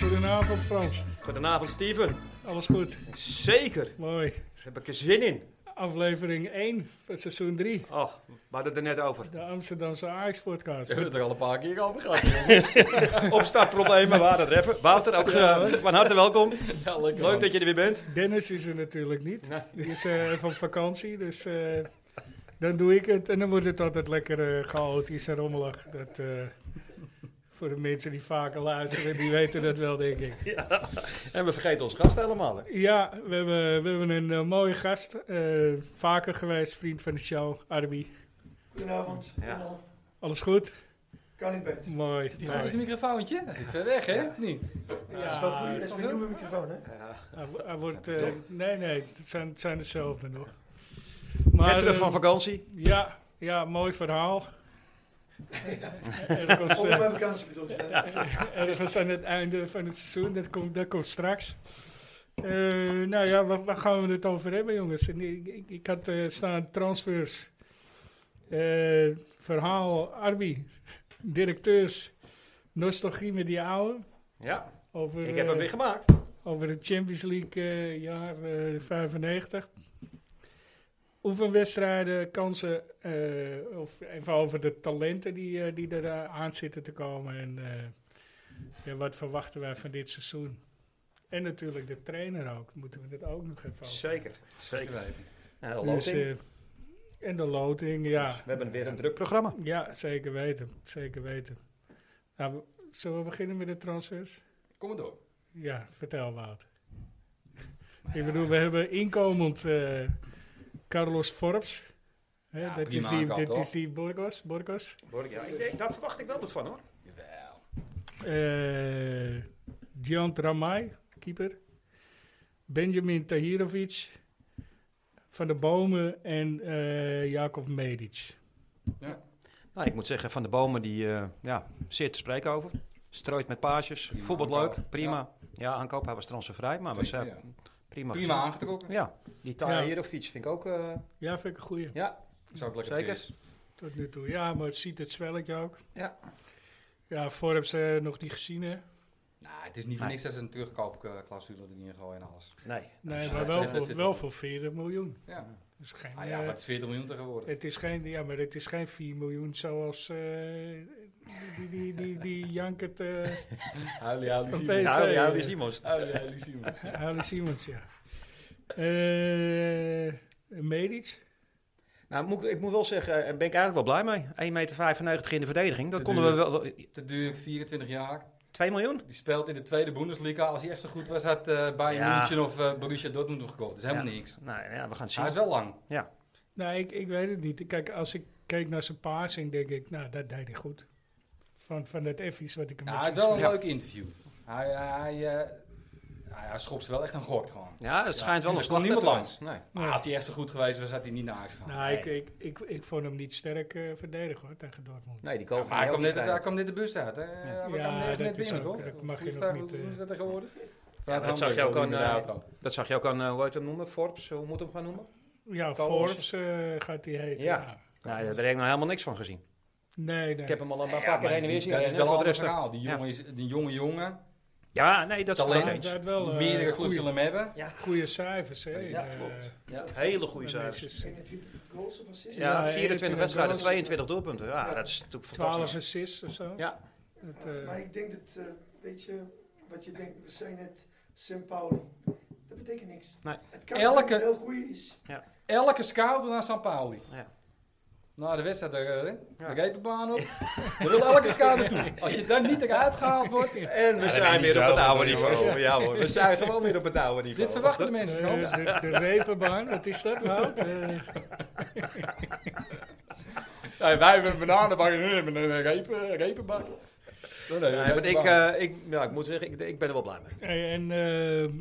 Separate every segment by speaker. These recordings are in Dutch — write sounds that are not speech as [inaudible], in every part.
Speaker 1: Goedenavond Frans.
Speaker 2: Goedenavond, Steven.
Speaker 1: Alles goed?
Speaker 2: Zeker.
Speaker 1: Mooi.
Speaker 2: Daar heb ik er zin in.
Speaker 1: Aflevering 1 van seizoen 3.
Speaker 2: Oh, we hadden het er net over.
Speaker 1: De Amsterdamse Ajax-podcast.
Speaker 3: [laughs] We hebben het er al een paar keer over gehad.
Speaker 2: [laughs]
Speaker 3: jongens.
Speaker 2: Opstartproblemen, we hadden het er even. Wouter, ook eh, van harte welkom.
Speaker 3: ja, lekker
Speaker 2: Leuk
Speaker 3: man.
Speaker 2: dat je er weer bent.
Speaker 1: Dennis is er natuurlijk niet.
Speaker 2: Nee.
Speaker 1: Die is eh, even op vakantie, dus eh, dan doe ik het. En dan wordt het altijd lekker eh, chaotisch en rommelig. Dat, eh, voor de mensen die vaker luisteren, die weten dat wel, denk ik.
Speaker 2: En we vergeten ons gast helemaal. Hè?
Speaker 1: Ja, we hebben, we hebben een eh, mooie gast. eh, vaker geweest, vriend van de show, Arby.
Speaker 4: Goedenavond.
Speaker 2: Ja.
Speaker 4: Hallo.
Speaker 1: Alles goed?
Speaker 4: Kan niet beter.
Speaker 1: Mooi.
Speaker 3: Die
Speaker 1: mooi.
Speaker 3: grote microfoontje, dat zit ver weg, hè? Ah,
Speaker 2: Ja.
Speaker 3: Nee.
Speaker 4: Ja, dat is wel goed. Dat is weer een nieuwe microfoon, hè?
Speaker 2: Ja.
Speaker 1: Hij, wo- hij wordt.
Speaker 3: Zijn we
Speaker 1: eh,
Speaker 3: toch?
Speaker 1: nee, nee, het zijn, het zijn dezelfde nog.
Speaker 2: Net terug
Speaker 1: eh,
Speaker 2: van vakantie.
Speaker 1: ja, ja, mooi
Speaker 3: [laughs]
Speaker 1: verhaal. ergens,
Speaker 4: Om
Speaker 1: eh,
Speaker 4: mijn vakantie bedoeld te zijn.
Speaker 1: ergens aan het einde van het seizoen, dat komt, dat komt straks. Eh, nou ja, waar, waar gaan we het over hebben, jongens? En ik, ik, ik had eh, staan transfers, eh, verhaal, Arby, directeurs, nostalgie met die oude.
Speaker 2: Ja,
Speaker 1: Over,
Speaker 2: ik heb hem
Speaker 1: eh,
Speaker 2: weer gemaakt.
Speaker 1: over het Champions League eh, jaar eh, 95. Oefenwedstrijden, kansen, eh, of even over de talenten die, eh, die er eh, aan zitten te komen. En eh, ja, wat verwachten wij van dit seizoen? En natuurlijk de trainer ook, moeten we dat ook nog even over.
Speaker 2: Zeker, zeker weten. En de
Speaker 1: Dus,
Speaker 2: loting.
Speaker 1: eh, en de loting, ja.
Speaker 2: We hebben weer een druk programma.
Speaker 1: Ja, zeker weten, zeker weten. Nou, we- zullen we beginnen met de transfers?
Speaker 3: Kom maar door.
Speaker 1: Ja, vertel Wout.
Speaker 3: Nou
Speaker 1: Ik bedoel, we hebben inkomend eh, Carlos Forbes. Hè,
Speaker 3: Ja,
Speaker 1: dat is
Speaker 3: prima
Speaker 1: die,
Speaker 3: aankoop,
Speaker 1: dit
Speaker 3: toch?
Speaker 1: is die Borgos. Borgos.
Speaker 2: Ja, ik denk, daar verwacht ik wel wat van hoor.
Speaker 3: Jawel.
Speaker 1: Eh Diant Ramai, keeper. Benjamin Tahirovic. Van de Bomen en eh Jacob Medic.
Speaker 2: Nou, ik moet zeggen, Van de Bomen die, eh, ja, zeer te spreken over. Strooit met paasjes,
Speaker 3: Prima
Speaker 2: voetbalt
Speaker 3: aankoop.
Speaker 2: leuk, prima. Ja. aankoop, hij was transfervrij, maar we zijn
Speaker 3: Ja.
Speaker 2: prima
Speaker 3: Prima
Speaker 2: gezien.
Speaker 3: aangetrokken.
Speaker 2: Ja, die
Speaker 1: Ja.
Speaker 2: Tahir of fiets vind ik ook, eh,
Speaker 1: Ja, vind ik een goeie.
Speaker 2: ja,
Speaker 3: Zou ik lekker
Speaker 2: Zeker.
Speaker 3: fris.
Speaker 1: Tot nu toe. Ja, maar het ziet het zwelletje ook.
Speaker 2: Ja.
Speaker 1: Ja, Forbes eh, nog niet gezien hè.
Speaker 3: Nou, het is niet voor niks dat ze een terugkoopclausule erin gooien en alles.
Speaker 2: nee.
Speaker 1: Nee,
Speaker 3: Ja,
Speaker 1: maar
Speaker 3: dat
Speaker 1: wel
Speaker 3: zit- dat
Speaker 1: voor,
Speaker 3: zit
Speaker 1: wel
Speaker 3: wel.
Speaker 1: voor 40 miljoen.
Speaker 3: Ja.
Speaker 1: Dus geen,
Speaker 3: Ah ja,
Speaker 1: eh,
Speaker 3: wat is 40 miljoen tegenwoordig?
Speaker 1: Het is geen, ja, maar het is geen 4 miljoen zoals eh, die, die, die, die jankert eh
Speaker 3: Huilie, huilie,
Speaker 1: Van
Speaker 3: Simons.
Speaker 1: PSV.
Speaker 2: Nou,
Speaker 1: zei,
Speaker 2: ja,
Speaker 1: eh,
Speaker 2: die Simons.
Speaker 3: Huilie, huilie, Simons.
Speaker 1: Ali Simons, ja. Eh Medic?
Speaker 2: Nou, moet, ik- ik moet wel zeggen, daar ben ik eigenlijk wel blij mee. 1,95 meter in de verdediging. Dat
Speaker 3: Te
Speaker 2: konden we wel...
Speaker 3: Te duur, 24 jaar.
Speaker 2: 2 miljoen?
Speaker 3: Die speelt in de tweede Bundesliga. Als hij echt zo goed was, had eh Bayern
Speaker 2: Ja.
Speaker 3: München of eh, Borussia Dortmund hem gekocht. Dat is helemaal
Speaker 2: Ja.
Speaker 3: niks.
Speaker 2: Nou ja, we gaan het
Speaker 3: Hij is
Speaker 2: zien.
Speaker 3: wel lang.
Speaker 1: Nou, ik, ik weet het niet. Kijk, als ik keek naar zijn passing, denk ik, nou, dat deed hij goed. Van, van dat effies wat ik hem
Speaker 3: Ja,
Speaker 1: heb
Speaker 3: hij had
Speaker 1: gezien.
Speaker 3: Nou, wel een
Speaker 2: Ja.
Speaker 3: leuk interview. Hij, hij, eh, hij, hij schopt ze wel echt een gort gewoon.
Speaker 2: Ja, het schijnt wel
Speaker 3: Ja,
Speaker 2: een
Speaker 3: er
Speaker 2: slag
Speaker 3: komt niemand
Speaker 2: te
Speaker 3: langs.
Speaker 2: zijn. Nee.
Speaker 3: Maar als hij echt zo goed geweest was, had hij niet naar Ajax gegaan.
Speaker 1: Nou, ik,
Speaker 3: Nee.
Speaker 1: ik, ik, ik vond hem niet sterk eh verdedigen hoor, tegen Dortmund.
Speaker 2: nee, die
Speaker 3: Ja,
Speaker 2: komen
Speaker 3: maar hij kwam, net, hij
Speaker 2: uit.
Speaker 3: kwam net de bus uit. Hè? Hij
Speaker 1: Ja,
Speaker 3: kwam net,
Speaker 1: dat
Speaker 3: net
Speaker 1: is
Speaker 3: binnen,
Speaker 1: ook-
Speaker 3: toch?
Speaker 1: dat mag je nog
Speaker 3: Vliegtuig,
Speaker 1: niet,
Speaker 3: Hoe
Speaker 1: eh,
Speaker 3: hoe is dat tegenwoordig?
Speaker 2: dat zag je ook aan, eh,
Speaker 3: de
Speaker 2: Dat zag je ook aan, eh, hoe heet hem noemen? Forbes, hoe moet hem gaan noemen?
Speaker 1: Ja,
Speaker 2: Carlos.
Speaker 1: Forbes eh, gaat hij heten.
Speaker 2: Ja.
Speaker 1: ja.
Speaker 2: Nou, daar heb ik nog helemaal niks van gezien.
Speaker 1: Nee, nee.
Speaker 2: Ik heb hem al een paar keer heen en weer zien
Speaker 3: Dat is
Speaker 2: rennen,
Speaker 3: wel
Speaker 2: voor
Speaker 3: een
Speaker 2: de rest-
Speaker 3: ander
Speaker 2: eh,
Speaker 3: verhaal. Die
Speaker 2: Ja.
Speaker 3: jongen is een jonge jongen.
Speaker 2: Ja, nee, dat is
Speaker 3: Talent.
Speaker 2: het
Speaker 1: Ja,
Speaker 2: eens.
Speaker 1: dat wel eh,
Speaker 3: Meerdere clubs
Speaker 1: goeie-
Speaker 3: willen hem hebben.
Speaker 1: goeie cijfers, hè?
Speaker 4: Ja,
Speaker 1: Eh,
Speaker 4: klopt.
Speaker 2: Ja, hele goede
Speaker 1: dan is
Speaker 2: cijfers.
Speaker 1: het-
Speaker 4: 21 goals of assists.
Speaker 2: Ja,
Speaker 1: Ja,
Speaker 2: 24 wedstrijden,
Speaker 1: goals.
Speaker 2: 22 doelpunten. Ja, dat is natuurlijk
Speaker 1: 12
Speaker 2: fantastisch.
Speaker 1: assists of zo.
Speaker 2: Ja.
Speaker 1: Dat, eh,
Speaker 4: Maar ik denk dat, eh, weet je, wat je denkt, we zijn net St. Pauli. Dat betekent niks.
Speaker 2: Nee.
Speaker 4: Het kan
Speaker 3: Elke-
Speaker 4: Elke... zijn dat het heel goed is.
Speaker 3: Elke scout wil naar San Pauli.
Speaker 2: Ja.
Speaker 3: Na de wedstrijd, daar, eh,
Speaker 2: Ja.
Speaker 3: de repenbaan op. Daar wil elke
Speaker 2: [laughs]
Speaker 3: scout naartoe. Als je daar niet eruit gehaald wordt.
Speaker 2: En we
Speaker 3: Ja,
Speaker 2: zijn
Speaker 3: dat is
Speaker 2: weer op het
Speaker 3: wel
Speaker 2: oude
Speaker 3: een
Speaker 2: niveau. Ja hoor, we zijn gewoon weer op het oude niveau.
Speaker 3: Dit verwachten de mensen van
Speaker 1: eh,
Speaker 3: ons.
Speaker 1: de, de repenbaan, wat is dat, [laughs] Wout? Eh,
Speaker 3: Ja, wij hebben een bananenbak en hun hebben een repen, repenbak. Nee, nee,
Speaker 2: Nee, want ik, eh, ik, ja, ik moet zeggen, ik, ik ben er wel blij mee.
Speaker 1: hey, en ehm,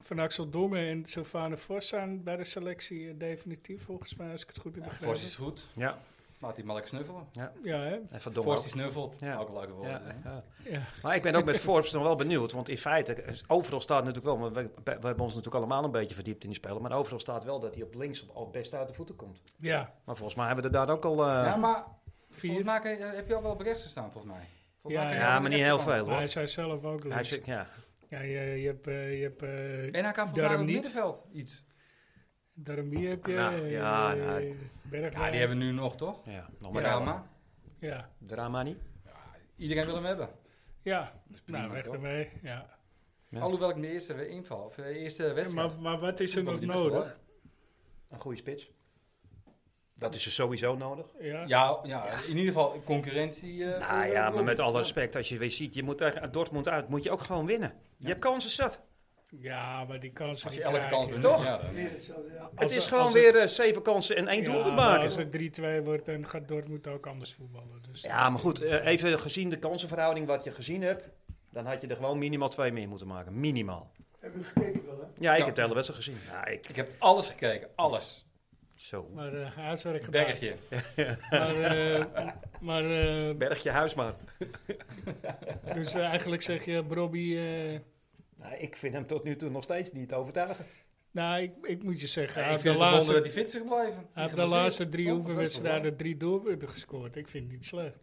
Speaker 1: Van Axel Dongen en Sylvane Vos zijn bij de selectie eh, definitief, volgens mij, als ik het goed heb
Speaker 3: Ja,
Speaker 1: begrepen.
Speaker 3: Forst is goed.
Speaker 2: Ja,
Speaker 3: Laat die malk snuffelen.
Speaker 1: Ja, hè?
Speaker 2: en van Dongen
Speaker 3: Forst
Speaker 2: ook.
Speaker 3: die snuffelt.
Speaker 2: Ja.
Speaker 3: Ook leuke woorden.
Speaker 2: Ja, Eh,
Speaker 3: hè.
Speaker 2: ja.
Speaker 1: Ja.
Speaker 2: Maar ik ben [laughs] ook met Forbes nog wel benieuwd. Want in feite, eh, overal staat natuurlijk wel... We, we hebben ons natuurlijk allemaal een beetje verdiept in die spelen. Maar overal staat wel dat hij op links al best uit de voeten komt.
Speaker 1: Ja,
Speaker 2: Maar volgens mij hebben we er daar ook al... eh,
Speaker 3: Ja,
Speaker 2: ja, maar,
Speaker 3: maar volgens
Speaker 1: vier.
Speaker 3: mij eh, kan je- heb je al wel op rechts gestaan, volgens mij. Volgens
Speaker 1: Ja,
Speaker 3: mij kan je
Speaker 1: ja,
Speaker 3: ook op de
Speaker 2: niet heel
Speaker 3: rechterkant.
Speaker 2: veel
Speaker 1: Maar hij
Speaker 2: hoor.
Speaker 1: zei zelf ook
Speaker 2: Hij
Speaker 1: links.
Speaker 2: zit- ja.
Speaker 1: Ja, je, je hebt, eh, je hebt eh,
Speaker 3: En hij kan volgens mij
Speaker 1: Daarom
Speaker 3: op het
Speaker 1: niet.
Speaker 3: middenveld iets.
Speaker 1: daarom hier heb je.
Speaker 2: Nou,
Speaker 1: eh,
Speaker 2: ja, nou,
Speaker 1: Bergwijn.
Speaker 3: Ja, die hebben we nu nog, toch?
Speaker 2: Ja, nog maar drama.
Speaker 3: Drama.
Speaker 1: Ja,
Speaker 2: Drama niet.
Speaker 3: Iedereen wil hem hebben.
Speaker 1: ja. nou,
Speaker 3: prima,
Speaker 1: weg
Speaker 3: toch?
Speaker 1: ermee. Ja.
Speaker 2: Ja.
Speaker 3: Alhoewel ik in de eerste we- inval, of de eerste wedstrijd...
Speaker 1: Maar, maar wat is er
Speaker 3: vond ik
Speaker 1: nog
Speaker 3: die best wel
Speaker 1: nodig?
Speaker 2: Een goede spits. Dat is er sowieso nodig.
Speaker 1: Ja.
Speaker 3: leuk. Ja, ja, in ieder geval concurrentie. eh, voor,
Speaker 2: Nou
Speaker 3: eh,
Speaker 2: ja, maar
Speaker 3: Robin.
Speaker 2: met alle respect, als je weer ziet, je moet tegen Dortmund uit, moet je ook gewoon winnen. Je hebt kansen zat.
Speaker 1: ja, maar die kansen.
Speaker 3: Als je
Speaker 1: die
Speaker 3: elke
Speaker 1: krijg
Speaker 3: kans
Speaker 1: je.
Speaker 3: benut,
Speaker 2: Toch?
Speaker 3: ja, dan-
Speaker 4: Weer hetzelfde, ja.
Speaker 1: Als
Speaker 2: het is
Speaker 1: er-
Speaker 2: gewoon
Speaker 1: als
Speaker 2: weer eh, zeven kansen en één
Speaker 1: Ja,
Speaker 2: doelpunt
Speaker 1: maar
Speaker 2: maken.
Speaker 1: Als het 3-2 wordt, dan gaat Dortmund ook anders voetballen. Dus
Speaker 2: Ja, maar goed, eh, even gezien de kansenverhouding wat je gezien hebt, dan had je er gewoon minimaal twee meer moeten maken. Minimaal.
Speaker 4: Hebben we gekeken wel, hè?
Speaker 2: Ja, ik
Speaker 3: Ja.
Speaker 2: heb de hele wedstrijd gezien. Ja, ik,
Speaker 3: Ik heb alles gekeken, alles.
Speaker 2: zo.
Speaker 1: Maar eh huiswerk gedaan.
Speaker 3: Bergje.
Speaker 1: Maar, eh, maar eh,
Speaker 2: Berg je huis maar.
Speaker 1: dus eh, eigenlijk zeg je, Robbie. eh,
Speaker 2: Nou, ik vind hem tot nu toe nog steeds niet overtuigend.
Speaker 1: nou, ik, ik moet je zeggen,
Speaker 3: Ja,
Speaker 1: hij
Speaker 3: ik
Speaker 1: heeft de
Speaker 3: vind het een wonder
Speaker 1: laatste,
Speaker 3: dat hij fit is gebleven.
Speaker 1: hij heeft de
Speaker 3: Geblesseerd.
Speaker 1: laatste drie
Speaker 3: Oh, dat
Speaker 1: oefenwedstrijden
Speaker 3: is
Speaker 1: drie doelpunten gescoord. Ik vind het niet slecht.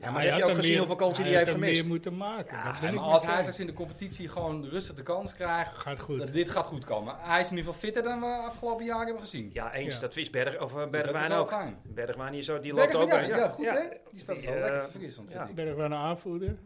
Speaker 2: Ja, maar
Speaker 1: Hij
Speaker 2: heb je
Speaker 1: had
Speaker 2: ook
Speaker 1: er
Speaker 2: gezien
Speaker 1: meer-
Speaker 2: hoeveel kansen die
Speaker 1: hij
Speaker 2: heeft
Speaker 1: had er
Speaker 2: gemist?
Speaker 1: meer moeten maken.
Speaker 3: wel
Speaker 1: dat
Speaker 3: waar.
Speaker 1: ben
Speaker 3: Ja,
Speaker 1: ik
Speaker 3: maar
Speaker 1: met
Speaker 3: als
Speaker 1: je
Speaker 3: hij
Speaker 1: eens.
Speaker 3: straks in de competitie gewoon rustig de kans krijgt,
Speaker 1: Gaat goed.
Speaker 3: dat dit gaat goed komen. Hij is in ieder geval fitter dan we afgelopen jaar hebben gezien.
Speaker 2: Ja, eens.
Speaker 1: Ja.
Speaker 2: Dat is Berg, of eh,
Speaker 3: dat is
Speaker 2: Bergwijn
Speaker 3: wel
Speaker 2: ook.
Speaker 3: fijn.
Speaker 2: Bergwijn hier zo, die loopt
Speaker 3: Bergwijn,
Speaker 2: ook.
Speaker 3: ja,
Speaker 2: eh,
Speaker 3: ja, goed
Speaker 2: ja.
Speaker 3: hè? Die speelt
Speaker 2: Die,
Speaker 3: wel
Speaker 2: eh,
Speaker 3: lekker verfrissend, vind
Speaker 2: ja.
Speaker 3: ik.
Speaker 1: Bergwijn een aanvoerder.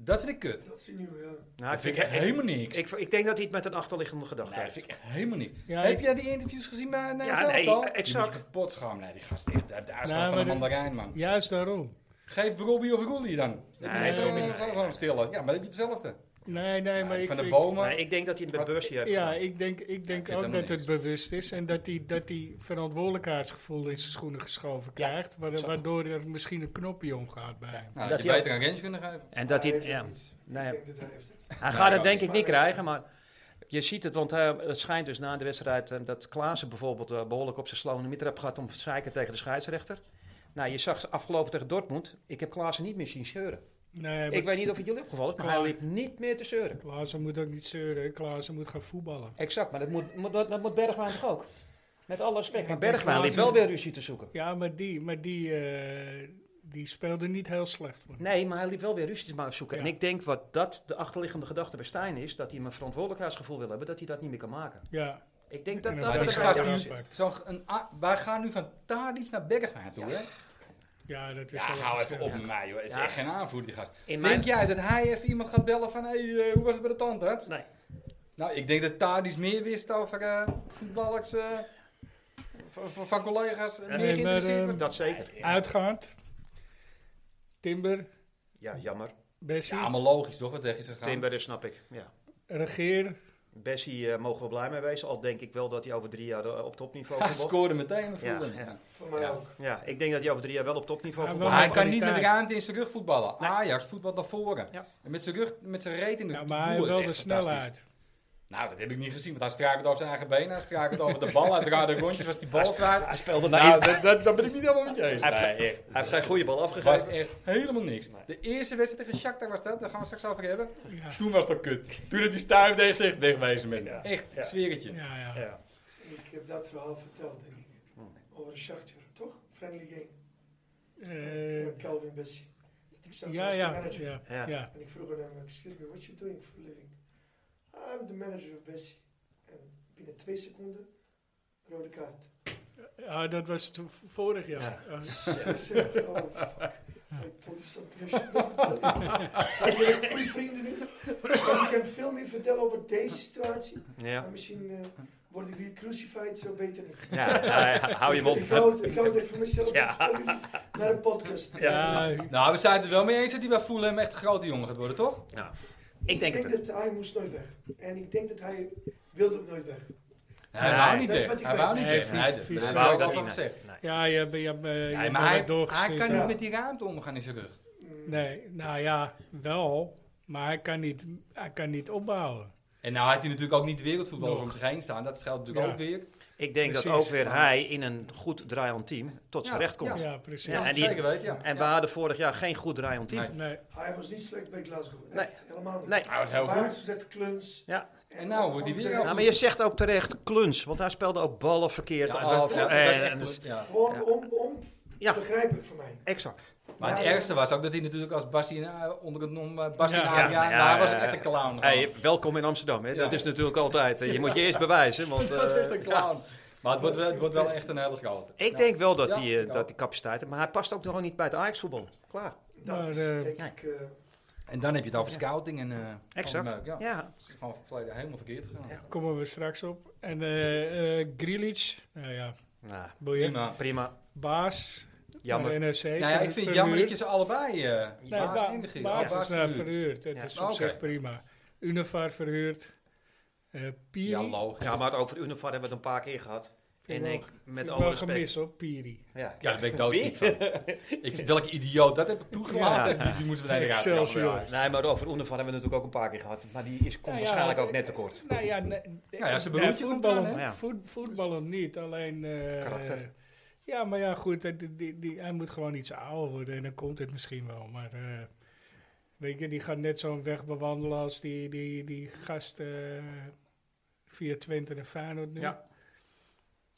Speaker 3: Dat vind ik kut.
Speaker 4: Dat is nieuw, ja.
Speaker 2: Nou,
Speaker 3: Dat
Speaker 2: ik,
Speaker 3: vind
Speaker 2: vind
Speaker 3: ik echt helemaal niks.
Speaker 2: ik, ik denk dat hij het met een achterliggende gedachte
Speaker 3: nee, Nou, dat
Speaker 2: heeft.
Speaker 3: vind ik echt helemaal niks.
Speaker 1: Ja,
Speaker 3: Heb
Speaker 1: ik-
Speaker 3: jij die interviews gezien bij bij
Speaker 2: Ja,
Speaker 3: zelf
Speaker 2: nee,
Speaker 3: al?
Speaker 2: exact.
Speaker 3: Die moet je kapot schamen. Nee, die gast heeft de, de uitslag
Speaker 1: Nee,
Speaker 3: van
Speaker 1: maar de-
Speaker 3: een mandarijn, man.
Speaker 1: Juist daarom.
Speaker 3: Geef Robbie of Roelie dan.
Speaker 2: Nee,
Speaker 3: Nee, zo
Speaker 1: Robbie,
Speaker 3: zo- zo- zo'n stille. Ja, maar dan heb je hetzelfde.
Speaker 1: Nee, nee, maar ik
Speaker 3: van de
Speaker 1: vind-
Speaker 3: bomen.
Speaker 2: Nee, ik denk dat hij het met
Speaker 3: Wat-
Speaker 2: Bursie heeft
Speaker 1: Ja,
Speaker 2: gedaan.
Speaker 1: ik denk, ik denk
Speaker 3: vind
Speaker 1: ook
Speaker 3: helemaal
Speaker 1: dat het bewust is en dat hij dat die verantwoordelijkheidsgevoel in zijn schoenen geschoven krijgt, wa-
Speaker 2: zo.
Speaker 1: waardoor er misschien een knopje omgaat bij hem.
Speaker 2: Dat
Speaker 3: Nou, dat je
Speaker 2: hij ook-
Speaker 3: beter een range kunnen geven.
Speaker 2: En dat hij...
Speaker 4: heeft het
Speaker 2: ja.
Speaker 4: niet.
Speaker 2: Nee.
Speaker 4: Ik denk dat hij heeft het.
Speaker 2: Hij
Speaker 3: Nou,
Speaker 2: gaat het
Speaker 3: ja,
Speaker 2: denk ik niet
Speaker 4: maar-
Speaker 2: krijgen, maar je ziet het, want eh, het schijnt dus na de wedstrijd eh, dat Klaassen bijvoorbeeld eh, behoorlijk op zijn slowende mitter heeft gehad om te zeiken tegen de scheidsrechter. Nou, je zag ze afgelopen tegen Dortmund, ik heb Klaassen niet meer zien zeuren.
Speaker 1: Nee,
Speaker 2: ik
Speaker 1: maar
Speaker 2: weet niet of het jullie opgevallen is, maar
Speaker 1: Klaar.
Speaker 2: hij liep niet meer te zeuren.
Speaker 1: Klaassen moet ook niet zeuren, Klaassen moet gaan voetballen.
Speaker 2: Exact, maar dat moet, moet- dat, dat moet Bergwijn toch ook? Met alle respect,
Speaker 1: Ja,
Speaker 2: maar
Speaker 1: die
Speaker 2: Bergwijn liep wel
Speaker 1: Klaassen-
Speaker 2: weer ruzie te zoeken.
Speaker 1: Ja, maar die, maar die, eh, die speelde niet heel slecht. Voor hem.
Speaker 2: Nee, maar hij liep wel weer ruzie te zoeken.
Speaker 1: Ja.
Speaker 2: En ik denk wat dat de achterliggende gedachte bij Stijn is, dat hij hem een verantwoordelijkheidsgevoel wil hebben, dat hij dat niet meer kan maken.
Speaker 1: Ja,
Speaker 2: Ik denk dat
Speaker 1: En
Speaker 2: dat...
Speaker 1: dan
Speaker 3: Maar die
Speaker 1: dat-
Speaker 3: gast,
Speaker 1: dat-
Speaker 3: die-
Speaker 1: dat-
Speaker 3: zo'n g- een a- wij gaan nu van Tadic naar Bergwijn toe, hè?
Speaker 1: ja, dat is
Speaker 3: Ja,
Speaker 1: wel
Speaker 3: hou even
Speaker 1: verschil.
Speaker 3: op met mij, joh. Het is
Speaker 2: Ja.
Speaker 3: echt geen aanvoerder, die gast.
Speaker 2: in
Speaker 3: Denk jij dat hij even iemand gaat bellen van, hey, eh, hoe was het bij de tandarts?
Speaker 2: Nee.
Speaker 3: Nou, ik denk dat Tadis meer wist over eh, voetballers, eh, van, van- van collega's, eh, meer
Speaker 1: nee, maar,
Speaker 3: geïnteresseerd
Speaker 1: ehm,
Speaker 3: was.
Speaker 2: Dat zeker.
Speaker 1: Uitgaand, Timber,
Speaker 2: Ja, jammer.
Speaker 1: Bessie,
Speaker 3: Ja, maar logisch toch, wat tegen ze gaan.
Speaker 2: Timber, dat snap ik. Ja.
Speaker 1: Regeer,
Speaker 2: Bessie eh, mogen we blij mee wezen. Al denk ik wel dat hij over drie jaar eh, op topniveau
Speaker 3: [laughs] Hij
Speaker 2: voetbalt.
Speaker 3: scoorde meteen, maar
Speaker 2: Ja,
Speaker 3: voelde
Speaker 2: ja.
Speaker 3: hem.
Speaker 4: Voor mij
Speaker 3: Ja.
Speaker 4: ook.
Speaker 2: Ja, ik denk dat hij over drie jaar wel op topniveau
Speaker 1: Ja,
Speaker 2: voetbalt.
Speaker 1: wel
Speaker 3: Maar hij
Speaker 1: met
Speaker 3: kan niet met
Speaker 1: kwaliteit.
Speaker 3: ruimte in zijn rug voetballen.
Speaker 2: Nee.
Speaker 3: Ajax voetbalt naar voren.
Speaker 2: Ja.
Speaker 3: En met zijn rug, met zijn reet in de
Speaker 1: ja, maar hij
Speaker 3: boel
Speaker 1: heeft wel
Speaker 3: is
Speaker 1: de
Speaker 3: echt fantastisch.
Speaker 1: snelheid.
Speaker 3: Nou, dat heb ik niet gezien, want hij struikelt over zijn eigen benen, hij struikelt over de bal, hij draait een rondje als die bal kwijt.
Speaker 2: Hij speelde Nou, naar
Speaker 3: Nou, dat, dat, dat ben ik niet helemaal met je eens.
Speaker 2: Hij heeft
Speaker 3: Nee,
Speaker 2: ge-
Speaker 3: echt.
Speaker 2: Hij heeft geen goede bal
Speaker 3: Het was
Speaker 2: afgegeven.
Speaker 3: echt helemaal niks.
Speaker 2: Nee.
Speaker 3: De eerste wedstrijd tegen Shakhtar was dat, daar gaan we straks over hebben.
Speaker 1: Ja,
Speaker 3: Toen was dat kut. Toen had die stuif tegen zich wegwezen met
Speaker 2: Ja.
Speaker 3: Echt,
Speaker 2: Ja.
Speaker 3: sfeertje.
Speaker 1: ja, ja.
Speaker 2: Ja.
Speaker 4: Ik heb dat verhaal verteld, denk ik.
Speaker 2: Hm.
Speaker 4: Over de Shakhtar, toch? Friendly game.
Speaker 1: Eh,
Speaker 4: En Calvin Bessie. Ik zat
Speaker 1: ja,
Speaker 4: naast de
Speaker 1: ja,
Speaker 4: manager.
Speaker 1: ja,
Speaker 2: Ja.
Speaker 1: ja.
Speaker 4: En ik vroeg aan hem, excuse me, what you doing for a living? I'm the manager of Bessie. En binnen twee seconden, rode kaart.
Speaker 1: Ja, Ah, dat was to- vorig jaar. Eh,
Speaker 4: Ze zegt, oh fuck, I told you [laughs] something I should not have done. Hij is echt goede vrienden nu. Maar ik kan veel meer vertellen over deze situatie.
Speaker 2: Ja.
Speaker 4: Maar misschien eh, word ik weer crucified, zo beter niet.
Speaker 2: Ja, nou, ja, hou je
Speaker 4: Ik
Speaker 2: mond.
Speaker 4: hou het, ik hou het even voor mezelf.
Speaker 2: Ja.
Speaker 4: Ik vertel jullie Naar een podcast.
Speaker 1: Ja,
Speaker 3: Nou, we zijn het er wel mee eens dat hij bij Fulham echt een grote jongen gaat worden, toch?
Speaker 2: Nou, ik denk het.
Speaker 4: dat hij moest nooit weg. En ik denk dat hij wilde ook nooit weg.
Speaker 3: Hij
Speaker 2: Nee.
Speaker 3: wou niet
Speaker 4: Dat is
Speaker 3: weg.
Speaker 4: wat ik
Speaker 3: Hij
Speaker 4: weet.
Speaker 3: wou niet
Speaker 1: Nee,
Speaker 3: weg.
Speaker 1: vies,
Speaker 3: Hij
Speaker 1: vies.
Speaker 3: dat heb
Speaker 1: Wou
Speaker 3: ik
Speaker 1: dat
Speaker 3: al van
Speaker 2: hij-
Speaker 3: gezegd.
Speaker 1: ja, je hebt, je hebt, eh, je
Speaker 3: Nee,
Speaker 1: hebt
Speaker 3: maar
Speaker 1: wel
Speaker 3: hij,
Speaker 1: wat doorgezeten.
Speaker 3: hij kan
Speaker 4: Ja.
Speaker 3: niet met die ruimte omgaan in zijn rug.
Speaker 4: Mm,
Speaker 1: Nee, nou ja, wel. Maar hij kan niet, hij kan niet opbouwen.
Speaker 3: En nou had hij natuurlijk ook niet wereldvoetballers
Speaker 1: Nog.
Speaker 3: om zich heen staan. Dat geldt natuurlijk
Speaker 1: Ja.
Speaker 3: ook weer.
Speaker 2: Ik denk dat
Speaker 1: Precies.
Speaker 2: ook weer hij in een goed draaiend team tot zijn
Speaker 3: Ja,
Speaker 2: recht komt.
Speaker 1: Ja,
Speaker 3: Ja.
Speaker 1: precies.
Speaker 2: Ja, en die-
Speaker 3: zeker weten, ja.
Speaker 2: En we
Speaker 3: ja.
Speaker 2: hadden vorig jaar geen goed draaiend team.
Speaker 3: Nee.
Speaker 1: Nee,
Speaker 4: Hij was niet slecht bij Glasgow.
Speaker 2: Nee.
Speaker 4: Echt, helemaal niet.
Speaker 2: Nee.
Speaker 3: Hij was heel
Speaker 4: Hij
Speaker 3: goed.
Speaker 4: had gezegd kluns.
Speaker 2: Ja.
Speaker 3: En nou wordt hij weer
Speaker 4: gewoon-
Speaker 2: Nou, maar je zegt ook terecht kluns, want hij speelde ook ballen verkeerd
Speaker 3: Ja, dus- het was-
Speaker 2: af.
Speaker 3: ja, het was
Speaker 2: en- dus-
Speaker 3: echt
Speaker 2: en-
Speaker 3: goed, ja.
Speaker 4: Gewoon
Speaker 2: Ja.
Speaker 4: on- on-
Speaker 2: Ja.
Speaker 4: onbegrijpelijk voor mij.
Speaker 2: exact.
Speaker 3: Maar het
Speaker 4: Ja, ja.
Speaker 3: ergste was ook dat hij natuurlijk als Bassi onder het nom eh, Bassi
Speaker 1: Ja.
Speaker 3: Nadia,
Speaker 2: Ja, ja,
Speaker 3: daar was
Speaker 2: ja,
Speaker 3: het echt een clown.
Speaker 2: Hey, welkom in Amsterdam, hè?
Speaker 3: Ja.
Speaker 2: dat is natuurlijk altijd. eh, Je [laughs] moet je eerst bewijzen.
Speaker 3: [laughs]
Speaker 2: Want,
Speaker 3: Het was
Speaker 2: eh, Dus-
Speaker 3: echt een clown. Maar het wordt, wel- het wordt wel echt een hele grote.
Speaker 2: ik
Speaker 3: Ja.
Speaker 2: denk wel dat,
Speaker 3: Ja,
Speaker 2: die, eh,
Speaker 3: ik ook.
Speaker 2: dat die capaciteit Maar hij past ook nog niet bij het Ajax-voetbal. Klaar.
Speaker 4: Dat
Speaker 1: Maar,
Speaker 4: is,
Speaker 1: eh,
Speaker 4: denk
Speaker 2: nee.
Speaker 4: ik, eh,
Speaker 3: En dan heb je het over
Speaker 2: Ja.
Speaker 3: scouting en... eh,
Speaker 2: Exact.
Speaker 3: allemaal, ja.
Speaker 2: ja.
Speaker 3: Het is gewoon volledig helemaal verkeerd gegaan.
Speaker 2: Ja.
Speaker 1: Komen we straks op. En eh eh Grealish, nou ja,
Speaker 2: Nou,
Speaker 1: boeiend.
Speaker 3: Prima.
Speaker 2: prima.
Speaker 1: Baas, eh,
Speaker 2: Jammer.
Speaker 1: naar de NRC.
Speaker 3: Nou ja, ik vind het jammer dat je
Speaker 1: verhuurd.
Speaker 3: ze allebei... eh
Speaker 1: Nee,
Speaker 3: baas
Speaker 1: Ba-
Speaker 3: en Geert. Oh,
Speaker 1: Baas
Speaker 3: baas
Speaker 1: is eh, naar
Speaker 3: verhuurd.
Speaker 1: verhuurd. Dat
Speaker 2: Ja.
Speaker 1: is op
Speaker 3: Oké.
Speaker 1: zich prima. Univar verhuurd. Eh Piri.
Speaker 3: Ja,
Speaker 1: Vind
Speaker 3: logisch.
Speaker 2: Ja, maar over de uniform hebben we het een paar keer gehad. En
Speaker 1: wel-
Speaker 2: ik,
Speaker 1: vind
Speaker 2: met
Speaker 1: ik
Speaker 2: alle
Speaker 1: wel
Speaker 2: respect.
Speaker 1: gemist hoor, Piri.
Speaker 2: Ja.
Speaker 3: Ja, daar ben ik
Speaker 2: [laughs]
Speaker 3: doodziek van. Ik, welke idioot dat heb ik toegelaten. Die, die moest meteen eruit.
Speaker 1: Excelsior.
Speaker 3: Ja, maar ja.
Speaker 2: Nee, maar over Oenevan hebben we natuurlijk ook een paar keer gehad. Maar die is, komt
Speaker 1: Nou ja,
Speaker 2: waarschijnlijk ook
Speaker 1: eh,
Speaker 2: net tekort.
Speaker 1: Nou ja, ne-
Speaker 3: ja, ze
Speaker 1: nee,
Speaker 3: beroemdje komt
Speaker 1: voetballend,
Speaker 3: eraan,
Speaker 2: hè?
Speaker 1: voet- voetballend niet, alleen... eh,
Speaker 2: Karakter.
Speaker 1: ja, maar ja, goed, eh, die, die, die- hij moet gewoon iets ouder worden en dan komt het misschien wel. Maar eh, weet je, die gaat net zo'n weg bewandelen als die, die, die gast eh, via Twente en Feyenoord nu.
Speaker 2: Ja.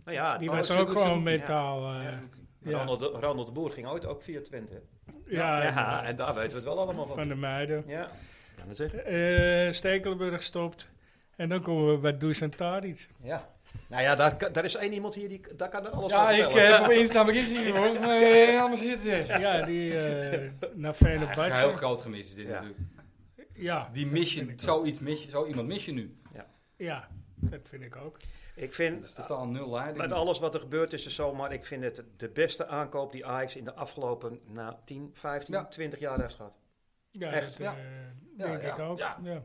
Speaker 2: Nou ja,
Speaker 1: Die
Speaker 2: oh,
Speaker 1: was
Speaker 2: zo-
Speaker 1: ook
Speaker 2: zo-
Speaker 1: gewoon
Speaker 2: ja.
Speaker 1: mentaal... eh,
Speaker 2: Ja.
Speaker 1: ja.
Speaker 2: Ronald, de, Ronald de Boer ging ooit ook via Twente. hè?
Speaker 1: ja,
Speaker 2: ja, en daar weten we het wel allemaal van.
Speaker 1: van de meiden.
Speaker 2: Ja. Kan het zeggen?
Speaker 1: Eh, Stekelenburg stopt. En dan komen we bij Dusan Tadic.
Speaker 2: Ja. Nou ja, daar, kan- daar is één iemand hier die daar kan er alles
Speaker 3: Ja,
Speaker 2: van
Speaker 3: ik
Speaker 2: vertellen.
Speaker 3: heb op Insta begin niet, jongens. Maar eh, allemaal zitten.
Speaker 2: [laughs]
Speaker 1: Ja, die eh naar
Speaker 3: Ja, echt een heel
Speaker 1: Fenerbahce.
Speaker 3: groot gemis is dit
Speaker 2: Ja.
Speaker 3: natuurlijk.
Speaker 1: Ja,
Speaker 3: Die mis
Speaker 1: vind
Speaker 3: je,
Speaker 1: ik
Speaker 3: zoiets mis je, zo iemand mis je nu.
Speaker 1: ja, dat vind ik ook.
Speaker 2: Ik
Speaker 3: Dat is
Speaker 2: vind,
Speaker 3: totaal nul leiding.
Speaker 2: met alles wat er gebeurd is, is zo, maar ik vind het de beste aankoop die Ajax in de afgelopen na 10, 15,
Speaker 3: Ja.
Speaker 2: 20 jaar heeft gehad.
Speaker 1: Ja,
Speaker 2: Echt?
Speaker 1: dat eh,
Speaker 3: Ja,
Speaker 1: denk
Speaker 3: ja,
Speaker 1: ik ook.
Speaker 3: ja.
Speaker 1: Ja.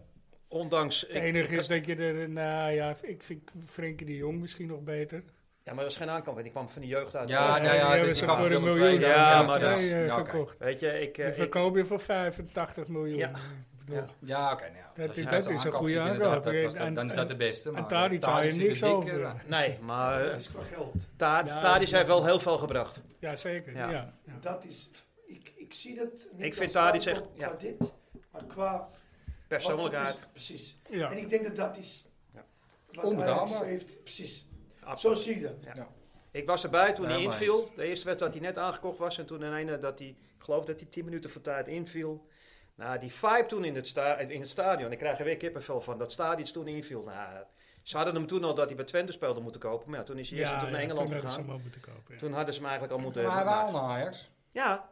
Speaker 2: Ondanks...
Speaker 1: Het
Speaker 2: ik-
Speaker 1: enige
Speaker 2: ik-
Speaker 1: is dat je er, nou ja, ik vind Frenkie de Jong misschien nog beter.
Speaker 2: Ja, maar dat is geen aankoop, want die kwam van de jeugd uit.
Speaker 3: Ja,
Speaker 1: Eh,
Speaker 3: nou ja,
Speaker 1: die
Speaker 3: dit
Speaker 1: hebben ze
Speaker 3: kan
Speaker 1: voor
Speaker 3: wel
Speaker 1: een
Speaker 3: twee,
Speaker 1: miljoen
Speaker 2: ja,
Speaker 1: eh,
Speaker 2: maar dat
Speaker 1: twee,
Speaker 2: is-
Speaker 1: eh,
Speaker 3: ja, oké.
Speaker 1: gekocht.
Speaker 2: Weet je, ik... eh,
Speaker 1: Die
Speaker 2: ik-
Speaker 1: verkoop je voor 85 miljoen.
Speaker 2: Ja.
Speaker 1: Ik bedoel,
Speaker 3: Ja, ja oké. nou ja,
Speaker 1: Dat
Speaker 3: als
Speaker 1: is-
Speaker 3: je
Speaker 1: dat
Speaker 3: zo'n
Speaker 1: is een
Speaker 3: aankoop
Speaker 1: goede
Speaker 3: ziet,
Speaker 1: aankoop.
Speaker 3: inderdaad, dat was
Speaker 1: En-
Speaker 3: dan- Dan is
Speaker 1: en-
Speaker 3: dat de beste. maar,
Speaker 1: Tadic
Speaker 3: eh,
Speaker 1: zou je
Speaker 3: zit er
Speaker 1: niks
Speaker 3: dik,
Speaker 1: over.
Speaker 3: eh,
Speaker 2: nee, maar
Speaker 4: dat
Speaker 2: eh,
Speaker 4: is qua geld.
Speaker 2: Ta-
Speaker 1: Ja,
Speaker 2: Tadic
Speaker 1: dat-
Speaker 2: heeft wel heel veel gebracht.
Speaker 1: ja, zeker.
Speaker 2: Ja.
Speaker 1: Ja. Ja.
Speaker 4: Dat is, ik, ik zie dat niet
Speaker 2: Ik vind
Speaker 4: als
Speaker 2: Tadic echt-
Speaker 4: aankoop qua
Speaker 2: ja.
Speaker 4: dit, maar qua... wat
Speaker 2: Persoonlijkheid,
Speaker 4: voor is- Precies.
Speaker 1: Ja.
Speaker 4: En ik denk dat dat is
Speaker 2: Ja.
Speaker 4: wat Ajax
Speaker 3: Onbetaalbaar.
Speaker 4: heeft. Precies. Zo
Speaker 2: absoluut.
Speaker 4: zie ik dat.
Speaker 2: Ik was erbij toen hij
Speaker 3: Helemaal
Speaker 2: inviel. De eerste wedstrijd dat hij net aangekocht was. En toen in ene dat hij, ik geloof dat hij 10 minuten voor tijd inviel. Nou, die vibe toen in het, sta- in het stadion. Ik krijg er weer kippenvel van. Dat stadion toen inviel. Nou, ze hadden hem toen al dat hij bij Twente speelde moeten kopen. Maar ja, toen is hij eerst
Speaker 1: Ja,
Speaker 2: toen naar
Speaker 1: ja,
Speaker 2: Engeland
Speaker 1: toen hadden ze
Speaker 2: gegaan.
Speaker 1: hem al moeten kopen. ja.
Speaker 2: Toen hadden ze hem eigenlijk al moeten...
Speaker 3: Maar hij
Speaker 2: maken.
Speaker 3: wou naar Ajax.
Speaker 2: Ja,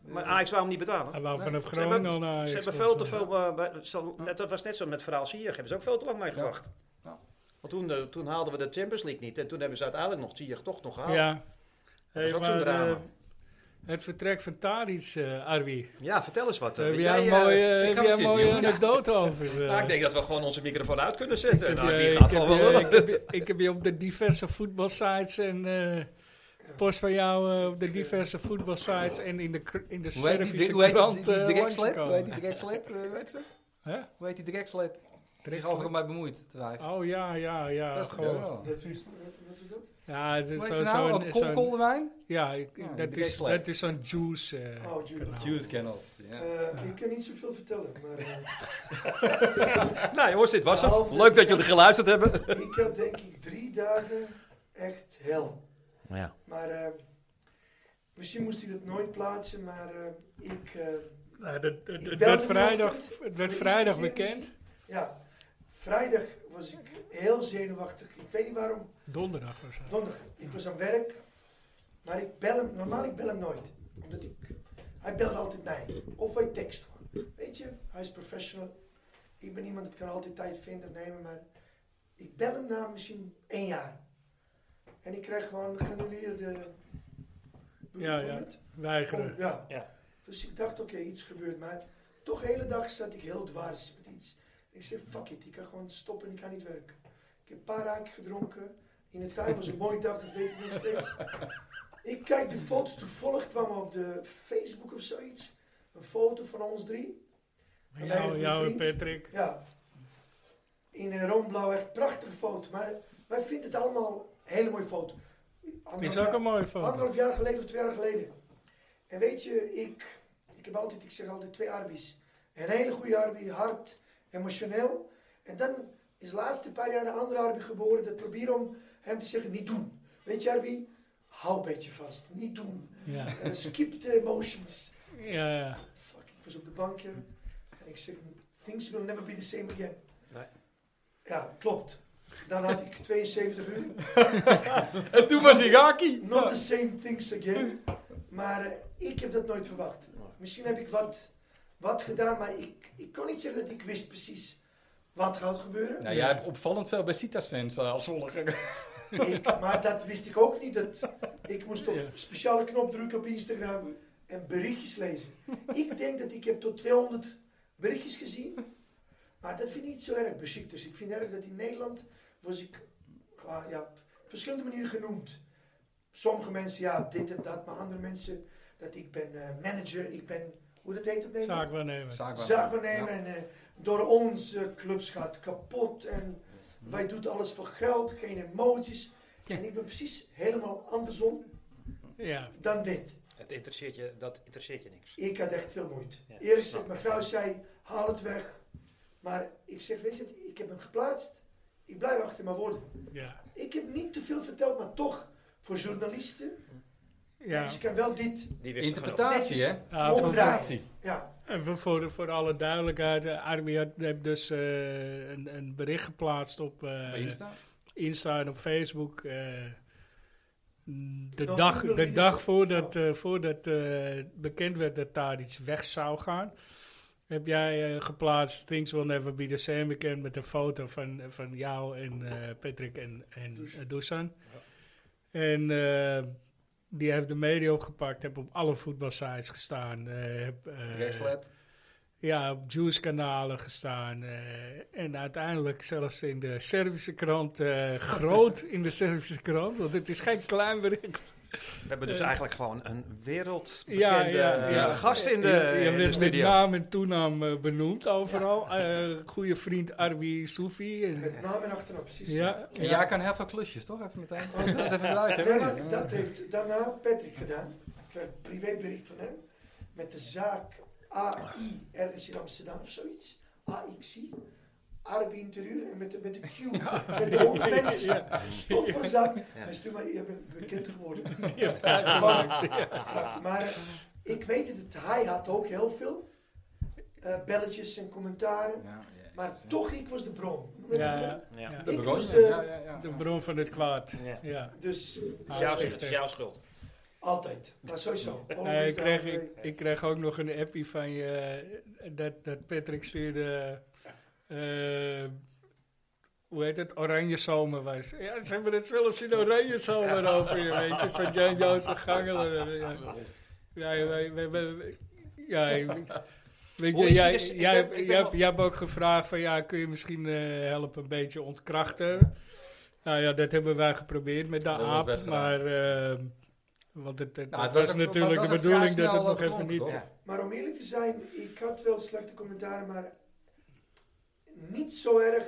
Speaker 2: maar Ajax wou hem niet betalen.
Speaker 1: Hij wou
Speaker 3: Nee,
Speaker 1: vanaf
Speaker 2: ze hebben-
Speaker 1: Groningen al naar
Speaker 2: Ze
Speaker 1: Ajax,
Speaker 2: hebben veel te
Speaker 1: volgens mij.
Speaker 2: veel. eh, bij- zo- net- dat was net zo met verhaal Sierg. Hebben ze ook veel te lang mee
Speaker 3: Ja.
Speaker 2: gewacht.
Speaker 3: Ja.
Speaker 2: Want toen, eh, toen haalden we de Champions League niet. En toen hebben ze uiteindelijk nog Sierg toch nog gehaald.
Speaker 1: Ja.
Speaker 2: Dat is
Speaker 1: Hey,
Speaker 2: ook zo'n
Speaker 1: maar,
Speaker 2: drama.
Speaker 1: eh, het vertrek van Tadic, eh Arwi.
Speaker 2: Ja, vertel eens wat. eh,
Speaker 1: Heb
Speaker 2: weet
Speaker 1: jij een
Speaker 2: jij, eh,
Speaker 1: mooie,
Speaker 3: ik
Speaker 1: heb jij
Speaker 3: ga wel
Speaker 1: een
Speaker 3: zitten,
Speaker 1: mooie
Speaker 3: jongens.
Speaker 1: anekdote over? eh?
Speaker 2: nou, ik denk dat we gewoon onze microfoon uit kunnen zetten.
Speaker 1: Ik
Speaker 3: eh,
Speaker 1: heb,
Speaker 2: Nou,
Speaker 1: je-
Speaker 2: die
Speaker 1: ik
Speaker 2: gaat
Speaker 1: heb
Speaker 2: wel
Speaker 1: je-
Speaker 2: wel.
Speaker 1: ik heb je- ik heb je op de diverse voetbalsites en eh, post van jou eh, op de diverse voetbalsites en in de, kr- in de
Speaker 3: Hoe heet die-
Speaker 1: Servische
Speaker 3: hoe heet die-
Speaker 1: krant
Speaker 3: die- die
Speaker 1: eh,
Speaker 3: Drexlet? Hoe heet
Speaker 1: langsgekomen.
Speaker 3: die Drexlet? eh, Weet ze?
Speaker 1: Hè?
Speaker 3: Hoe heet die Drexlet? Die zich
Speaker 1: Drexlet?
Speaker 3: overal mee bemoeit. twijfel.
Speaker 1: Oh ja, ja, ja.
Speaker 3: Dat is
Speaker 1: gewoon.
Speaker 3: gewoon.
Speaker 4: Dat is, wat is dat?
Speaker 1: Ja, het
Speaker 3: Hoe
Speaker 1: is
Speaker 3: heet
Speaker 1: zo-
Speaker 3: ze nou? Oh,
Speaker 1: zo'n...
Speaker 3: Dat
Speaker 1: zo'n-
Speaker 3: Kol- Kolderwijn?
Speaker 1: Ja, ik-
Speaker 3: Ja,
Speaker 1: dat,
Speaker 3: die
Speaker 1: is,
Speaker 3: Drexlet.
Speaker 1: dat is zo'n juice eh,
Speaker 4: Oh, Juice.
Speaker 1: kanaal.
Speaker 3: Juice Kennels. ja.
Speaker 4: Eh, ik kan niet zoveel vertellen, maar eh,
Speaker 2: [laughs] Nou jongens, dit was het.
Speaker 4: Nou,
Speaker 2: Leuk dat jullie geluisterd hebben.
Speaker 4: ik had denk ik drie dagen echt hel.
Speaker 2: Ja.
Speaker 4: Maar eh, misschien moest hij dat nooit plaatsen, maar eh, ik, eh,
Speaker 1: Nou, dat, dat, dat
Speaker 4: Ik
Speaker 1: werd
Speaker 4: belde
Speaker 1: vrijdag,
Speaker 4: hem
Speaker 1: het werd
Speaker 4: Is
Speaker 1: vrijdag
Speaker 4: het weer
Speaker 1: bekend.
Speaker 4: ja, vrijdag was ik heel zenuwachtig. Ik weet niet waarom,
Speaker 1: Donderdag was dat.
Speaker 4: donderdag. Ik was aan werk, maar ik bel hem, normaal ik bel hem nooit. Omdat ik, hij belt altijd mij, of hij tekst gewoon. Weet je, hij is professional. Ik ben iemand dat kan altijd tijd vinden, nemen, maar ik bel hem na misschien één jaar. En ik krijg gewoon geannuleerde...
Speaker 1: Ja, ja. Weigeren.
Speaker 4: Oh, ja.
Speaker 2: Ja.
Speaker 4: Dus ik dacht, oké, iets gebeurt. Maar toch de hele dag zat ik heel dwars met iets. Ik zei, fuck it, ik kan gewoon stoppen en ik kan niet werken. Ik heb een paar raak gedronken. In de tuin was een mooie dag, dat weet ik nog steeds. Ik kijk de foto's, toevallig kwamen op de Facebook of zoiets. Een foto van ons drie.
Speaker 1: Jou,
Speaker 4: Wij hebben
Speaker 1: jou, en
Speaker 4: een Oh, vriend.
Speaker 1: Patrick.
Speaker 4: Ja. In een roomblauw, echt prachtige foto. Maar wij vinden het allemaal een hele mooie foto.
Speaker 1: Is ook een mooie foto.
Speaker 4: Anderhalf jaar geleden of twee jaar geleden. En weet je, ik, ik heb altijd, ik zeg altijd twee Arbi's. Een hele goede Arbi, hard, emotioneel. En dan is de laatste paar jaar een andere Arbi geboren. Dat probeer om hem te zeggen, niet doen. Weet je Arbi, hou een beetje vast, niet doen.
Speaker 1: Ja.
Speaker 4: Eh, skip the emotions.
Speaker 1: Ja, ja.
Speaker 4: Fuck, ik was op de bankje. En ik zeg, things will never be the same again.
Speaker 2: Nee.
Speaker 4: Ja, klopt. Dan had ik 72 uur.
Speaker 3: [laughs] En toen was hij Gaki.
Speaker 4: Not the same things again. Maar eh, ik heb dat nooit verwacht. Misschien heb ik wat, wat gedaan, maar ik, ik kon niet zeggen dat ik wist precies wat gaat gebeuren.
Speaker 3: Nou, jij hebt opvallend veel bij Citas-fans eh, als volger.
Speaker 4: Ik- maar dat wist ik ook niet. Dat, ik moest op
Speaker 1: Ja.
Speaker 4: een speciale knop drukken op Instagram en berichtjes lezen. Ik denk dat ik heb tot 200 berichtjes gezien. Maar dat vind ik niet zo erg, Besiktas. Ik vind erg dat in Nederland was ik ja, ja, op verschillende manieren genoemd. Sommige mensen, ja, dit en dat. Maar andere mensen, dat ik ben eh, manager, ik ben, hoe dat heet op Nederland?
Speaker 1: Zaakwaarnemer.
Speaker 4: zaakwaarnemer. En eh, door ons eh, clubs gaat kapot. En wij doen alles voor geld, geen emoties. En ik ben precies helemaal andersom
Speaker 1: Ja.
Speaker 4: dan dit.
Speaker 2: Het interesseert je, dat interesseert je niks.
Speaker 4: Ik had echt veel moeite.
Speaker 2: Ja,
Speaker 4: Eerst,
Speaker 2: snap ik.
Speaker 4: mijn vrouw zei, haal het weg. Maar ik zeg, weet je het, ik heb hem geplaatst. Ik blijf achter mijn woorden.
Speaker 1: Ja.
Speaker 4: Ik heb niet te veel verteld, maar toch, voor journalisten. Dus
Speaker 1: ja.
Speaker 4: ik kan wel dit,
Speaker 2: Die wist genoeg.
Speaker 3: Interpretatie, hè?
Speaker 1: Ah, voor-
Speaker 4: Opdraaien. ja.
Speaker 1: En we- voor, voor alle duidelijkheid, eh, Armin had- heeft dus eh, een, een bericht geplaatst op eh,
Speaker 3: Bij Insta.
Speaker 1: Insta en op Facebook. eh, m, de,
Speaker 4: Nou,
Speaker 1: dag,
Speaker 4: Google
Speaker 1: de
Speaker 4: is-
Speaker 1: dag voordat, eh, voordat eh, bekend werd dat daar iets weg zou gaan, heb jij eh, geplaatst Things Will Never Be The Same Again met een foto van, van jou en eh, Patrick en, en
Speaker 4: Dusan.
Speaker 1: eh, Dusan. En eh, die heeft de media opgepakt, heb op alle voetbalsites gestaan. eh, heb, eh,
Speaker 3: Bracelet.
Speaker 1: ja, op Juice-kanalen gestaan. eh, en uiteindelijk zelfs in de Servische
Speaker 2: [laughs]
Speaker 1: krant. eh, groot in de Servische krant, want het is geen klein bericht.
Speaker 2: We hebben dus
Speaker 1: Eh.
Speaker 2: eigenlijk gewoon een wereldbekende
Speaker 1: Ja, ja, ja.
Speaker 2: eh, gast in de,
Speaker 1: je je
Speaker 2: in de
Speaker 1: werd met
Speaker 2: studio.
Speaker 1: naam en toenaam eh, benoemd overal. Eh, goede vriend Arbi Soufi. En,
Speaker 4: Met naam en achternaam, precies.
Speaker 1: ja,
Speaker 3: En jij kan heel veel klusjes, toch? Even
Speaker 4: [laughs]
Speaker 3: meteen. Dat even
Speaker 4: Daarna,
Speaker 3: luisteren.
Speaker 4: dat heeft daarna Patrick gedaan. Ik kreeg een privébericht van hem. Met de zaak AI ergens in Amsterdam of zoiets. AXC. Arabi interieur en met de, met de
Speaker 1: [laughs]
Speaker 4: Q. Met de hoge mensen. Stop voor de zaak. Hij stuurt mij, je bent bekend geworden. Ja. Maar eh, ik weet dat het, hij had ook heel veel eh, belletjes en commentaren. Maar toch, ik was de bron.
Speaker 1: ja, ja,
Speaker 2: Ja.
Speaker 1: ja.
Speaker 4: De
Speaker 3: De
Speaker 4: ik was
Speaker 3: begon.
Speaker 4: de-
Speaker 3: Ja, ja, ja.
Speaker 1: De bron van het kwaad.
Speaker 2: Ja.
Speaker 1: Ja.
Speaker 4: Dus
Speaker 2: Is jouw schuld,
Speaker 1: Aanstichter.
Speaker 2: is jouw schuld.
Speaker 4: altijd. Maar sowieso.
Speaker 2: Oh,
Speaker 1: Eh, ik, kreeg,
Speaker 4: Always
Speaker 1: ik, ik kreeg ook nog een appie van je eh, dat, dat Patrick stuurde. eh, hoe heet het? Oranje zomer was. Ja, ze hebben het zelfs in oranje zomer over je, weet je. Zo'n Jan Joost Gangelen. eh, Ja, ja, wij- wij- wij- ja, Weet
Speaker 2: Hoe
Speaker 1: je,
Speaker 2: is
Speaker 1: jij,
Speaker 2: het? Dus ik
Speaker 1: jij,
Speaker 2: ben-
Speaker 1: hebt-
Speaker 2: ik ben
Speaker 1: jij hebt-
Speaker 2: nog-
Speaker 1: jij hebt ook gevraagd van ja, kun je misschien eh, helpen een beetje ontkrachten? Nou ja, dat hebben wij geprobeerd met de
Speaker 3: Dat was
Speaker 1: aap,
Speaker 3: best gedaan.
Speaker 1: maar ehm, want het, het-
Speaker 3: Nou,
Speaker 1: het
Speaker 3: het was
Speaker 1: was
Speaker 3: ook-
Speaker 1: natuurlijk
Speaker 3: het
Speaker 1: de
Speaker 3: was ook
Speaker 1: bedoeling
Speaker 3: vrij
Speaker 1: dat het
Speaker 3: snel
Speaker 1: nog even
Speaker 3: geklonken,
Speaker 1: niet...
Speaker 3: toch?
Speaker 2: Ja.
Speaker 4: Maar om eerlijk te zijn, ik had wel slechte commentaren, maar niet zo erg.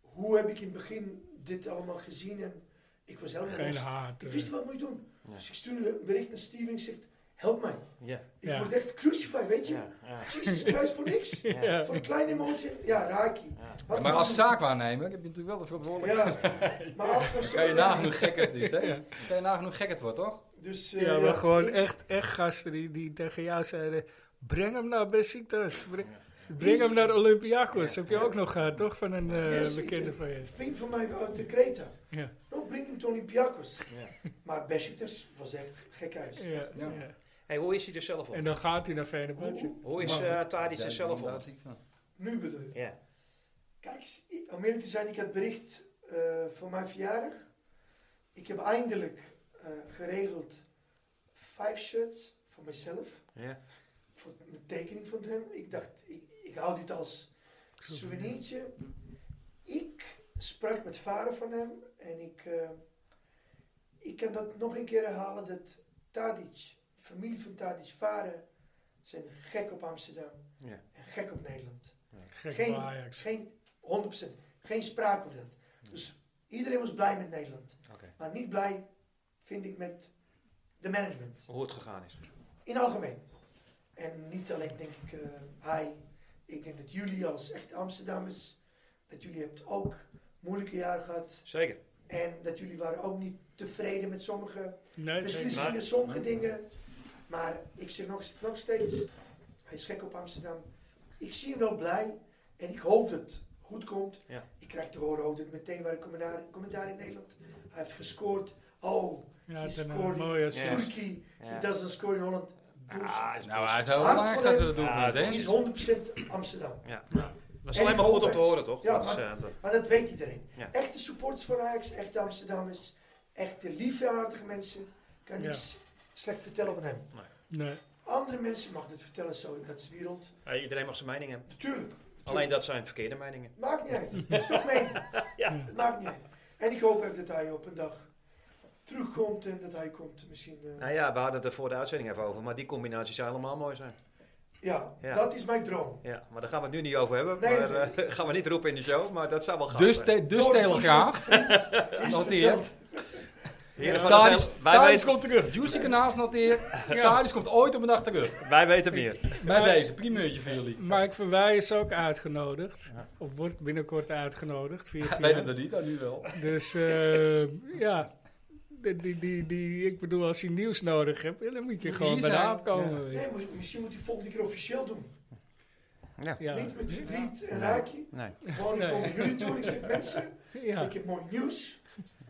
Speaker 4: Hoe heb ik in het begin dit allemaal gezien? En ik was helemaal
Speaker 1: Geen
Speaker 4: lost.
Speaker 1: haat.
Speaker 4: Ik
Speaker 1: eh.
Speaker 4: wist niet wat ik moet doen.
Speaker 2: Ja.
Speaker 4: Dus ik stuurde een bericht naar Steven en ik zeg, help mij.
Speaker 2: Ja.
Speaker 4: Ik
Speaker 1: Ja.
Speaker 4: word echt crucified, weet je?
Speaker 2: Ja. Ja.
Speaker 4: Jesus Christ, voor niks.
Speaker 2: Ja.
Speaker 1: [laughs] Ja.
Speaker 4: Voor een kleine emotie. Ja, Raki.
Speaker 2: Ja.
Speaker 4: Wat
Speaker 3: Maar
Speaker 4: een-
Speaker 3: als zaakwaarnemer heb je natuurlijk wel de verantwoordelijkheid.
Speaker 4: Ja, maar als er zo-
Speaker 3: Kan je nagenoeg gek het is, hè? Kan je nagenoeg gek het wordt, toch?
Speaker 4: Dus, eh,
Speaker 1: Ja, maar gewoon
Speaker 4: ik-
Speaker 1: echt, echt gasten die, die tegen jou zeiden, breng hem naar Besiktas, breng, breng
Speaker 4: Is-
Speaker 1: hem naar Olympiakos.
Speaker 2: Ja.
Speaker 1: Heb je ook nog gehad, toch? Van een eh,
Speaker 4: Yes,
Speaker 1: bekende
Speaker 4: ik-
Speaker 1: van je.
Speaker 4: Een vriend van mij uit de Kreta.
Speaker 1: Ja.
Speaker 4: Nou, breng hem tot Olympiakos.
Speaker 2: Ja.
Speaker 4: Maar Besiktas was echt gek huis.
Speaker 1: Ja,
Speaker 3: Ja.
Speaker 1: ja.
Speaker 2: Hey, hoe is hij er zelf op?
Speaker 1: En dan gaat hij naar Venerbahce.
Speaker 2: Hoe is eh Tadic er zelf op?
Speaker 4: Nu bedoel ik.
Speaker 2: Ja.
Speaker 4: Kijk, ik- om eerlijk te zijn, ik had bericht eh, voor mijn verjaardag. Ik heb eindelijk eh, geregeld vijf shirts voor mezelf.
Speaker 2: Ja.
Speaker 4: Voor een tekening van hem. Ik dacht, ik, ik hou dit als souvenirtje. Ik sprak met vader van hem en ik, eh, ik kan dat nog een keer herhalen dat Tadic, familie van Tadic, vader, zijn gek op Amsterdam
Speaker 2: Ja.
Speaker 4: en gek op Nederland.
Speaker 1: Gek
Speaker 4: Geen-
Speaker 1: voor Ajax.
Speaker 4: Geen, 100%. Geen sprake van dat. Dus iedereen was blij met Nederland.
Speaker 2: Oké.
Speaker 4: Maar niet blij, vind ik, met de management.
Speaker 2: Hoe het gegaan is.
Speaker 4: In algemeen. En niet alleen, denk ik, eh, hij. Ik denk dat jullie als echt Amsterdammers, dat jullie hebt ook moeilijke jaren gehad.
Speaker 2: Zeker.
Speaker 4: En dat jullie waren ook niet tevreden met sommige
Speaker 1: Nee,
Speaker 4: beslissingen,
Speaker 2: Maar-
Speaker 4: sommige dingen. Maar ik zeg nog, nog steeds, hij is gek op Amsterdam. Ik zie hem wel blij en ik hoop dat het goed komt.
Speaker 2: Ja.
Speaker 4: Ik krijg te horen ook dat meteen waar een commentaar, commentaar in Nederland. Hij heeft gescoord. Oh,
Speaker 1: Ja, eh,
Speaker 4: Hij
Speaker 1: het is een
Speaker 4: scoorde.
Speaker 1: mooie
Speaker 2: Ja.
Speaker 1: assist.
Speaker 4: Turkey,
Speaker 2: Ja.
Speaker 4: he doesn't score in Holland.
Speaker 2: Ah,
Speaker 4: Bullshit.
Speaker 2: is
Speaker 3: Nou, hij is
Speaker 2: bullshit.
Speaker 3: heel
Speaker 4: Hard
Speaker 3: lang
Speaker 4: voor
Speaker 3: gaan ze
Speaker 4: hem.
Speaker 3: dat doen,
Speaker 2: Ja,
Speaker 3: hè?
Speaker 4: Hij is 100% Amsterdam.
Speaker 2: Ja.
Speaker 1: Ja.
Speaker 2: Dat is
Speaker 4: En
Speaker 2: alleen maar
Speaker 4: ik
Speaker 2: goed om
Speaker 4: hoop
Speaker 2: te
Speaker 4: echt-
Speaker 2: horen, toch?
Speaker 4: Ja,
Speaker 2: Dat is,
Speaker 4: maar-
Speaker 2: eh, dat-
Speaker 4: Maar dat weet iedereen.
Speaker 2: Ja.
Speaker 4: Echte supporters voor Ajax, echte Amsterdammers, echte liefhartige mensen. Ik kan
Speaker 1: Ja.
Speaker 4: niks slecht vertellen van hem.
Speaker 1: Nee.
Speaker 4: Andere mensen mag het vertellen zo in dat wereld.
Speaker 2: eh, iedereen mag zijn mening hebben.
Speaker 4: Natuurlijk,
Speaker 2: Alleen dat zijn verkeerde meningen.
Speaker 4: maakt niet uit. Het is toch mee.
Speaker 2: Ja.
Speaker 4: Het maakt niet uit. En ik hoop ook dat hij op een dag terugkomt en dat hij komt misschien. eh,
Speaker 2: Nou ja, we hadden het er voor de uitzending even over, maar die combinatie zou helemaal mooi zijn.
Speaker 4: ja,
Speaker 2: Ja.
Speaker 4: dat is mijn droom.
Speaker 2: Ja, maar daar gaan we het nu niet over hebben.
Speaker 4: Nee,
Speaker 2: maar, eh, [laughs] gaan we niet roepen in de show, maar dat zou wel gaan.
Speaker 3: Dus,
Speaker 2: zijn.
Speaker 3: te, dus
Speaker 4: Door-
Speaker 3: Telegraaf.
Speaker 4: Is
Speaker 3: Noteer.
Speaker 4: verteld.
Speaker 2: Heren van de
Speaker 3: Thadis
Speaker 2: Tel- wij,
Speaker 3: Thadis
Speaker 2: weten,
Speaker 3: komt terug. Juicy Kanaals noteer. Thadis komt ooit op een dag terug.
Speaker 2: wij weten meer.
Speaker 3: Bij deze, primeurtje voor jullie.
Speaker 1: Mike Verwij is ook uitgenodigd. Of wordt binnenkort uitgenodigd. Via, via.
Speaker 3: Weet het dan niet, dan nu wel.
Speaker 1: Dus eh, ja, die, die, die, die- ik bedoel, als je nieuws nodig hebt, ja, dan moet je
Speaker 3: Moet
Speaker 1: gewoon
Speaker 3: hier
Speaker 1: bij de
Speaker 3: zijn.
Speaker 1: aap komen. weet je.
Speaker 4: Nee, moet- misschien moet hij volgende keer officieel doen.
Speaker 2: Ja.
Speaker 1: Ja.
Speaker 4: Niet met verdriet en raakje.
Speaker 2: Nee.
Speaker 4: Gewoon ik
Speaker 1: Nee.
Speaker 4: kom naar jullie toe en ik zeg mensen,
Speaker 1: Ja.
Speaker 4: ik heb mooi nieuws.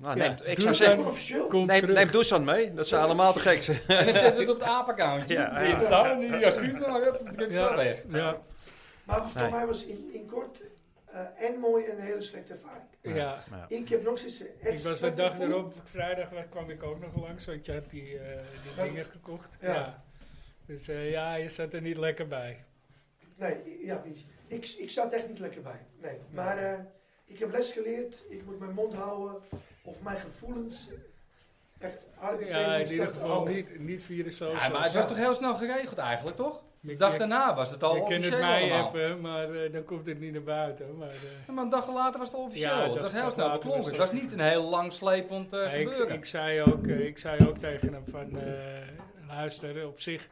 Speaker 2: Nou,
Speaker 1: Ja,
Speaker 2: neem, ik
Speaker 1: doe
Speaker 2: zou
Speaker 1: het
Speaker 4: Zeg
Speaker 2: zeggen,
Speaker 4: maar officieel.
Speaker 1: Kom
Speaker 2: neem,
Speaker 1: terug.
Speaker 2: neem Dusan mee. Dat zou allemaal te gek zijn.
Speaker 3: En dan zetten we het op het apenkountje.
Speaker 2: Ja,
Speaker 3: Ja, ja.
Speaker 2: ja.
Speaker 3: staan nu, ja, spuur dan, hup, dan drukt het zo
Speaker 1: ja.
Speaker 3: weg.
Speaker 1: Ja.
Speaker 4: Maar voor
Speaker 2: Nee.
Speaker 4: mij was in, in kort eh, en mooi en een hele slechte ervaring.
Speaker 1: Ja.
Speaker 4: Ik heb nog steeds een echt
Speaker 1: Ik was de
Speaker 4: slecht
Speaker 1: dag
Speaker 4: gevoel.
Speaker 1: erop, vrijdag wa- kwam ik ook nog langs, want je had die, eh, die dingen gekocht. Ja.
Speaker 4: Ja.
Speaker 1: Dus eh, ja, je zat er niet lekker bij.
Speaker 4: Nee, ja, niet. Ik, ik zat echt niet lekker bij. Nee. Maar eh, ik heb les geleerd. Ik moet mijn mond houden. Of mijn gevoelens. Echt arbitrair
Speaker 1: Ja,
Speaker 4: moet
Speaker 1: in
Speaker 4: ik
Speaker 1: ieder
Speaker 4: dat
Speaker 1: geval
Speaker 4: houden.
Speaker 1: niet, niet via de socials.
Speaker 3: Ja, maar het was toch heel snel geregeld eigenlijk, toch?
Speaker 1: Je-
Speaker 3: De dag
Speaker 1: je-
Speaker 3: daarna was het al
Speaker 1: Je kunt
Speaker 3: officieel
Speaker 1: het mij
Speaker 3: allemaal.
Speaker 1: hebben, maar eh, dan komt het niet naar buiten. Maar, eh,
Speaker 3: Ja, maar een dag later was het al officieel.
Speaker 1: Ja,
Speaker 3: het
Speaker 1: dat-
Speaker 3: was heel
Speaker 1: dat
Speaker 3: snel
Speaker 1: later
Speaker 3: beklonken.
Speaker 1: was
Speaker 3: Het
Speaker 1: dat-
Speaker 3: was niet een heel lang slepend eh,
Speaker 1: Ja, ik,
Speaker 3: gebeuren.
Speaker 1: ik, zei ook, eh, ik zei ook tegen hem van, eh, luister, op zich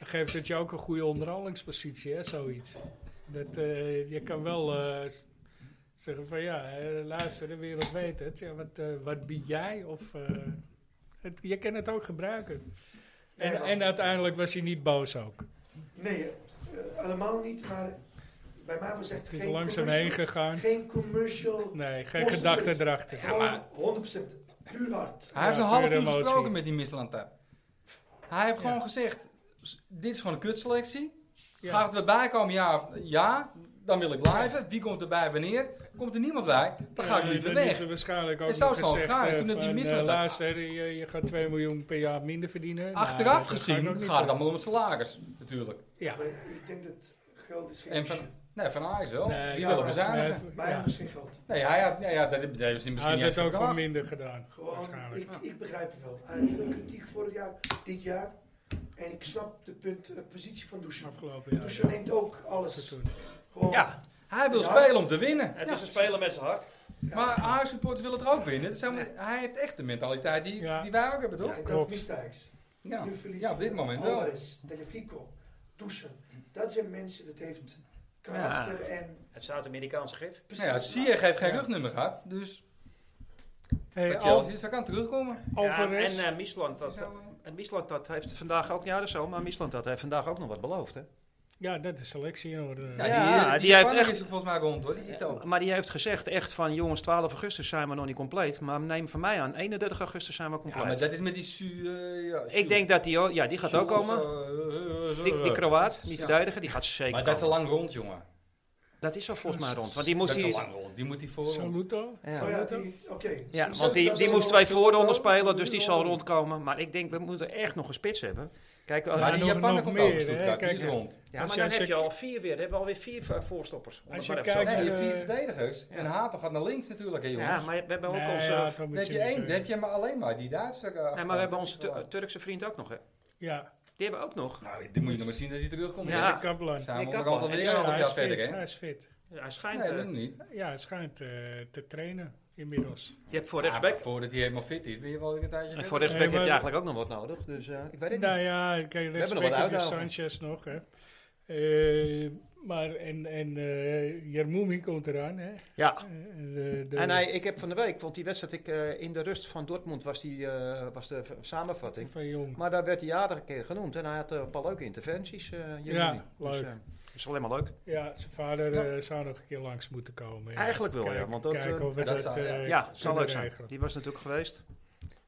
Speaker 1: geeft het je ook een goede onderhandelingspositie, hè, zoiets. Dat, eh, je kan wel eh, s- zeggen van, ja, eh, luister, de wereld weet het. Ja, wat, eh, wat bied jij? Of, eh, het, je kan het ook gebruiken. En,
Speaker 4: Nee, maar-
Speaker 1: en uiteindelijk was hij niet boos ook.
Speaker 4: Nee, eh, allemaal niet. Maar bij mij was echt
Speaker 1: Het is
Speaker 4: geen
Speaker 1: langzaam heen
Speaker 4: commercial.
Speaker 1: gegaan.
Speaker 4: Geen commercial.
Speaker 1: Nee, geen
Speaker 4: Kost-
Speaker 1: gedachten erachter.
Speaker 4: Gewoon
Speaker 3: maar-
Speaker 4: 100% puur hard.
Speaker 3: Hij heeft
Speaker 1: Ja,
Speaker 3: een half
Speaker 1: pure
Speaker 3: uur
Speaker 1: emotie.
Speaker 3: gesproken met die Mislantar. Hij heeft
Speaker 1: Ja.
Speaker 3: gewoon gezegd, "S- dit is gewoon een kutselectie.
Speaker 1: Ja.
Speaker 3: Gaat het erbij komen? Ja, of- ja, dan wil ik blijven. Wie komt erbij wanneer? Komt er niemand bij? Dan ga ik
Speaker 1: Ja,
Speaker 3: liever
Speaker 1: dan is
Speaker 3: weg.
Speaker 1: er waarschijnlijk ook
Speaker 3: Is dat
Speaker 1: nog
Speaker 3: zo
Speaker 1: gezegd,
Speaker 3: gegaan?
Speaker 1: eh,
Speaker 3: Toen het die
Speaker 1: van,
Speaker 3: misdaad
Speaker 1: eh,
Speaker 3: had-
Speaker 1: luister, je, je gaat 2 miljoen per jaar minder verdienen. Nou, dat-
Speaker 3: Achteraf
Speaker 1: dat ga ik ook
Speaker 3: gezien
Speaker 1: niet
Speaker 3: gaat het
Speaker 1: doen.
Speaker 3: allemaal om het salaris, natuurlijk.
Speaker 1: Ja.
Speaker 4: Maar ik denk dat geld is geen
Speaker 3: En
Speaker 4: issue.
Speaker 3: van, nee, van Ajax wel.
Speaker 1: Nee,
Speaker 3: die
Speaker 4: ja,
Speaker 3: willen
Speaker 4: maar-
Speaker 3: bezuinigen.
Speaker 1: Nee,
Speaker 4: Bij
Speaker 1: ja.
Speaker 4: hem is geen geld.
Speaker 3: Nee, hij had, nee, ja, dat, dat is misschien
Speaker 1: Hij had
Speaker 3: niet eens
Speaker 1: het ook voor
Speaker 3: gevraagd.
Speaker 1: minder gedaan,
Speaker 4: Gewoon,
Speaker 1: waarschijnlijk.
Speaker 4: ik, ik begrijp het wel. Hij heeft veel kritiek vorig jaar, dit jaar. En ik snap de punt, eh, positie van Dusan.
Speaker 1: Afgelopen jaar.
Speaker 4: Dusan Dus neemt ook alles.
Speaker 1: seizoen.
Speaker 4: Gewoon,
Speaker 2: Ja,
Speaker 3: Hij wil
Speaker 4: Ja.
Speaker 3: spelen om te winnen.
Speaker 2: het
Speaker 3: Ja.
Speaker 2: is een speler met zijn hart.
Speaker 4: ja.
Speaker 3: Maar Ajax supporters willen het ook winnen. Dus hij, moet- hij heeft echt de mentaliteit die,
Speaker 1: Ja.
Speaker 3: die wij ook hebben, toch?
Speaker 4: en dat
Speaker 1: klopt.
Speaker 4: mist Ajax.
Speaker 3: Ja,
Speaker 4: Nu verliest
Speaker 3: ja op dit moment wel.
Speaker 4: Alvarez, Telefico, Dusan. Dat zijn mensen, dat heeft karakter en
Speaker 2: Het Zuid-Amerikaanse gif.
Speaker 4: precies.
Speaker 3: Nou ja, Sier heeft geen
Speaker 1: Ja.
Speaker 3: rugnummer gehad, dus
Speaker 1: Hey,
Speaker 3: bij
Speaker 1: Al-
Speaker 3: Chelsea, dus hij kan terugkomen.
Speaker 1: Alvarez.
Speaker 2: en eh Miesland, dat,
Speaker 3: Zo,
Speaker 2: en Miesland dat heeft vandaag ook, ja dat is zo, maar Miesland dat heeft vandaag ook nog wat beloofd. Hè?
Speaker 1: Ja, dat is selectie Eh, in orde.
Speaker 3: ja,
Speaker 1: Ja.
Speaker 2: Ja,
Speaker 3: die, die,
Speaker 2: die heeft
Speaker 3: heeft
Speaker 2: echt-
Speaker 3: is er volgens mij rond hoor, die Ito.
Speaker 2: Maar die heeft gezegd echt van, jongens 12 augustus zijn we nog niet compleet, maar neem van mij aan, 31 augustus zijn we
Speaker 3: Ja,
Speaker 2: compleet.
Speaker 3: maar dat is met die Su... eh, ja, Su-
Speaker 2: Ik denk dat die, ook- ja die gaat
Speaker 3: Su-
Speaker 2: ook
Speaker 3: of,
Speaker 2: komen.
Speaker 3: eh, eh,
Speaker 2: Die, die
Speaker 3: eh,
Speaker 2: Kroaat, die
Speaker 3: Ja.
Speaker 2: verdediger, die gaat ze zeker
Speaker 3: Maar dat is al
Speaker 2: komen.
Speaker 3: lang rond, jongen.
Speaker 2: Dat is al volgens mij rond. Want die
Speaker 3: Dat
Speaker 2: moest
Speaker 3: is al
Speaker 2: die...
Speaker 3: lang rond. Die moet die voor.
Speaker 1: Saluto.
Speaker 2: Ja.
Speaker 4: Oh ja,
Speaker 1: Saluto.
Speaker 4: die- oké.
Speaker 2: Ja, want
Speaker 4: Dus dat-
Speaker 2: die,
Speaker 4: dat
Speaker 2: die
Speaker 4: is
Speaker 2: moest
Speaker 4: wel
Speaker 2: twee
Speaker 4: een
Speaker 2: voorronden
Speaker 4: voordeel.
Speaker 2: spelen, dus die zal
Speaker 4: Voorronde.
Speaker 2: rondkomen. Maar ik denk, we moeten echt nog een spits hebben. Kijk, ja,
Speaker 3: Maar die
Speaker 1: nog-
Speaker 3: Japaner
Speaker 1: nog
Speaker 3: komt
Speaker 1: meer,
Speaker 3: over
Speaker 1: hè,
Speaker 3: Stuttgart, die
Speaker 1: kijk,
Speaker 3: is
Speaker 1: ja.
Speaker 3: rond.
Speaker 2: maar
Speaker 1: als
Speaker 2: dan
Speaker 1: je-
Speaker 2: heb
Speaker 1: als
Speaker 2: je
Speaker 1: je-
Speaker 2: al vier weer. Dan hebben we alweer vier eh, voorstoppers. om
Speaker 1: Als
Speaker 2: het
Speaker 1: je
Speaker 2: maar even zo
Speaker 1: kijkt-
Speaker 3: Nee, je
Speaker 1: eh,
Speaker 3: hebt vier verdedigers. En Hato gaat naar links natuurlijk, hè
Speaker 2: te
Speaker 3: jongens.
Speaker 2: zeggen. Ja, maar we hebben ook
Speaker 1: Nee,
Speaker 2: onze...
Speaker 1: ja, dat
Speaker 3: Dan
Speaker 1: moet
Speaker 3: heb je
Speaker 1: niet,
Speaker 3: één,
Speaker 1: eh,
Speaker 3: dan heb je maar alleen maar die Duitse. eh,
Speaker 2: nee, maar we hebben
Speaker 3: achterkant.
Speaker 2: onze Tu- Turkse vriend ook nog, hè.
Speaker 1: Ja,
Speaker 2: Die hebben we ook nog.
Speaker 3: Nou, die moet je nog maar zien dat hij terugkomt.
Speaker 1: Mr.
Speaker 2: Ja.
Speaker 3: Ja.
Speaker 1: Kaplan.
Speaker 3: Zijn we
Speaker 2: Ik
Speaker 3: onderhand
Speaker 2: kan
Speaker 3: alweer
Speaker 2: wel. Ja,
Speaker 3: een
Speaker 1: Ja,
Speaker 3: half
Speaker 1: hij
Speaker 3: jaar
Speaker 1: is
Speaker 3: verder,
Speaker 1: fit.
Speaker 3: hè?
Speaker 1: Hij is fit.
Speaker 2: Hij schijnt...
Speaker 3: Nee,
Speaker 2: eh,
Speaker 3: dat niet.
Speaker 1: Ja, hij schijnt eh, te trainen inmiddels.
Speaker 2: je hebt voor
Speaker 3: Ja,
Speaker 2: rechtsback...
Speaker 3: maar voordat hij helemaal fit is, ben je wel weer een tijdje
Speaker 2: En
Speaker 3: verder.
Speaker 2: voor rechtsback
Speaker 1: maar-
Speaker 2: heb je eigenlijk ook nog wat nodig. Dus eh, ik weet het
Speaker 1: Nou
Speaker 2: niet.
Speaker 1: ja, kijk,
Speaker 2: hebben nog
Speaker 1: rechtsback
Speaker 2: wat
Speaker 1: heb je
Speaker 2: uitdagingen.
Speaker 1: Sanchez nog. Hè. Eh, Maar en, en eh Jarmoumi komt eraan. Hè?
Speaker 2: Ja.
Speaker 1: Eh, de- de-
Speaker 2: En hij, ik heb van de week, want die wedstrijd ik, eh, in de rust van Dortmund was, die, eh, was de v- samenvatting.
Speaker 1: van Jong.
Speaker 2: Maar daar werd hij aardig een keer genoemd en hij had eh, een paar leuke interventies. eh, Jeremy.
Speaker 1: Ja,
Speaker 2: Dus,
Speaker 1: leuk.
Speaker 2: eh, is alleen maar leuk.
Speaker 1: Ja, zijn vader eh, zou nog een keer langs moeten komen. ja.
Speaker 2: Eigenlijk wel, ja,
Speaker 1: Kijken-
Speaker 2: want dat,
Speaker 1: kijken
Speaker 2: eh,
Speaker 1: of we
Speaker 3: dat
Speaker 1: dat,
Speaker 3: zou- ja.
Speaker 1: eh,
Speaker 2: ja, zou
Speaker 1: kunnen
Speaker 2: leuk zijn.
Speaker 1: regelen.
Speaker 2: Die was natuurlijk geweest.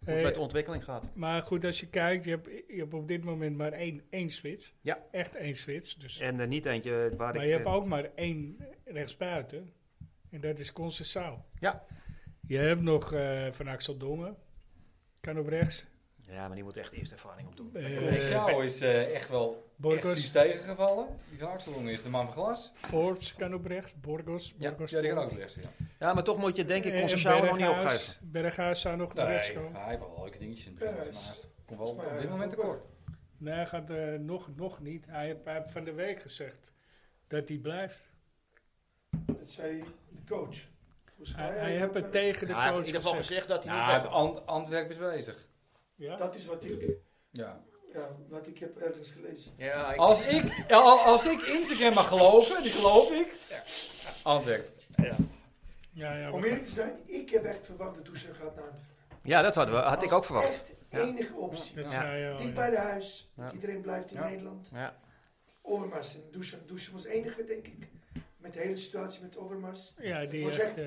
Speaker 2: Hoe het
Speaker 1: Eh,
Speaker 2: met de ontwikkeling gaat.
Speaker 1: Maar goed, als je kijkt, je hebt, je hebt op dit moment maar één, één switch.
Speaker 2: Ja.
Speaker 1: Echt één switch. Dus.
Speaker 2: En eh, niet eentje waar
Speaker 1: maar
Speaker 2: ik...
Speaker 1: je hebt
Speaker 2: eh,
Speaker 1: ook maar één rechtsbuiten. En dat is Concessao.
Speaker 2: Ja.
Speaker 1: Je hebt nog eh, Van Axel Dongen. Kan op rechts.
Speaker 2: Ja, maar die moet echt eerst ervaring opdoen.
Speaker 1: Eh
Speaker 3: Jou is eh, echt wel echt vies
Speaker 1: Borgos.
Speaker 3: tegengevallen. Die van Axelong is de man van glas.
Speaker 1: Forbes kan op rechts. Borgos.
Speaker 2: Ja,
Speaker 1: Borgos
Speaker 3: Ja, die kan ook
Speaker 1: Forbes.
Speaker 3: rechts, ja.
Speaker 2: Ja, maar toch moet je denk ik
Speaker 1: En- en
Speaker 2: Concecao nog niet
Speaker 1: eh, Berghuis-
Speaker 2: opgeven.
Speaker 1: Berghuis zou nog op
Speaker 3: Nee,
Speaker 1: rechts
Speaker 3: hij
Speaker 1: komen.
Speaker 3: heeft wel leuke dingetjes in het begin, maar hij komt wel
Speaker 4: Volgens mij
Speaker 3: op dit
Speaker 4: had
Speaker 3: moment
Speaker 4: hij ook wel-
Speaker 3: tekort.
Speaker 1: Nee, hij gaat eh, nog, nog niet. Hij heeft hij heeft van de week gezegd dat hij blijft.
Speaker 4: Dat zei de coach. Volgens
Speaker 1: Hij,
Speaker 4: mij
Speaker 1: hij heeft het
Speaker 4: ook-
Speaker 1: tegen de
Speaker 2: Nou, hij heeft
Speaker 1: coach
Speaker 2: in ieder geval
Speaker 1: gezegd.
Speaker 2: gezegd dat hij
Speaker 3: Nou,
Speaker 2: niet
Speaker 3: hij
Speaker 2: weg
Speaker 3: heeft Ant- Antwerpen is bezig.
Speaker 1: Ja?
Speaker 4: Dat is wat ik,
Speaker 3: Ja.
Speaker 4: ja, wat ik heb ergens gelezen.
Speaker 2: Ja,
Speaker 1: Oh.
Speaker 2: ik-
Speaker 3: Als ik, al- als ik Instagram mag geloven, die geloof ik. Antwerpen.
Speaker 1: Ja, ja,
Speaker 4: Om
Speaker 1: maar-
Speaker 4: eerlijk te zijn, ik heb echt verwacht dat Toesje gaat naar Antwerpen.
Speaker 2: ja, dat hadden we, had ik
Speaker 4: Als
Speaker 2: ook verwacht.
Speaker 4: Echt
Speaker 2: Ja.
Speaker 4: enige optie.
Speaker 1: dat
Speaker 2: Ja.
Speaker 1: zei je al,
Speaker 4: Dicht
Speaker 1: ja.
Speaker 4: bij de huis.
Speaker 2: Ja.
Speaker 4: Iedereen blijft in
Speaker 2: Ja.
Speaker 4: Nederland.
Speaker 2: Ja.
Speaker 4: Overmars en Douchen. Douchen was enige, denk ik. Met de hele situatie met Overmars.
Speaker 1: Ja, die
Speaker 4: was
Speaker 1: echt eh,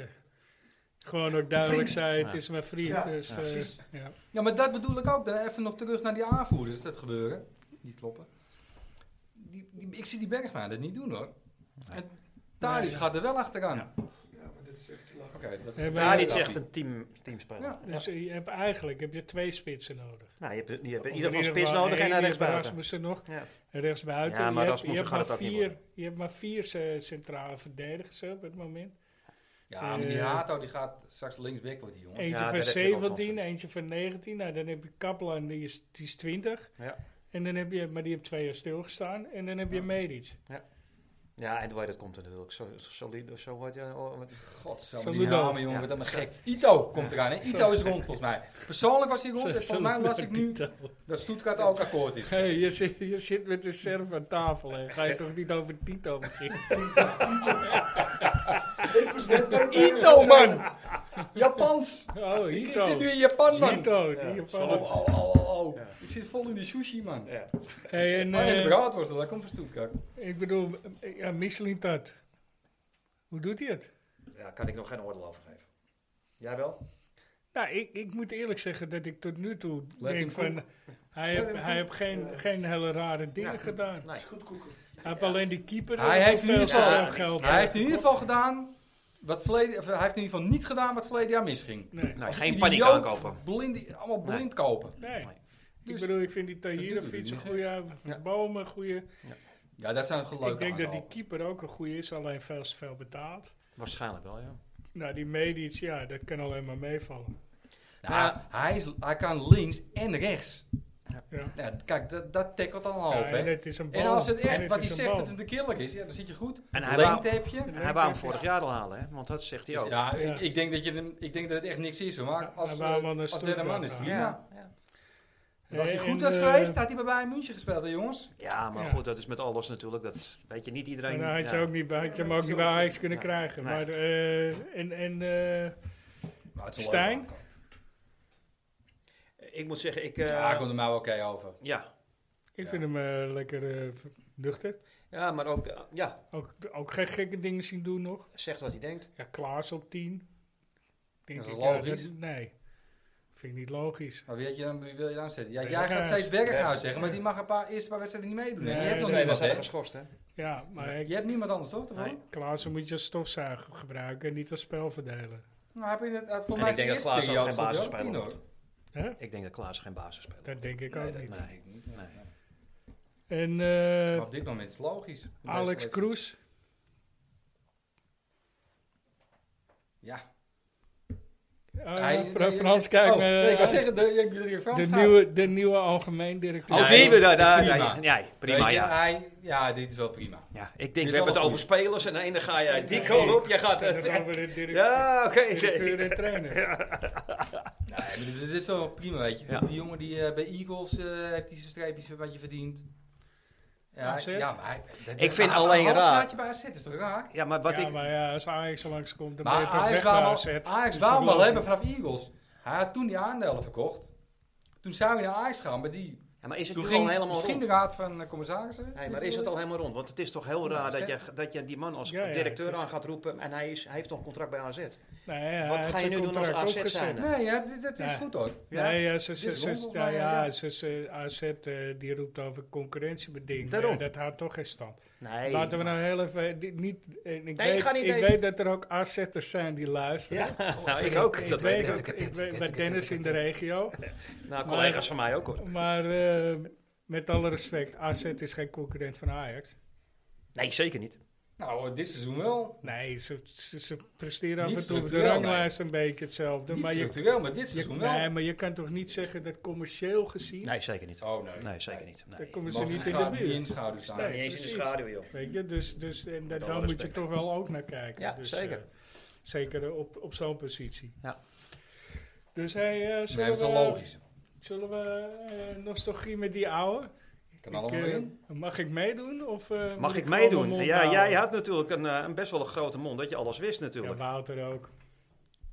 Speaker 1: gewoon ook duidelijk
Speaker 4: Vriend.
Speaker 1: zei, het
Speaker 2: Ja.
Speaker 1: is mijn vriend.
Speaker 4: Ja,
Speaker 1: dus, eh,
Speaker 4: precies.
Speaker 1: ja.
Speaker 3: Ja, maar dat bedoel ik ook. Dan even nog terug naar die aanvoerders, dat gebeuren. Niet kloppen. Die, die, ik zie die Bergman dat niet doen hoor. En Tadis
Speaker 1: Nee, ja.
Speaker 3: gaat er wel achteraan.
Speaker 4: Ja, maar dat is echt te lachen.
Speaker 3: Oké, dat
Speaker 1: Ja,
Speaker 3: is het
Speaker 1: maar-
Speaker 2: Ja,
Speaker 3: tweede
Speaker 2: dit is echt
Speaker 3: stapje.
Speaker 2: een team, teamspeler.
Speaker 3: Ja.
Speaker 1: Dus je hebt eigenlijk heb je twee spitsen nodig.
Speaker 2: Nou, je hebt, je hebt in
Speaker 1: Of
Speaker 2: ieder geval spits
Speaker 1: geval
Speaker 2: nodig en
Speaker 1: één,
Speaker 2: een
Speaker 1: je hebt
Speaker 2: rechtsbuiten.
Speaker 1: Rasmussen nog.
Speaker 2: Ja.
Speaker 1: En rechtsbuiten.
Speaker 2: Ja, maar
Speaker 1: je, hebt, je,
Speaker 2: Rasmussen
Speaker 1: hebt
Speaker 2: gaat
Speaker 1: maar
Speaker 2: het ook niet
Speaker 1: vier, je hebt maar vier eh, centrale verdedigers hè, op het moment.
Speaker 3: Ja, maar die
Speaker 1: Eh,
Speaker 3: Hato die gaat straks linksback worden, die jongen.
Speaker 1: Eentje
Speaker 2: Ja,
Speaker 1: van
Speaker 2: daar heb je wel
Speaker 1: 17,
Speaker 2: kansen.
Speaker 1: eentje van 19. Nou, dan heb je Kaplan, die is, die is 20.
Speaker 2: Ja.
Speaker 1: En dan heb je, maar die heeft twee jaar stilgestaan. En dan heb je
Speaker 3: Ja.
Speaker 1: Medic.
Speaker 2: Ja, en Dwight, dat komt er natuurlijk. Zo, solide, zo wat, ja, oh, wat-
Speaker 3: Godsamme, die
Speaker 1: Saludo.
Speaker 3: namen jongen,
Speaker 2: Ja.
Speaker 3: wat allemaal gek. Ito komt eraan, hè? Ito is rond volgens mij. Persoonlijk was hij rond en volgens mij
Speaker 1: [laughs]
Speaker 3: las ik nu dat Stuttgart ook akkoord is.
Speaker 1: Hey, je, zit, je zit met de serf aan tafel. Hè. Ga je toch niet over Tito beginnen?
Speaker 4: Ik was
Speaker 2: [laughs]
Speaker 4: net bij
Speaker 3: Ito, man! Japans!
Speaker 1: Oh,
Speaker 3: Ik
Speaker 1: Hito.
Speaker 3: zit nu in Japan, man!
Speaker 1: Hito, die
Speaker 2: Ja,
Speaker 1: Japan.
Speaker 3: Oh, oh, oh, oh, oh.
Speaker 2: Ja.
Speaker 3: Ik zit vol in die sushi, man.
Speaker 2: ja.
Speaker 1: Hey, en,
Speaker 3: Nee. Oh, en
Speaker 1: eh,
Speaker 3: de braadworst, dat komt van Stuttgart.
Speaker 1: ik bedoel, eh, ja, Michelin Tat. Hoe doet hij het?
Speaker 2: Ja, kan ik nog geen oordeel over geven. Jij wel?
Speaker 1: Nou, ik, ik moet eerlijk zeggen dat ik tot nu toe
Speaker 3: Let
Speaker 1: denk
Speaker 3: him
Speaker 1: van... Hij
Speaker 3: Let
Speaker 1: heeft
Speaker 3: him
Speaker 1: hij
Speaker 3: cook.
Speaker 1: heeft geen, geen hele rare dingen
Speaker 2: Ja.
Speaker 1: gedaan.
Speaker 2: Nee.
Speaker 4: is goed koeken.
Speaker 1: Hij heeft alleen die keeper
Speaker 3: Hij
Speaker 1: eh,
Speaker 3: heeft in
Speaker 1: veel
Speaker 3: ieder geval-
Speaker 1: te veel
Speaker 2: Ja,
Speaker 1: geld.
Speaker 3: Hij heeft in ieder geval gedaan wat verleden, of hij heeft in ieder geval niet gedaan wat verleden jaar misging.
Speaker 1: Nee,
Speaker 2: Nee,
Speaker 3: Als
Speaker 2: geen
Speaker 3: een
Speaker 2: paniek
Speaker 3: idioot
Speaker 2: aankopen.
Speaker 3: Blind, allemaal
Speaker 2: Nee.
Speaker 3: blind kopen.
Speaker 1: nee.
Speaker 2: Nee.
Speaker 1: Ik
Speaker 3: Dus-
Speaker 1: bedoel, ik vind die Tahira
Speaker 3: doet hij
Speaker 1: fiets een
Speaker 3: niet
Speaker 1: goede,
Speaker 2: Ja.
Speaker 1: bomen een goede.
Speaker 3: Ja, dat zijn gewoon leuke
Speaker 1: Ik denk dat die
Speaker 3: aankopen.
Speaker 1: keeper ook een goede is, alleen veel te veel betaald.
Speaker 2: Waarschijnlijk wel, ja.
Speaker 1: Nou, die Medic, ja, dat kan alleen maar meevallen.
Speaker 3: Nou, hij, is, hij kan links en rechts.
Speaker 1: Ja.
Speaker 3: Ja, kijk, dat, dat tackelt al een hoop,
Speaker 1: Ja,
Speaker 3: hè.
Speaker 1: en het is een bal.
Speaker 3: Oh, En als het
Speaker 1: En
Speaker 3: echt,
Speaker 1: is
Speaker 3: wat hij
Speaker 1: een
Speaker 3: zegt,
Speaker 1: bal.
Speaker 3: dat het een killer is, ja, dan zit je goed.
Speaker 2: En hij
Speaker 3: Lengte heb je.
Speaker 2: En hij wou hem vorig jaar al halen, hè? Want dat zegt hij ook.
Speaker 3: Ja,
Speaker 1: Ja.
Speaker 3: Ik, ik denk dat je hem- ik denk dat het echt niks is, hoor. Maar
Speaker 1: Ja,
Speaker 3: als,
Speaker 1: hij wou
Speaker 3: eh,
Speaker 1: hem aan de
Speaker 3: als
Speaker 1: stoel
Speaker 3: derde man is
Speaker 1: laten
Speaker 3: het
Speaker 1: hangen.
Speaker 3: prima.
Speaker 2: ja.
Speaker 3: En als hij
Speaker 1: Nee,
Speaker 3: goed
Speaker 1: en,
Speaker 3: was
Speaker 1: eh,
Speaker 3: geweest, had hij bij Bayern München gespeeld, hè, jongens.
Speaker 2: Ja, maar
Speaker 1: Ja.
Speaker 2: goed, dat is met alles natuurlijk. Dat is- weet je, niet iedereen...
Speaker 1: Maar dan had je,
Speaker 2: ja.
Speaker 1: ook niet, bij- had je hem ook niet bij Ajax kunnen
Speaker 2: Ja.
Speaker 1: krijgen.
Speaker 2: Nee.
Speaker 1: Maar, eh, en, en eh,
Speaker 3: Maar Nou, het is een
Speaker 1: Stijn?
Speaker 3: leuke aankoop.
Speaker 2: Ik moet zeggen, ik... eh,
Speaker 3: Ja, hij komt er mij nou wel oké over.
Speaker 2: ja.
Speaker 1: ik
Speaker 3: Ja.
Speaker 1: vind hem eh, lekker eh, nuchter.
Speaker 2: ja, maar ook... eh, ja,
Speaker 1: Ook, ook geen gekke dingen zien doen nog.
Speaker 2: zegt wat hij denkt.
Speaker 1: Ja, Klaas op 10. Denk
Speaker 3: Dat is
Speaker 1: ik, ja,
Speaker 3: logisch.
Speaker 1: dat- nee, vind ik niet logisch.
Speaker 3: Maar wie, had je dan, wie wil je dan zetten? Ja, jij
Speaker 1: Berghuis.
Speaker 3: gaat steeds Berghuis zeggen, maar die mag een paar eerste paar wedstrijden niet meedoen. hè?
Speaker 1: Nee,
Speaker 3: je hebt nog
Speaker 1: nee,
Speaker 3: niemand,
Speaker 2: was hij
Speaker 3: hè?
Speaker 2: geschorst, hè?
Speaker 1: Ja, maar ik,
Speaker 3: Je hebt niemand anders, toch? daarvoor?
Speaker 2: Nee.
Speaker 1: Klaassen moet je als stofzuiger gebruiken en niet als spelverdeler.
Speaker 3: Nou, heb je het, eh, voor
Speaker 2: En
Speaker 3: mij
Speaker 2: ik denk dat Klaas ook geen basisspeler wordt.
Speaker 1: Hè?
Speaker 2: Ik denk dat Klaas geen basis speelt.
Speaker 1: Dat denk ik ook niet.
Speaker 2: nee. Nee.
Speaker 1: En eh,
Speaker 3: Maar op dit moment is het logisch. Voor deze
Speaker 1: Alex
Speaker 3: selectie.
Speaker 1: Kroes,
Speaker 3: Ja.
Speaker 1: Ah,
Speaker 3: Hij-
Speaker 1: mevrouw
Speaker 3: nee,
Speaker 1: Frans,
Speaker 3: nee,
Speaker 1: kijk
Speaker 3: oh,
Speaker 1: me
Speaker 3: nee, ik
Speaker 1: aan.
Speaker 3: wil zeggen, de, ik wil zeggen, Frans
Speaker 1: de,
Speaker 3: gaat.
Speaker 1: nieuwe, de nieuwe algemeen directeur.
Speaker 3: Oh,
Speaker 2: Ja,
Speaker 3: die-
Speaker 2: nee, we- daar- daar-
Speaker 3: prima.
Speaker 2: daar- nee, prima,
Speaker 3: Weet je,
Speaker 2: ja.
Speaker 3: Hij, ja, dit is wel prima.
Speaker 2: ja. Ik
Speaker 3: is
Speaker 2: denk, we
Speaker 3: wel
Speaker 2: hebben het
Speaker 3: goed.
Speaker 2: over spelers en de ene ga jij die
Speaker 1: Nee.
Speaker 2: kant op, jij gaat...
Speaker 1: Dat is over de directeur,
Speaker 2: Ja, oké.
Speaker 1: directeur en trainer.
Speaker 3: Nee, maar dit, is- dit is wel prima, weet je. Die-
Speaker 2: Ja.
Speaker 3: Die, jongen die eh, bij Eagles eh, heeft hij zijn streepjes een beetje verdiend. Ja,
Speaker 1: AZ?
Speaker 3: ja, maar hij, dat-
Speaker 2: Ik
Speaker 3: dat-
Speaker 2: vind
Speaker 3: maar
Speaker 2: alleen
Speaker 3: een
Speaker 2: raar.
Speaker 3: halfjaartje bij AZ is toch raar?
Speaker 2: Ja, maar wat
Speaker 1: ja,
Speaker 2: ik...
Speaker 1: maar ja, als Ajax er langskomt, dan ben
Speaker 3: Maar
Speaker 1: je toch
Speaker 3: Ajax
Speaker 1: weg naar
Speaker 3: wou
Speaker 1: AZ.
Speaker 3: hem al-
Speaker 1: Dus
Speaker 3: Ajax
Speaker 1: dan
Speaker 3: wou hem
Speaker 1: wil
Speaker 3: alleen maar
Speaker 1: je-
Speaker 3: vanaf Eagles. Hij had toen die aandelen verkocht. Toen zou hij naar Ajax gaan, maar die...
Speaker 2: Ja, maar is het
Speaker 3: Toen
Speaker 2: nu al
Speaker 3: ging
Speaker 2: helemaal
Speaker 3: misschien
Speaker 2: rond?
Speaker 3: de raad van eh, commissarissen.
Speaker 2: Nee, maar is het al helemaal rond? Want het is toch heel
Speaker 3: Ja,
Speaker 2: raar
Speaker 3: AZ.
Speaker 2: dat je, dat je die man als
Speaker 1: Ja, ja,
Speaker 2: directeur
Speaker 1: het is-
Speaker 2: aan gaat roepen en hij, is, hij heeft nog een contract bij AZ.
Speaker 1: Nee, hij
Speaker 2: Wat
Speaker 1: had
Speaker 2: ga je
Speaker 1: zijn
Speaker 2: nu doen als
Speaker 1: contract
Speaker 2: AZ
Speaker 1: opgezegd.
Speaker 2: zijn?
Speaker 3: Nee, ja, dit- dat is
Speaker 1: Ja.
Speaker 3: goed hoor.
Speaker 2: Ja?
Speaker 1: Nee, ja, ze,
Speaker 3: Dit
Speaker 1: ze,
Speaker 3: is
Speaker 1: ze-
Speaker 3: rond,
Speaker 1: ja,
Speaker 3: volgens mij,
Speaker 1: ja,
Speaker 3: ja.
Speaker 1: ze- ze- AZ eh, die roept over concurrentiebeding.
Speaker 2: Daarom.
Speaker 1: Nee, dat houdt toch geen stand.
Speaker 2: Nee.
Speaker 1: Laten we nou heel even... eh, dit niet, eh, ik
Speaker 2: Nee, ik
Speaker 1: weet,
Speaker 2: ga niet
Speaker 1: ik
Speaker 2: even-
Speaker 1: weet dat er ook AZ'ers zijn die luisteren.
Speaker 2: Ja, [laughs] nou, ik ook.
Speaker 1: Ik
Speaker 2: Dat
Speaker 1: weet
Speaker 2: weet ik.
Speaker 1: het. Ik weet bij Dennis in de regio.
Speaker 2: Nou, collega's van mij ook hoor.
Speaker 1: Maar eh, met alle respect, AZ is geen concurrent van Ajax.
Speaker 2: Nee, zeker niet.
Speaker 3: Nou, dit seizoen wel.
Speaker 1: Nee, ze, ze, ze presteren af
Speaker 3: Niet
Speaker 1: en toe op de
Speaker 3: structureel,
Speaker 1: ranglijst een beetje hetzelfde.
Speaker 3: Niet
Speaker 1: maar je,
Speaker 3: structureel, maar dit
Speaker 1: je-
Speaker 3: seizoen wel.
Speaker 1: nee, maar je kan toch niet zeggen dat commercieel gezien...
Speaker 2: Nee, zeker niet.
Speaker 3: Oh nee.
Speaker 2: Nee, zeker niet. Nee.
Speaker 1: daar komen ze
Speaker 3: Boven
Speaker 1: niet in de
Speaker 3: schaduw-
Speaker 1: buurt.
Speaker 3: in schaduw staan.
Speaker 2: Nou, niet eens in de
Speaker 1: precies.
Speaker 2: schaduw, joh.
Speaker 1: Weet je, dus, dus en da-
Speaker 2: alle
Speaker 1: daar moet je
Speaker 2: respect.
Speaker 1: toch wel ook naar kijken.
Speaker 2: Ja,
Speaker 1: dus,
Speaker 2: zeker.
Speaker 1: eh, zeker op, op zo'n positie.
Speaker 2: Ja.
Speaker 1: Dus hey, eh,
Speaker 3: Nee,
Speaker 1: zullen,
Speaker 3: dat is wel
Speaker 1: we,
Speaker 3: logisch.
Speaker 1: zullen we eh, nostalgie met die oude?
Speaker 3: Kan allemaal
Speaker 1: Ik, eh,
Speaker 3: in.
Speaker 1: Mag ik meedoen? Of, eh, moet
Speaker 2: Mag ik
Speaker 1: gewoon mijn
Speaker 2: meedoen?
Speaker 1: mond
Speaker 2: Ja,
Speaker 1: houden?
Speaker 2: jij had natuurlijk een, eh, een best wel een grote mond, dat je alles wist
Speaker 1: Ja,
Speaker 2: natuurlijk.
Speaker 1: Wouter ook.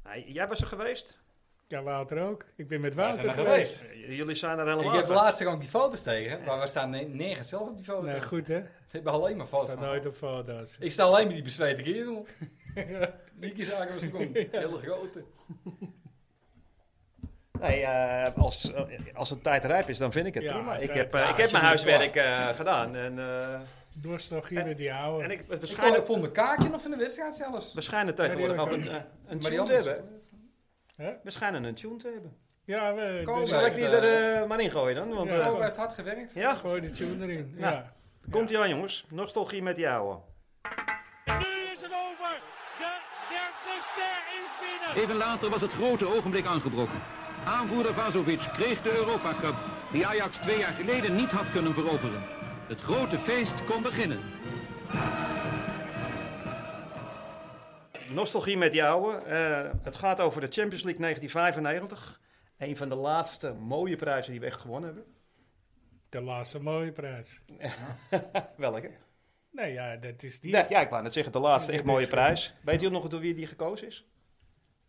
Speaker 2: Hey, Jij was er geweest?
Speaker 1: Ja, Wouter ook. Ik ben met
Speaker 3: Wij
Speaker 1: Wouter
Speaker 3: zijn er
Speaker 1: geweest.
Speaker 3: geweest.
Speaker 2: J- Jullie zijn er
Speaker 3: Ik
Speaker 2: helemaal
Speaker 3: heb
Speaker 2: uit.
Speaker 3: laatst ook die foto's tegen, maar we staan ne- nergens zelf op die foto.
Speaker 1: Nee, goed hè?
Speaker 3: We hebben alleen maar foto's.
Speaker 1: Staat
Speaker 3: van.
Speaker 1: nooit op foto's.
Speaker 3: Ik sta alleen met die bezweten [laughs] kerel. Die keer zagen we ze komen. Hele grote.
Speaker 2: Nee, eh, als, eh, als het tijd rijp is, dan vind ik het
Speaker 1: Ja,
Speaker 2: prima. Ik
Speaker 1: tijd-
Speaker 2: heb, eh,
Speaker 1: ja,
Speaker 2: ik heb
Speaker 3: als
Speaker 2: mijn
Speaker 3: je moet
Speaker 2: huiswerk eh, gedaan. En, eh,
Speaker 1: Nostalgie met die oude.
Speaker 2: en ik,
Speaker 3: Waarschijnlijk
Speaker 2: waarschijnlijk,
Speaker 3: ik vond mijn kaartje nog van de wedstrijd zelfs.
Speaker 2: we schijnen tegenwoordig
Speaker 1: Nee,
Speaker 2: ook
Speaker 1: die
Speaker 2: een, eh, een
Speaker 3: Maar die
Speaker 2: tune te
Speaker 3: anders.
Speaker 2: hebben. We schijnen een tune te hebben.
Speaker 1: Ja, we,
Speaker 3: Komen
Speaker 1: dus-
Speaker 2: Zal ik die
Speaker 3: eh,
Speaker 2: er eh, maar in gooien dan? Want,
Speaker 1: Ja.
Speaker 2: eh,
Speaker 3: Kobe heeft hard gewerkt.
Speaker 2: ja,
Speaker 1: Gooi de tune erin.
Speaker 2: Ja.
Speaker 1: Ja.
Speaker 2: komt ie aan jongens. Nostalgie met die ouwe.
Speaker 5: Nu is het over. De derde ster is binnen.
Speaker 6: Even later was het grote ogenblik aangebroken. Aanvoerder Vazovic kreeg de Europa Cup, die Ajax twee jaar geleden niet had kunnen veroveren. Het grote feest kon beginnen.
Speaker 2: Nostalgie met die ouwe. Eh, het gaat over de Champions League 1995. Een van de laatste mooie prijzen die we echt gewonnen hebben. [laughs]
Speaker 1: De laatste mooie prijs.
Speaker 2: Welke?
Speaker 1: Nee, ja, dat is die.
Speaker 2: Ja, ja, ik wou net zeggen, de laatste echt
Speaker 1: Dit
Speaker 2: mooie
Speaker 1: is,
Speaker 2: prijs. Weet jullie nog door wie die gekozen is?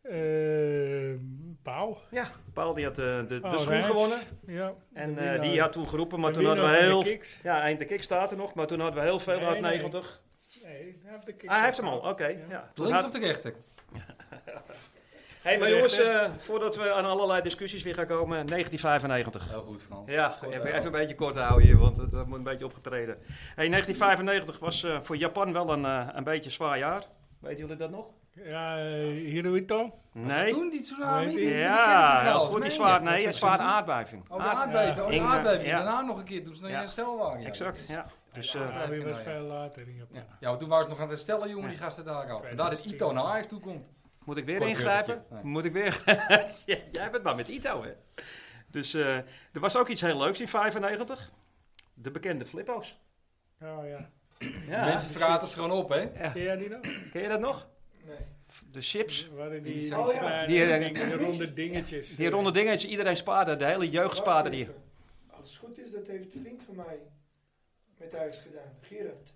Speaker 1: Eh, Pauw.
Speaker 2: Ja, Paul die had eh, de, de
Speaker 1: Paul
Speaker 2: schoen
Speaker 1: Rijts.
Speaker 2: gewonnen.
Speaker 1: Ja.
Speaker 2: En
Speaker 1: Oh, De
Speaker 2: eh, die
Speaker 1: winnaar.
Speaker 2: had toen geroepen, maar
Speaker 1: De
Speaker 2: toen hadden we
Speaker 1: winnaar van
Speaker 2: heel...
Speaker 1: de kicks.
Speaker 2: Ja, eind de kick staat er nog, maar toen hadden we heel veel
Speaker 1: Nee,
Speaker 2: uit
Speaker 1: nee.
Speaker 2: 90.
Speaker 1: Nee, hij heeft de kicks
Speaker 2: Ah, hij heeft hem al,
Speaker 1: ook.
Speaker 2: oké.
Speaker 1: Ja.
Speaker 2: ja.
Speaker 3: De
Speaker 2: Toen
Speaker 3: linker
Speaker 2: had-
Speaker 3: of de rechter?
Speaker 2: hey, maar
Speaker 1: de
Speaker 2: jongens,
Speaker 1: rechter.
Speaker 2: eh, voordat we aan allerlei discussies weer gaan komen, 1995.
Speaker 3: Heel goed Frans.
Speaker 2: Ja,
Speaker 3: Kort
Speaker 2: even,
Speaker 3: aan.
Speaker 2: even een beetje kort houden hier, want het eh, moet een beetje opgetreden. Hey, 1995 was eh, voor Japan wel een, eh, een beetje zwaar jaar. Weten jullie dat nog?
Speaker 1: Ja, eh, Hirohito.
Speaker 2: Nee.
Speaker 3: Toen die tsunami? die- die
Speaker 2: Ja,
Speaker 3: kennen ze wel.
Speaker 2: heel goed, die
Speaker 3: Nee,
Speaker 2: zwaar,
Speaker 3: dat
Speaker 2: nee,
Speaker 3: is
Speaker 2: zwaar
Speaker 3: tsunami.
Speaker 2: aardbeving.
Speaker 3: Oh, de
Speaker 1: Aard-
Speaker 3: aardbeving. Oh,
Speaker 2: Ah,
Speaker 3: de
Speaker 2: Ja.
Speaker 3: aardbeving.
Speaker 2: Ja.
Speaker 3: Daarna nog een keer toen ze nog in
Speaker 2: Ja.
Speaker 3: herstel waren. Ja,
Speaker 2: Exact,
Speaker 3: dat is-
Speaker 2: ja. Dus, eh,
Speaker 1: Ja, Ah, die
Speaker 3: ja,
Speaker 1: was
Speaker 3: ja.
Speaker 1: veel later in Japan.
Speaker 3: Ja. ja, want toen waren ze nog aan het herstellen, jongen,
Speaker 2: Ja.
Speaker 3: die gasten daar al. Vandaar dat Ito naar Ajax toe komt.
Speaker 2: Moet ik weer
Speaker 3: Kort
Speaker 2: ingrijpen?
Speaker 3: bruggetje. Nee.
Speaker 2: Moet ik weer? [laughs] Ja, Jij bent maar met Ito, hè? Dus eh, er was ook iets heel leuks in 95. De bekende flippo's.
Speaker 1: Oh ja.
Speaker 2: Ja.
Speaker 3: Mensen verraten ze gewoon op, hè?
Speaker 1: Ken jij die nog?
Speaker 2: Ken je dat nog?
Speaker 4: Nee.
Speaker 2: De chips.
Speaker 1: Waren die,
Speaker 3: Die-
Speaker 1: die,
Speaker 4: oh ja.
Speaker 1: kleine
Speaker 2: Die-
Speaker 1: dingen, die ronde dingetjes.
Speaker 2: Die ronde dingetjes. Iedereen spaarde. De hele jeugd spaarde die.
Speaker 4: Wacht even. Als het goed is, dat heeft een vriend van mij met Ajax gedaan. Gerard.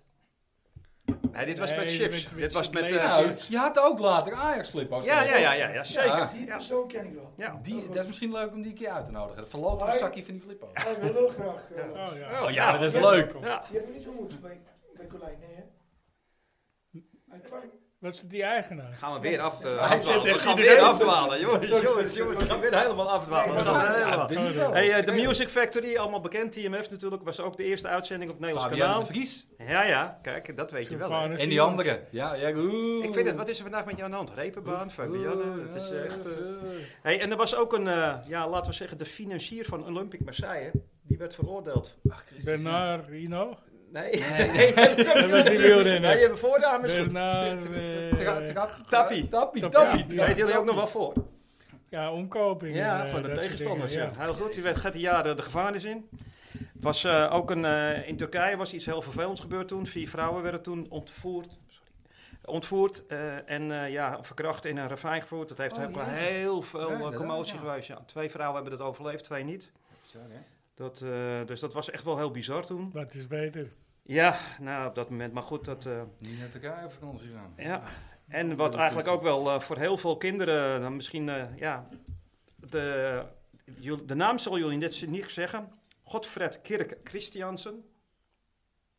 Speaker 2: Nee, dit was
Speaker 1: Nee,
Speaker 2: met
Speaker 1: met-
Speaker 2: chips.
Speaker 1: met
Speaker 2: dit was met...
Speaker 1: chips.
Speaker 2: eh,
Speaker 3: Nou, je had ook later Ajax-flippo's.
Speaker 2: ja, ja, ja, ja, ja, zeker.
Speaker 3: Ja.
Speaker 4: Die
Speaker 2: Ja.
Speaker 4: persoon ken ik wel.
Speaker 2: Ja.
Speaker 3: Die, dat is misschien leuk om die een keer uit te nodigen. Dat verloopt een
Speaker 4: Hoi.
Speaker 3: zakje van die flippo's.
Speaker 4: Hij wil heel graag. eh,
Speaker 2: Ja.
Speaker 4: Lars.
Speaker 1: Oh ja.
Speaker 2: Oh, ja, dat
Speaker 4: is leuk.
Speaker 1: Ja.
Speaker 2: Ja.
Speaker 4: Je hebt me niet ontmoet bij, bij Colijn, nee hè? Hij kwam.
Speaker 1: Was het die eigenaar?
Speaker 2: Gaan we weer af, eh,
Speaker 4: Hij
Speaker 2: afdwalen.
Speaker 3: zit
Speaker 2: We
Speaker 3: echt
Speaker 2: gaan
Speaker 3: iedereen.
Speaker 2: weer afdwalen. Jongens,
Speaker 4: Sorry, sorry,
Speaker 2: jongens, jongens. We gaan weer helemaal afdwalen. We
Speaker 4: Nee,
Speaker 2: gaan
Speaker 4: maar-
Speaker 2: helemaal-
Speaker 3: weet ik wel.
Speaker 2: Hey, eh, de
Speaker 3: Ik weet
Speaker 2: Music Factory, allemaal bekend, TMF natuurlijk, was ook de eerste uitzending op het
Speaker 3: wel.
Speaker 2: Nederlands
Speaker 3: Fabian de
Speaker 2: kanaal.
Speaker 3: Vries.
Speaker 2: Ja, ja, kijk, dat weet je wel. hè.
Speaker 1: Sylvanus
Speaker 3: En die
Speaker 1: Simons.
Speaker 3: andere. Ja, ja, oeh.
Speaker 2: Ik vind het, wat is er vandaag met jou aan de hand? Repenbaan, Fabian,
Speaker 3: Oeh,
Speaker 2: dat is
Speaker 3: ja,
Speaker 2: echt... eh.
Speaker 3: eh,
Speaker 2: Hey, en er was ook een, eh, ja, laten we zeggen, de financier van Olympic Marseille, die werd veroordeeld.
Speaker 3: Ach, Christus.
Speaker 2: [laughs]
Speaker 1: Bernard Rino.
Speaker 2: Nee, [laughs] nee, dat
Speaker 1: was die wielrenner.
Speaker 2: Nee, je hebt voornaam is goed.
Speaker 1: Bernard...
Speaker 3: Tra-
Speaker 1: eh,
Speaker 3: tra-
Speaker 2: Tappie.
Speaker 3: Tappie,
Speaker 1: Tappie.
Speaker 3: tappie.
Speaker 1: Ja.
Speaker 2: Daar weten jullie ook nog wel voor.
Speaker 1: Ja, omkoping.
Speaker 2: Ja,
Speaker 1: en, eh,
Speaker 2: van de
Speaker 1: dat soort
Speaker 2: tegenstanders.
Speaker 1: dingen,
Speaker 2: Ja. Heel goed, die werd gaat die jaren de gevangenis in. Was, eh, ook een, eh, in Turkije was iets heel vervelends gebeurd toen. Vier vrouwen werden toen ontvoerd. Sorry. Ontvoerd eh, en eh, ja, verkracht in een ravijn gevoerd. Dat heeft
Speaker 3: Oh,
Speaker 2: ook wel
Speaker 3: jezus.
Speaker 2: heel veel
Speaker 3: Ja,
Speaker 2: eh,
Speaker 3: inderdaad,
Speaker 2: commotie
Speaker 3: ja.
Speaker 2: geweest. Ja. Twee vrouwen hebben dat overleefd, twee niet. Dat, eh, dus dat was echt wel heel bizar toen.
Speaker 1: Wat is beter?
Speaker 2: Ja, nou op dat moment. Maar goed, dat. eh,
Speaker 3: Niet naar elkaar op vakantie gaan.
Speaker 2: ja. En wat eigenlijk ook wel eh, voor heel veel kinderen, dan misschien, eh, ja. De, jul- de naam zullen jullie net niet zeggen. Godfred Kirk Christiansen.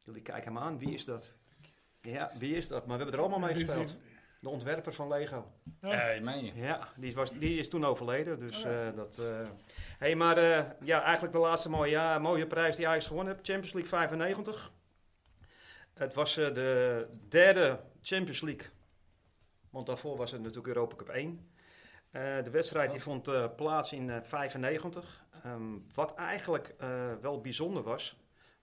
Speaker 2: Jullie kijken hem aan, wie is dat? Ja, wie is dat? Maar we hebben er allemaal mee
Speaker 1: Wie is
Speaker 2: gespeeld. De ontwerper van Lego.
Speaker 1: Ja.
Speaker 3: Eh, meen je?
Speaker 2: Ja, die, was, die is toen overleden. Dus
Speaker 3: Oh,
Speaker 2: eh, dat. eh, hey, maar eh, ja, eigenlijk de laatste mooie, ja, mooie prijs die Ajax gewonnen heeft: Champions League 95. Het was eh, de derde Champions League. Want daarvoor was het natuurlijk Europa Cup 1. Eh, de wedstrijd
Speaker 1: Oh.
Speaker 2: die vond eh, plaats in eh, 95. Ehm, wat eigenlijk eh, wel bijzonder was,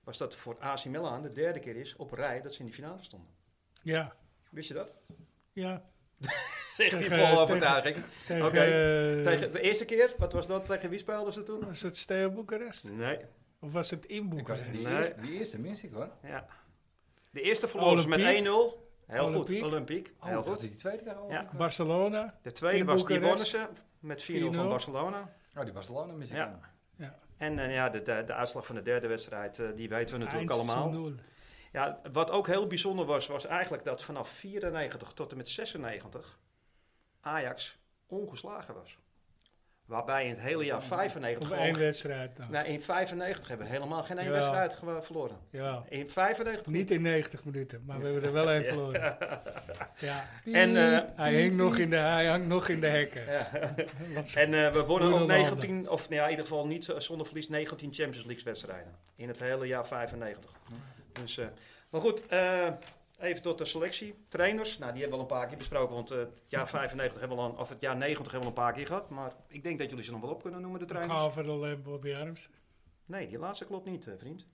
Speaker 2: was dat voor AC Milan de derde keer is op rij dat ze in de finale stonden.
Speaker 1: Ja,
Speaker 2: Wist je dat?
Speaker 1: ja.
Speaker 2: Zegt hij
Speaker 1: Tegen-
Speaker 2: vol overtuiging.
Speaker 1: Tegen,
Speaker 2: Oké.
Speaker 1: eh,
Speaker 2: Tegen, de eerste keer, wat was dat? Tegen wie speelden ze toen?
Speaker 1: Was het Steaua Boekarest?
Speaker 2: Nee.
Speaker 1: Of was het in
Speaker 3: Ik was,
Speaker 1: Boekarest?
Speaker 3: die,
Speaker 2: Nee.
Speaker 3: eerste, die eerste mis ik hoor.
Speaker 2: Ja. De eerste verloren ze met 1-0.
Speaker 1: Olympiek.
Speaker 2: Heel
Speaker 1: Olympiek.
Speaker 2: goed, Olympiek.
Speaker 3: Oh,
Speaker 2: Heel
Speaker 3: dat was
Speaker 2: goed.
Speaker 3: die tweede daar al.
Speaker 2: Ja.
Speaker 3: ook was.
Speaker 1: Barcelona?
Speaker 2: De tweede
Speaker 1: In
Speaker 2: was die wonnen
Speaker 1: Boekarest.
Speaker 2: ze met 4-0 van
Speaker 1: 4-0.
Speaker 2: Barcelona.
Speaker 3: Oh, die Barcelona mis ik
Speaker 2: Ja.
Speaker 3: aan.
Speaker 2: En eh, ja, de, de, de uitslag van de derde wedstrijd, eh, die weten we natuurlijk allemaal.
Speaker 1: 1-0.
Speaker 2: Ja, wat ook heel bijzonder was, was eigenlijk dat vanaf 94 tot en met 96 Ajax ongeslagen was. Waarbij in het hele jaar 95
Speaker 1: Op
Speaker 2: gewoon...
Speaker 1: één wedstrijd dan.
Speaker 2: Nou, in 95 hebben we helemaal geen één
Speaker 1: Ja.
Speaker 2: wedstrijd ge- verloren.
Speaker 1: Ja.
Speaker 2: In 95
Speaker 1: Niet in 90 minuten, maar we hebben er wel
Speaker 2: [laughs]
Speaker 1: één verloren. Ja.
Speaker 2: En, eh,
Speaker 1: Hij, hing nog in de, hij hangt nog in de hekken. [laughs]
Speaker 2: Ja.
Speaker 1: Want-
Speaker 2: En eh, we wonnen
Speaker 1: Goeie
Speaker 2: ook
Speaker 1: dan
Speaker 2: 19, of nou ja, in ieder geval niet eh, zonder verlies, 19 Champions League wedstrijden. In het hele jaar 95. Dus, eh, maar goed, eh, even tot de selectie. Trainers, nou die hebben we al een paar keer besproken, want eh, het jaar 95 hebben we al, een- of het jaar 90 hebben we al een paar keer gehad. Maar ik denk dat jullie ze nog wel op kunnen noemen, de trainers.
Speaker 1: Gaal van de Lem, Bobby Arms.
Speaker 2: Nee, die laatste klopt niet, eh, vriend.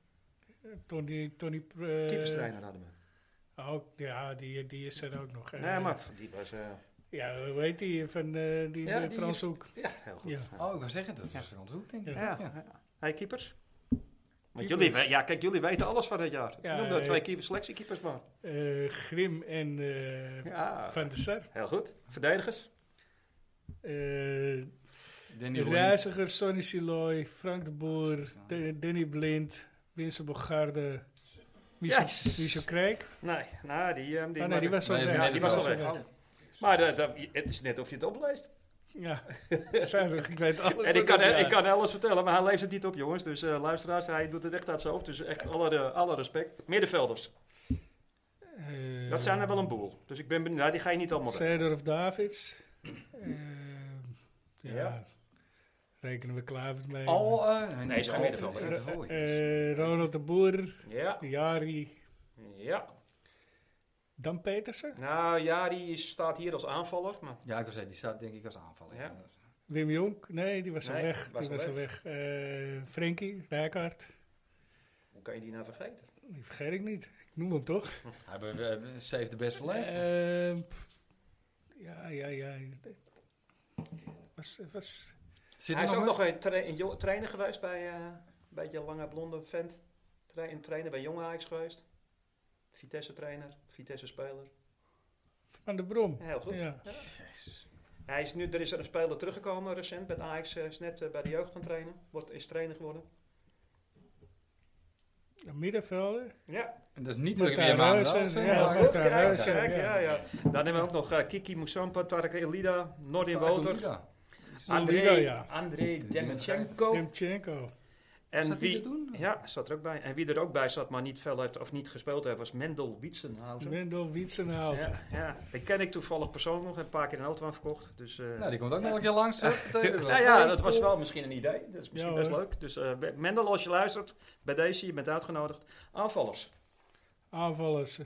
Speaker 1: Tony, Tony eh,
Speaker 2: Keeperstrainer hadden we.
Speaker 1: Ook, ja, die, die is er ook nog. Eh,
Speaker 2: nee, maar die was, eh,
Speaker 1: Ja, hoe heet die? Van eh, die
Speaker 2: Ja,
Speaker 1: eh,
Speaker 2: die-
Speaker 1: Frans Hoek.
Speaker 2: ja, heel goed.
Speaker 1: Ja.
Speaker 3: Oh, ik wou zeggen, dat was Frans Hoek, denk ik.
Speaker 2: Ja.
Speaker 3: Ja.
Speaker 2: Hey, keepers. Want
Speaker 1: Keepers.
Speaker 2: jullie, we- ja, kijk, jullie weten alles van het jaar.
Speaker 1: Ja,
Speaker 2: Noem dat
Speaker 1: eh,
Speaker 2: twee keepers, selectiekeepers maar.
Speaker 1: Eh, Grim en eh,
Speaker 2: Ja,
Speaker 1: Van der Sar.
Speaker 2: heel goed. Verdedigers.
Speaker 1: Eh
Speaker 3: Danny Roy.
Speaker 1: Reiziger, Sonny Siloy, Frank de Boer, De- Danny Blind, Vincent Bogarde, Michel,
Speaker 2: Yes.
Speaker 1: Michel Kreek.
Speaker 2: Nee, nou, die, ehm, die,
Speaker 1: Ah, nee, die was al
Speaker 3: Nee,
Speaker 1: weg.
Speaker 2: ja, die was al weg.
Speaker 3: Oh,
Speaker 2: Maar dat- dat- het is net of je het opleest.
Speaker 1: Ja, [laughs] Zuider, ik weet alles.
Speaker 2: En ik
Speaker 1: van
Speaker 2: kan,
Speaker 1: dat
Speaker 2: ik
Speaker 1: jaar.
Speaker 2: kan alles vertellen, maar hij leest het niet op, jongens. Dus eh, luisteraars, hij doet het echt uit zijn hoofd. Dus echt alle, eh, alle respect. Middenvelders.
Speaker 1: Eh,
Speaker 2: Dat zijn er wel een boel. Dus ik ben benieuwd. Nou, die ga je niet allemaal weten.
Speaker 1: Seedorf Eh, Davids. Eh, ja.
Speaker 2: Ja.
Speaker 1: Rekenen we Klavert mee.
Speaker 3: Al, eh, nee,
Speaker 2: Nee, is geen
Speaker 3: Al-
Speaker 2: middenvelder.
Speaker 3: Van de Rooij.
Speaker 1: Eh, eh, Ronald de Boer,
Speaker 2: Ja,
Speaker 1: Jari,
Speaker 2: ja.
Speaker 1: Dan Petersen,
Speaker 2: Nou, ja, die is- staat hier als aanvaller. Maar
Speaker 3: Ja, ik wou zeggen, die staat denk ik als aanvaller.
Speaker 2: Ja.
Speaker 1: Wim Jonk. Nee, die was al
Speaker 2: Nee,
Speaker 1: weg.
Speaker 2: was
Speaker 1: die
Speaker 2: al
Speaker 1: was al weg. Eh, Frenkie, Rijkaard.
Speaker 2: hoe kan je die nou vergeten?
Speaker 1: Die vergeet ik niet. Ik noem hem toch?
Speaker 3: Hij be- saved de best verlijst.
Speaker 1: Ehm, pff, ja, ja, ja. Was, was,
Speaker 3: Zit
Speaker 2: hij
Speaker 3: er
Speaker 2: is ook
Speaker 3: nog
Speaker 2: nog een, tra- een jo- trainer geweest bij eh, een beetje een lange blonde vent. Tra- een trainer bij Jong Ajax geweest. Vitesse trainer, Vitesse speler.
Speaker 1: van de Brom.
Speaker 2: Heel goed.
Speaker 1: Ja.
Speaker 3: Jezus.
Speaker 2: Hij is nu, er is een speler teruggekomen recent met Ajax. eh, is net eh, bij de jeugd gaan trainen. Wordt, is trainer geworden.
Speaker 1: Een middenvelder.
Speaker 2: Ja,
Speaker 3: En dat is niet
Speaker 1: Met
Speaker 3: meer
Speaker 1: daar
Speaker 3: Maandel,
Speaker 1: Reuzen,
Speaker 3: zeg
Speaker 1: ja,
Speaker 3: maar.
Speaker 1: goed.
Speaker 2: kijk,
Speaker 1: daar
Speaker 2: kijk,
Speaker 1: is hij,
Speaker 2: kijk, ja,
Speaker 1: ja.
Speaker 2: ja. Dan hebben we ook nog eh, Kiki Moussampa, Tarek Elida, Nordin Woter,
Speaker 3: Ja.
Speaker 2: André,
Speaker 1: Elida, ja.
Speaker 2: André Demchenko.
Speaker 1: Demchenko.
Speaker 2: En
Speaker 3: Zat die
Speaker 2: wie,
Speaker 3: er toen?
Speaker 2: ja, zat er ook bij. En wie er ook bij zat, maar niet veel heeft of niet gespeeld heeft, was Mendel Wietsenhausen.
Speaker 1: Wendel Wietsenhuis.
Speaker 2: Ja, ja, die ken ik toevallig persoonlijk nog. Heb een paar keer een auto aan verkocht. Dus, eh,
Speaker 3: Nou, die komt ook nog een keer langs. hè. Dat betekent wel.
Speaker 2: nou ja,
Speaker 3: Twee,
Speaker 2: dat was
Speaker 3: cool.
Speaker 2: wel misschien een idee. Dat is misschien
Speaker 1: Ja,
Speaker 2: best
Speaker 1: hoor.
Speaker 2: leuk. Dus eh, Mendel, als je luistert, bij deze, je bent uitgenodigd. Aanvallers.
Speaker 1: Aanvallers.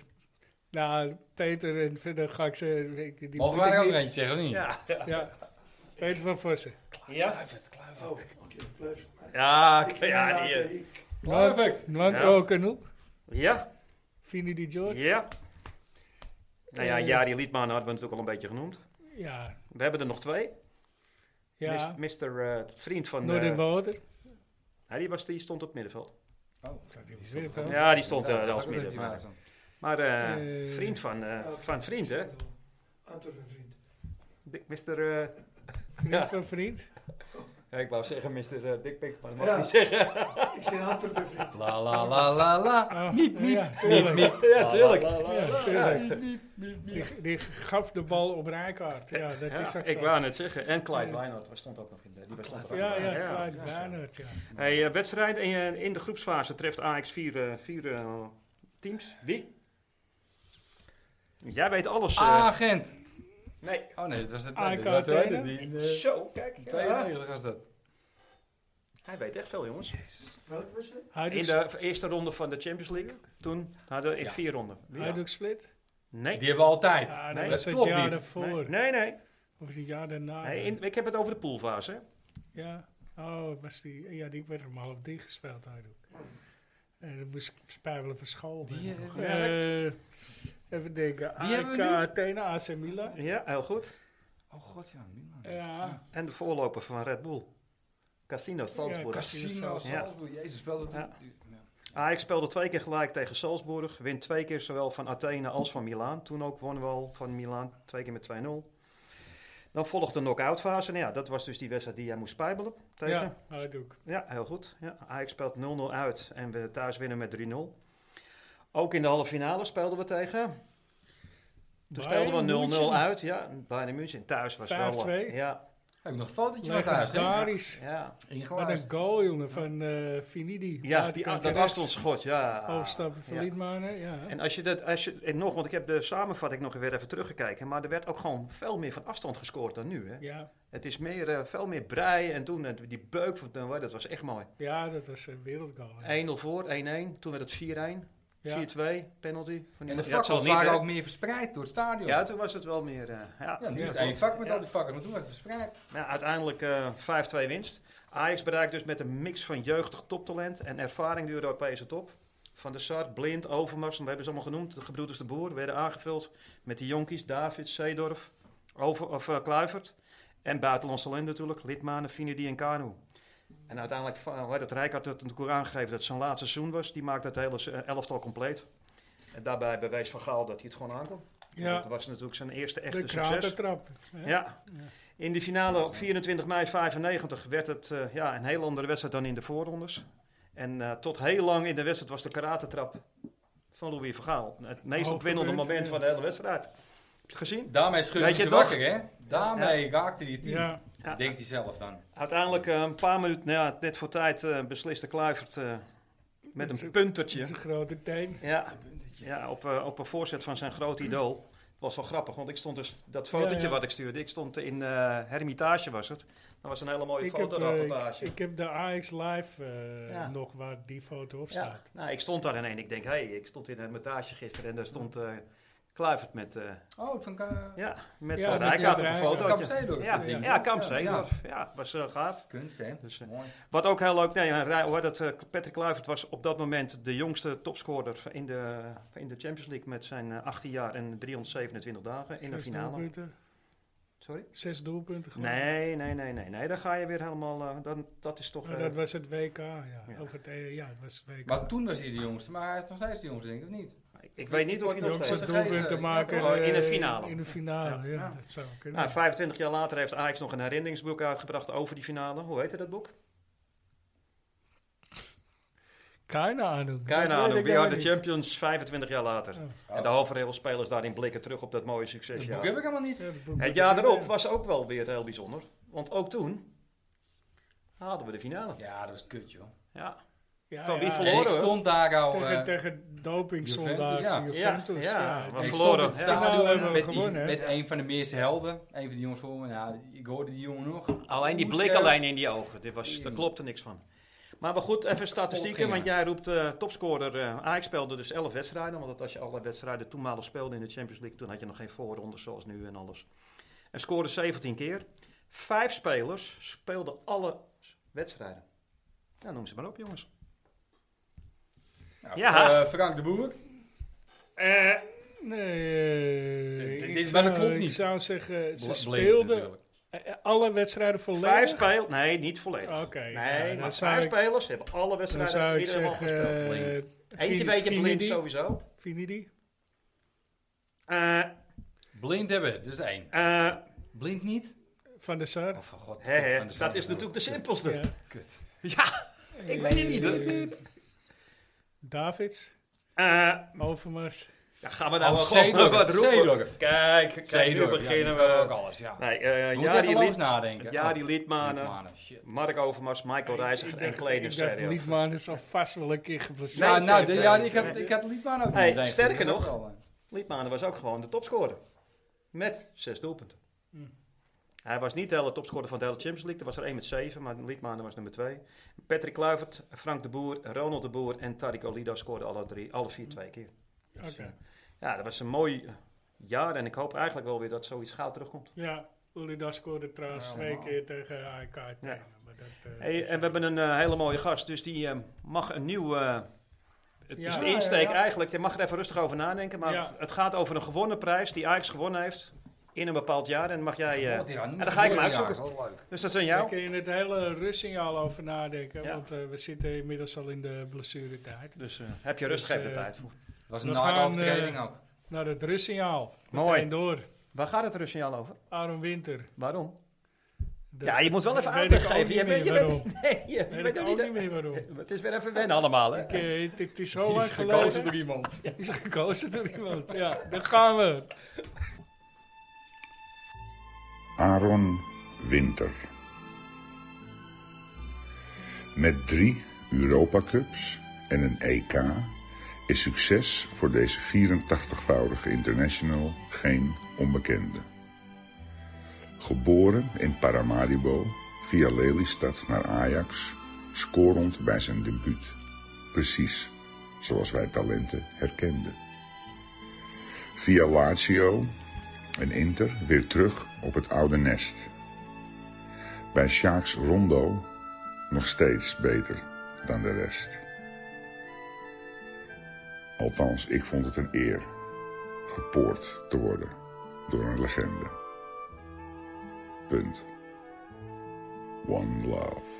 Speaker 1: Nou, Peter en verder ga ik ze... ik- Die
Speaker 3: Mogen
Speaker 1: moet
Speaker 3: wij
Speaker 1: ik
Speaker 3: er ook
Speaker 1: niet-
Speaker 3: eentje zeggen, of niet?
Speaker 2: Ja.
Speaker 1: Ja. Peter van Vossen.
Speaker 2: Ja,
Speaker 4: Oh, oké, blijf het maar.
Speaker 2: ja,
Speaker 4: Ik
Speaker 2: oké,
Speaker 4: ken
Speaker 2: ja,
Speaker 4: later,
Speaker 2: die, eh,
Speaker 4: ik-
Speaker 3: Perfect.
Speaker 1: Nwanko
Speaker 2: Ja.
Speaker 1: Kanoep.
Speaker 2: ja,
Speaker 1: Vini Di George.
Speaker 2: ja. Nou ja,
Speaker 1: Eh.
Speaker 2: Jari Liedman hadden we natuurlijk al een beetje genoemd.
Speaker 1: Ja.
Speaker 2: We hebben er nog twee.
Speaker 1: Ja.
Speaker 2: Mister, vriend van...
Speaker 1: Noorden
Speaker 2: eh
Speaker 1: Wouter.
Speaker 2: ja, die, was, die stond op het middenveld.
Speaker 3: Oh,
Speaker 1: Dat
Speaker 3: die
Speaker 1: is
Speaker 3: stond
Speaker 1: weer
Speaker 3: gewoon-
Speaker 1: wel.
Speaker 2: Ja, die stond
Speaker 3: Ja,
Speaker 2: eh,
Speaker 3: dat
Speaker 2: als
Speaker 3: was ook een
Speaker 2: middenveld.
Speaker 3: beetje
Speaker 2: Maar eh,
Speaker 1: Eh.
Speaker 2: vriend van, eh,
Speaker 4: Ja, oké.
Speaker 2: van vriend, hè?
Speaker 4: Antwoord mijn vriend.
Speaker 2: Mister... eh,
Speaker 1: Vriend
Speaker 2: Ja.
Speaker 1: van vriend.
Speaker 7: Ja, ik wou zeggen Mr. eh, Big Pick, maar dat mag
Speaker 4: Ja.
Speaker 7: ik niet zeggen.
Speaker 4: Ik zit hard op mijn vriend.
Speaker 3: La la la la la.
Speaker 1: Ah,
Speaker 3: Miep, miep,
Speaker 1: [laughs] ja,
Speaker 3: miep,
Speaker 1: tuurlijk.
Speaker 3: miep.
Speaker 7: Ja, tuurlijk.
Speaker 1: Ja, tuurlijk. Die, die gaf de bal op Rijkaard. Ja, dat is
Speaker 2: Ja,
Speaker 1: echt
Speaker 2: ik
Speaker 1: zo.
Speaker 2: wou net zeggen. En
Speaker 1: Ja.
Speaker 2: Clyde
Speaker 7: Feyenoord was- stond ook nog in de... Die was stond er ook
Speaker 1: Ja,
Speaker 7: nog bij.
Speaker 1: ja,
Speaker 2: Ja,
Speaker 1: Clyde
Speaker 2: ja,
Speaker 1: Barnard, ja.
Speaker 2: Hey, eh, wedstrijd in, eh, in de groepsfase treft Ajax vier, eh, vier eh, teams. Wie? Jij weet alles. eh.
Speaker 3: Agent.
Speaker 7: Nee.
Speaker 3: Oh nee, dat was het.
Speaker 1: Ah,
Speaker 3: nee,
Speaker 1: ik
Speaker 3: dat was
Speaker 1: kan het
Speaker 3: het-
Speaker 1: weten.
Speaker 3: die- die-
Speaker 7: Zo, kijk. ja.
Speaker 3: 92 was dat.
Speaker 2: Hij weet echt veel, jongens.
Speaker 4: Welk was het?
Speaker 1: Hajduk
Speaker 2: In de eerste ronde van de Champions League, toen hadden we in
Speaker 3: Ja.
Speaker 2: vier ronden. Wie?
Speaker 1: Hajduk Split?
Speaker 2: Nee.
Speaker 3: Die hebben we altijd.
Speaker 1: Ja, dat
Speaker 2: nee,
Speaker 1: was
Speaker 3: dat
Speaker 1: het
Speaker 3: klopt
Speaker 1: jaar
Speaker 3: niet.
Speaker 1: daarvoor.
Speaker 2: Nee, nee.
Speaker 1: Of het jaar daarna.
Speaker 2: Nee, in- ik heb het over de poolfase. hè.
Speaker 1: Ja. Oh, het was die, ja, die werd om half drie gespeeld, Hajduk. En dan moest ik spijbelen van school.
Speaker 3: Die,
Speaker 1: Eh,
Speaker 3: eh,
Speaker 1: even denken.
Speaker 3: Die hebben
Speaker 1: AEK
Speaker 3: we nu?
Speaker 1: Athena, AC Milan.
Speaker 2: Ja, heel goed.
Speaker 3: Oh god, ja. Milan.
Speaker 1: Ja,
Speaker 2: En de voorloper van Red Bull. Casino Salzburg.
Speaker 1: Ja,
Speaker 3: Casino,
Speaker 2: Ja.
Speaker 3: Salzburg. Jezus, speelde toen.
Speaker 2: Ja.
Speaker 3: Ja.
Speaker 2: Ajax speelde twee keer gelijk tegen Salzburg. Wint twee keer zowel van Athene als van Milaan. Toen ook wonnen we al van Milaan. Twee keer met 2-0. Dan volgt de knock-out fase. Nou ja, dat was dus die wedstrijd die jij moest spijbelen tegen.
Speaker 1: ja Hajduk.
Speaker 2: Ja, heel goed. Ja, Ajax speelt 0-0 uit en we thuis winnen met 3-0. Ook in de halve finale speelden we tegen. Toen
Speaker 1: Bayern
Speaker 2: speelden we 0-0
Speaker 1: München.
Speaker 2: uit. Ja, Bayern München. Thuis was wel... eh,
Speaker 1: 5-2.
Speaker 2: Ja,
Speaker 3: Heb ik nog een fotootje van thuis, hè?
Speaker 1: Legendarisch.
Speaker 2: ja.
Speaker 1: Wat
Speaker 3: Ingelaarst.
Speaker 1: een goal, jongen, van eh Finidi.
Speaker 2: ja die, dat was ons schot. Ja.
Speaker 1: Overstappen van
Speaker 2: Ja.
Speaker 1: Liedmanen, ja.
Speaker 2: En als je dat, als je, en nog, want ik heb de samenvatting nog weer even teruggekeken, maar er werd ook gewoon veel meer van afstand gescoord dan nu. Hè?
Speaker 1: Ja,
Speaker 2: Het is meer, eh, veel meer brei en toen, eh, die beuk van Ten Waai, dat was echt mooi.
Speaker 1: ja, dat was een wereldgoal.
Speaker 2: 1-0 voor, 1-1, toen werd het 4-1,
Speaker 1: Ja.
Speaker 2: 4-2, penalty. Van die-
Speaker 3: En de
Speaker 2: Ja, het zal
Speaker 3: fakkels
Speaker 2: niet,
Speaker 3: waren
Speaker 2: hè?
Speaker 3: ook meer verspreid door het stadion.
Speaker 2: Ja, toen was het wel meer, eh, ja.
Speaker 3: Ja, nu is het
Speaker 1: Ja,
Speaker 3: één vak met
Speaker 2: Ja.
Speaker 3: al die vakken, maar toen was het verspreid.
Speaker 2: Nou, uiteindelijk eh, 5-2 winst. Ajax bereikt dus met een mix van jeugdig toptalent en ervaring de Europese top. Van de Sar, Blind, Overmars, we hebben ze allemaal genoemd. De gebroeders de Boer werden aangevuld met de jonkies David, Seedorf, Over, of, eh, Kluivert. En buitenlands talent natuurlijk, Lidmanen, Finidi en Kanu. En uiteindelijk, va- hoe heet het Rijk had het natuurlijk aangegeven dat het zijn laatste seizoen was. Die maakte het hele se- eh, elftal compleet. En daarbij bewijs van Gaal dat hij het gewoon aankon.
Speaker 1: Ja.
Speaker 2: Dat was natuurlijk zijn eerste
Speaker 1: De
Speaker 2: echte succes.
Speaker 1: kratertrap. hè?
Speaker 2: Ja. In de finale op 24 mei 95 werd het eh, ja, een heel andere wedstrijd dan in de voorrondes. En eh, tot heel lang in de wedstrijd was de karatentrap van Louis Vergaal. Het meest opwindende
Speaker 1: Hoogtepunt,
Speaker 2: moment
Speaker 1: ja.
Speaker 2: van de hele wedstrijd. Heb je het gezien?
Speaker 3: Daarmee schudde
Speaker 2: Weet
Speaker 3: hij
Speaker 2: je
Speaker 3: ze
Speaker 2: het nog?
Speaker 3: wakker, hè? Daarmee raakte hij het team.
Speaker 1: Ja,
Speaker 2: Ja.
Speaker 3: Denkt hij zelf dan.
Speaker 2: Uiteindelijk, eh, een paar minuten nou ja, net voor tijd, eh, besliste Kluivert eh, met
Speaker 1: Met
Speaker 2: een
Speaker 1: zijn-
Speaker 2: puntertje.
Speaker 1: dat is een grote teen.
Speaker 2: Ja, ja op, eh, op een voorzet van zijn groot idool. Het was wel grappig, want ik stond dus... Dat fotootje
Speaker 1: Ja, ja.
Speaker 2: wat ik stuurde, ik stond in eh Hermitage was het. Dat was een hele mooie
Speaker 1: Ik heb, eh,
Speaker 2: fotorapportage.
Speaker 1: ik, ik heb de AX Live eh,
Speaker 2: Ja.
Speaker 1: nog waar die foto op
Speaker 2: Ja,
Speaker 1: staat.
Speaker 2: nou, ik stond daar en ik denk, hé, hey, ik stond in een montage gisteren en daar stond eh Kluivert met, eh
Speaker 3: Oh, van Ka-
Speaker 2: ja, met
Speaker 1: Ja,
Speaker 2: ja,
Speaker 1: met
Speaker 2: Rijkaard op
Speaker 1: die
Speaker 2: een
Speaker 1: Rijkaard.
Speaker 2: fotootje.
Speaker 3: Kamp-Zeedorf,
Speaker 2: Ja,
Speaker 3: dat
Speaker 2: ja,
Speaker 3: ding.
Speaker 2: ja, Kamp
Speaker 3: Ja.
Speaker 2: Zeedorf. Ja, was eh, gaaf.
Speaker 3: Kunst, hè?
Speaker 2: Dus, eh,
Speaker 3: Mooi.
Speaker 2: Wat ook heel leuk, nee, Rij- hoe heet dat, eh, Patrick Kluivert was op dat moment de jongste topscorer in de, in de Champions League met zijn eh, 18 jaar en 327 dagen in de
Speaker 1: Zes
Speaker 2: finale.
Speaker 1: doelpunten.
Speaker 2: Sorry?
Speaker 1: Zes doelpunten gewoon.
Speaker 2: Nee, nee, nee, nee, nee, daar ga je weer helemaal, eh, dan, dat is toch...
Speaker 1: Maar
Speaker 2: eh,
Speaker 1: dat was het WK, ja.
Speaker 2: Ja.
Speaker 1: Over het, eh, ja, het was het WK.
Speaker 3: Maar toen was hij de jongste, maar hij is nog steeds de jongste, denk ik, of niet?
Speaker 2: ik, ik weet niet of je
Speaker 1: de
Speaker 2: nog
Speaker 1: jongste
Speaker 3: Jongste-
Speaker 2: steeds...
Speaker 3: Portugees,
Speaker 1: doelpunten
Speaker 3: eh,
Speaker 1: maken.
Speaker 2: ja, in de
Speaker 1: eh,
Speaker 2: finale.
Speaker 1: In de finale, ja.
Speaker 3: Ja.
Speaker 1: Dat zou kunnen.
Speaker 2: Nou, 25 jaar later heeft Ajax nog een herinneringsboek uitgebracht over die finale. Hoe heette dat boek?
Speaker 1: Keine ahnung.
Speaker 2: Keine
Speaker 1: Dat weet
Speaker 2: ahnung.
Speaker 1: ik
Speaker 2: We are
Speaker 1: helemaal
Speaker 2: the
Speaker 1: niet.
Speaker 2: champions 25 jaar later.
Speaker 1: Oh.
Speaker 2: En de halve spelers daarin blikken terug op dat mooie
Speaker 3: Dat
Speaker 2: succesjaar.
Speaker 3: boek heb ik helemaal niet.
Speaker 1: Ja, dat boek-
Speaker 2: Het jaar erop was ook wel weer heel bijzonder. Want ook toen hadden we de finale.
Speaker 3: Ja, dat is kut, joh.
Speaker 2: Ja,
Speaker 1: Ja,
Speaker 2: van wie
Speaker 1: ja.
Speaker 2: verloren?
Speaker 3: En ik
Speaker 2: hoor.
Speaker 3: stond daar al...
Speaker 1: Tegen,
Speaker 3: eh,
Speaker 1: tegen dopingzondaars,
Speaker 3: Juventus, ja.
Speaker 1: Juventus.
Speaker 2: Ja, ja,
Speaker 1: die-
Speaker 2: was
Speaker 3: ik
Speaker 2: verloren.
Speaker 3: stond in het
Speaker 1: Ja.
Speaker 3: stadion
Speaker 1: Finale hebben we nou
Speaker 3: eh, met, die-
Speaker 1: gewonnen, hè?
Speaker 3: met een van de meeste helden. Een van die jongens voor me. Nou, ik hoorde die jongen nog.
Speaker 2: alleen Oh, die
Speaker 3: Hoe
Speaker 2: blik
Speaker 3: scherp.
Speaker 2: alleen in die ogen. Dit was, daar klopte niks van. Maar, maar goed, even statistieken.
Speaker 3: ging
Speaker 2: Want
Speaker 3: hij.
Speaker 2: jij roept eh, topscorer. eh Ajax speelde dus 11 wedstrijden. Want als je alle wedstrijden toenmalig speelde in de Champions League... toen had je nog geen voorrondes zoals nu en alles. En scoorde 17 keer. Vijf spelers speelden alle wedstrijden. Ja, noem ze maar op, jongens.
Speaker 3: Nou,
Speaker 2: Ja.
Speaker 3: eh, Frank de Boer.
Speaker 1: Eh, nee.
Speaker 3: Dit- dit
Speaker 1: ik
Speaker 3: is- maar dat
Speaker 1: zou-
Speaker 3: klopt niet.
Speaker 1: Ik zou zeggen, ze
Speaker 3: Bleek
Speaker 1: speelden
Speaker 3: natuurlijk.
Speaker 1: eh, alle wedstrijden
Speaker 2: Vijf
Speaker 1: volledig.
Speaker 2: spelers? Nee, niet volledig.
Speaker 1: Oké.
Speaker 2: Nee,
Speaker 1: ja,
Speaker 2: maar
Speaker 1: dan
Speaker 2: vijf
Speaker 1: zou ik,
Speaker 2: spelers hebben alle
Speaker 1: dan zou
Speaker 2: wedstrijden
Speaker 1: ik
Speaker 2: iedereen
Speaker 1: zeggen...
Speaker 2: gespeeld.
Speaker 1: eh,
Speaker 2: Eentje
Speaker 1: Fini-
Speaker 2: een beetje blind
Speaker 1: Finidi.
Speaker 2: sowieso.
Speaker 1: Finidi.
Speaker 2: Eh,
Speaker 1: Eh,
Speaker 3: Blind hebben, dat is één.
Speaker 2: eh,
Speaker 3: Blind niet?
Speaker 1: Van de Sar.
Speaker 3: Oh, van god.
Speaker 2: Hè,
Speaker 3: kut,
Speaker 2: hè,
Speaker 3: van de
Speaker 2: dat
Speaker 3: zaak.
Speaker 2: is natuurlijk de simpelste.
Speaker 1: Ja.
Speaker 2: Ja,
Speaker 3: Kut.
Speaker 2: ik weet het niet. hoor.
Speaker 1: Eh, Davids,
Speaker 2: Eh,
Speaker 1: Overmars.
Speaker 2: ja, gaan we nou
Speaker 1: Oh,
Speaker 3: Nou,
Speaker 2: wel gewoon [laughs] wat roepen?
Speaker 3: Zeedorf.
Speaker 2: Kijk, kijk, nu
Speaker 3: Zeedorf.
Speaker 2: beginnen
Speaker 3: ook
Speaker 2: we.
Speaker 3: alles, ja.
Speaker 2: Nee, eh,
Speaker 3: We moeten
Speaker 2: ja,
Speaker 3: even
Speaker 2: die
Speaker 3: langs
Speaker 2: lied,
Speaker 3: nadenken.
Speaker 2: ja,
Speaker 3: Oh,
Speaker 2: die Liedmanen.
Speaker 3: Liedmanen, shit.
Speaker 2: Mark Overmars, Michael Reiziger en
Speaker 1: Ik dacht,
Speaker 2: Kledingstereo.
Speaker 1: Liedman is al vast wel een keer geblesseerd.
Speaker 3: Nou, nou,
Speaker 2: nee,
Speaker 3: de- ja,
Speaker 2: nee,
Speaker 3: ik had,
Speaker 2: nee.
Speaker 3: ik had Liedmanen ook
Speaker 2: Hey,
Speaker 3: niet eens.
Speaker 2: sterker
Speaker 3: Dat is
Speaker 2: nog,
Speaker 3: ook wel, eh,
Speaker 2: Liedmanen was ook gewoon de topscorer. Met zes doelpunten.
Speaker 1: Hm.
Speaker 2: Hij was niet de hele topscorer van de hele Champions League. Er was er één met zeven, maar Liedmanen was nummer twee. Patrick Kluivert, Frank de Boer, Ronald de Boer en Tariq Olido scoorden alle, drie, alle
Speaker 1: Hm.
Speaker 2: vier twee keer. Dus,
Speaker 1: Oké.
Speaker 2: eh, ja, dat was een mooi eh, jaar. En ik hoop eigenlijk wel weer dat zoiets gauw terugkomt.
Speaker 1: Ja, Ulida scoorde trouwens
Speaker 3: Ja,
Speaker 1: twee
Speaker 3: helemaal.
Speaker 1: keer tegen AEK. Athene,
Speaker 2: Ja.
Speaker 1: maar dat, eh,
Speaker 2: Hey,
Speaker 1: is-
Speaker 2: en we hebben een eh, hele mooie gast, dus die eh, mag een nieuw... eh, het
Speaker 1: Ja.
Speaker 2: is de
Speaker 1: Ja,
Speaker 2: insteek
Speaker 1: ja, ja.
Speaker 2: eigenlijk, je mag er even rustig over nadenken. Maar
Speaker 1: Ja.
Speaker 2: het gaat over een gewonnen prijs die Ajax gewonnen heeft in een bepaald jaar. En dan mag jij... eh,
Speaker 3: god, ja,
Speaker 2: en dan ga ik hem
Speaker 3: ja,
Speaker 2: uitzoeken.
Speaker 3: dat is wel leuk.
Speaker 2: Dus dat is aan
Speaker 1: Daar
Speaker 2: jou.
Speaker 1: kun je het hele rustsignaal over nadenken.
Speaker 2: Ja.
Speaker 1: Want eh, we zitten inmiddels al in de blessuretijd.
Speaker 2: Dus eh, heb je rust,
Speaker 1: Dus,
Speaker 2: geef de
Speaker 1: eh,
Speaker 2: tijd voor.
Speaker 3: Het was een
Speaker 1: We gaan,
Speaker 3: nare overtreding
Speaker 1: eh,
Speaker 3: ook.
Speaker 1: Naar het rustsignaal.
Speaker 2: Mooi.
Speaker 1: Meteen door.
Speaker 2: Waar gaat het rustsignaal over?
Speaker 1: Aaron Winter.
Speaker 2: Waarom?
Speaker 1: Dat
Speaker 2: ja, je moet wel even
Speaker 1: weet
Speaker 2: aandacht
Speaker 1: ik ook
Speaker 2: geven. Je
Speaker 1: niet
Speaker 2: bent, je
Speaker 1: meer
Speaker 2: bent, [laughs] nee, je, je
Speaker 1: Weet
Speaker 2: bent
Speaker 1: ik
Speaker 2: ook
Speaker 1: ook
Speaker 2: niet...
Speaker 1: niet meer waarom.
Speaker 2: Het is weer even wennen allemaal, hè?
Speaker 1: Ik, eh, het, het is zo lang
Speaker 3: gekozen
Speaker 1: geleden.
Speaker 3: door iemand.
Speaker 1: Die Is gekozen door iemand. Ja, daar gaan we.
Speaker 8: Aaron Winter. Met drie Europa Cups en een EK is succes voor deze 84-voudige international geen onbekende. Geboren in Paramaribo via Lelystad naar Ajax, scorend bij zijn debuut. Precies zoals wij talenten herkenden. Via Lazio en Inter weer terug op het oude nest. Bij Sjaaks Rondo nog steeds beter dan de rest. Althans, ik vond het een eer gepoord te worden door een legende. Punt. One love.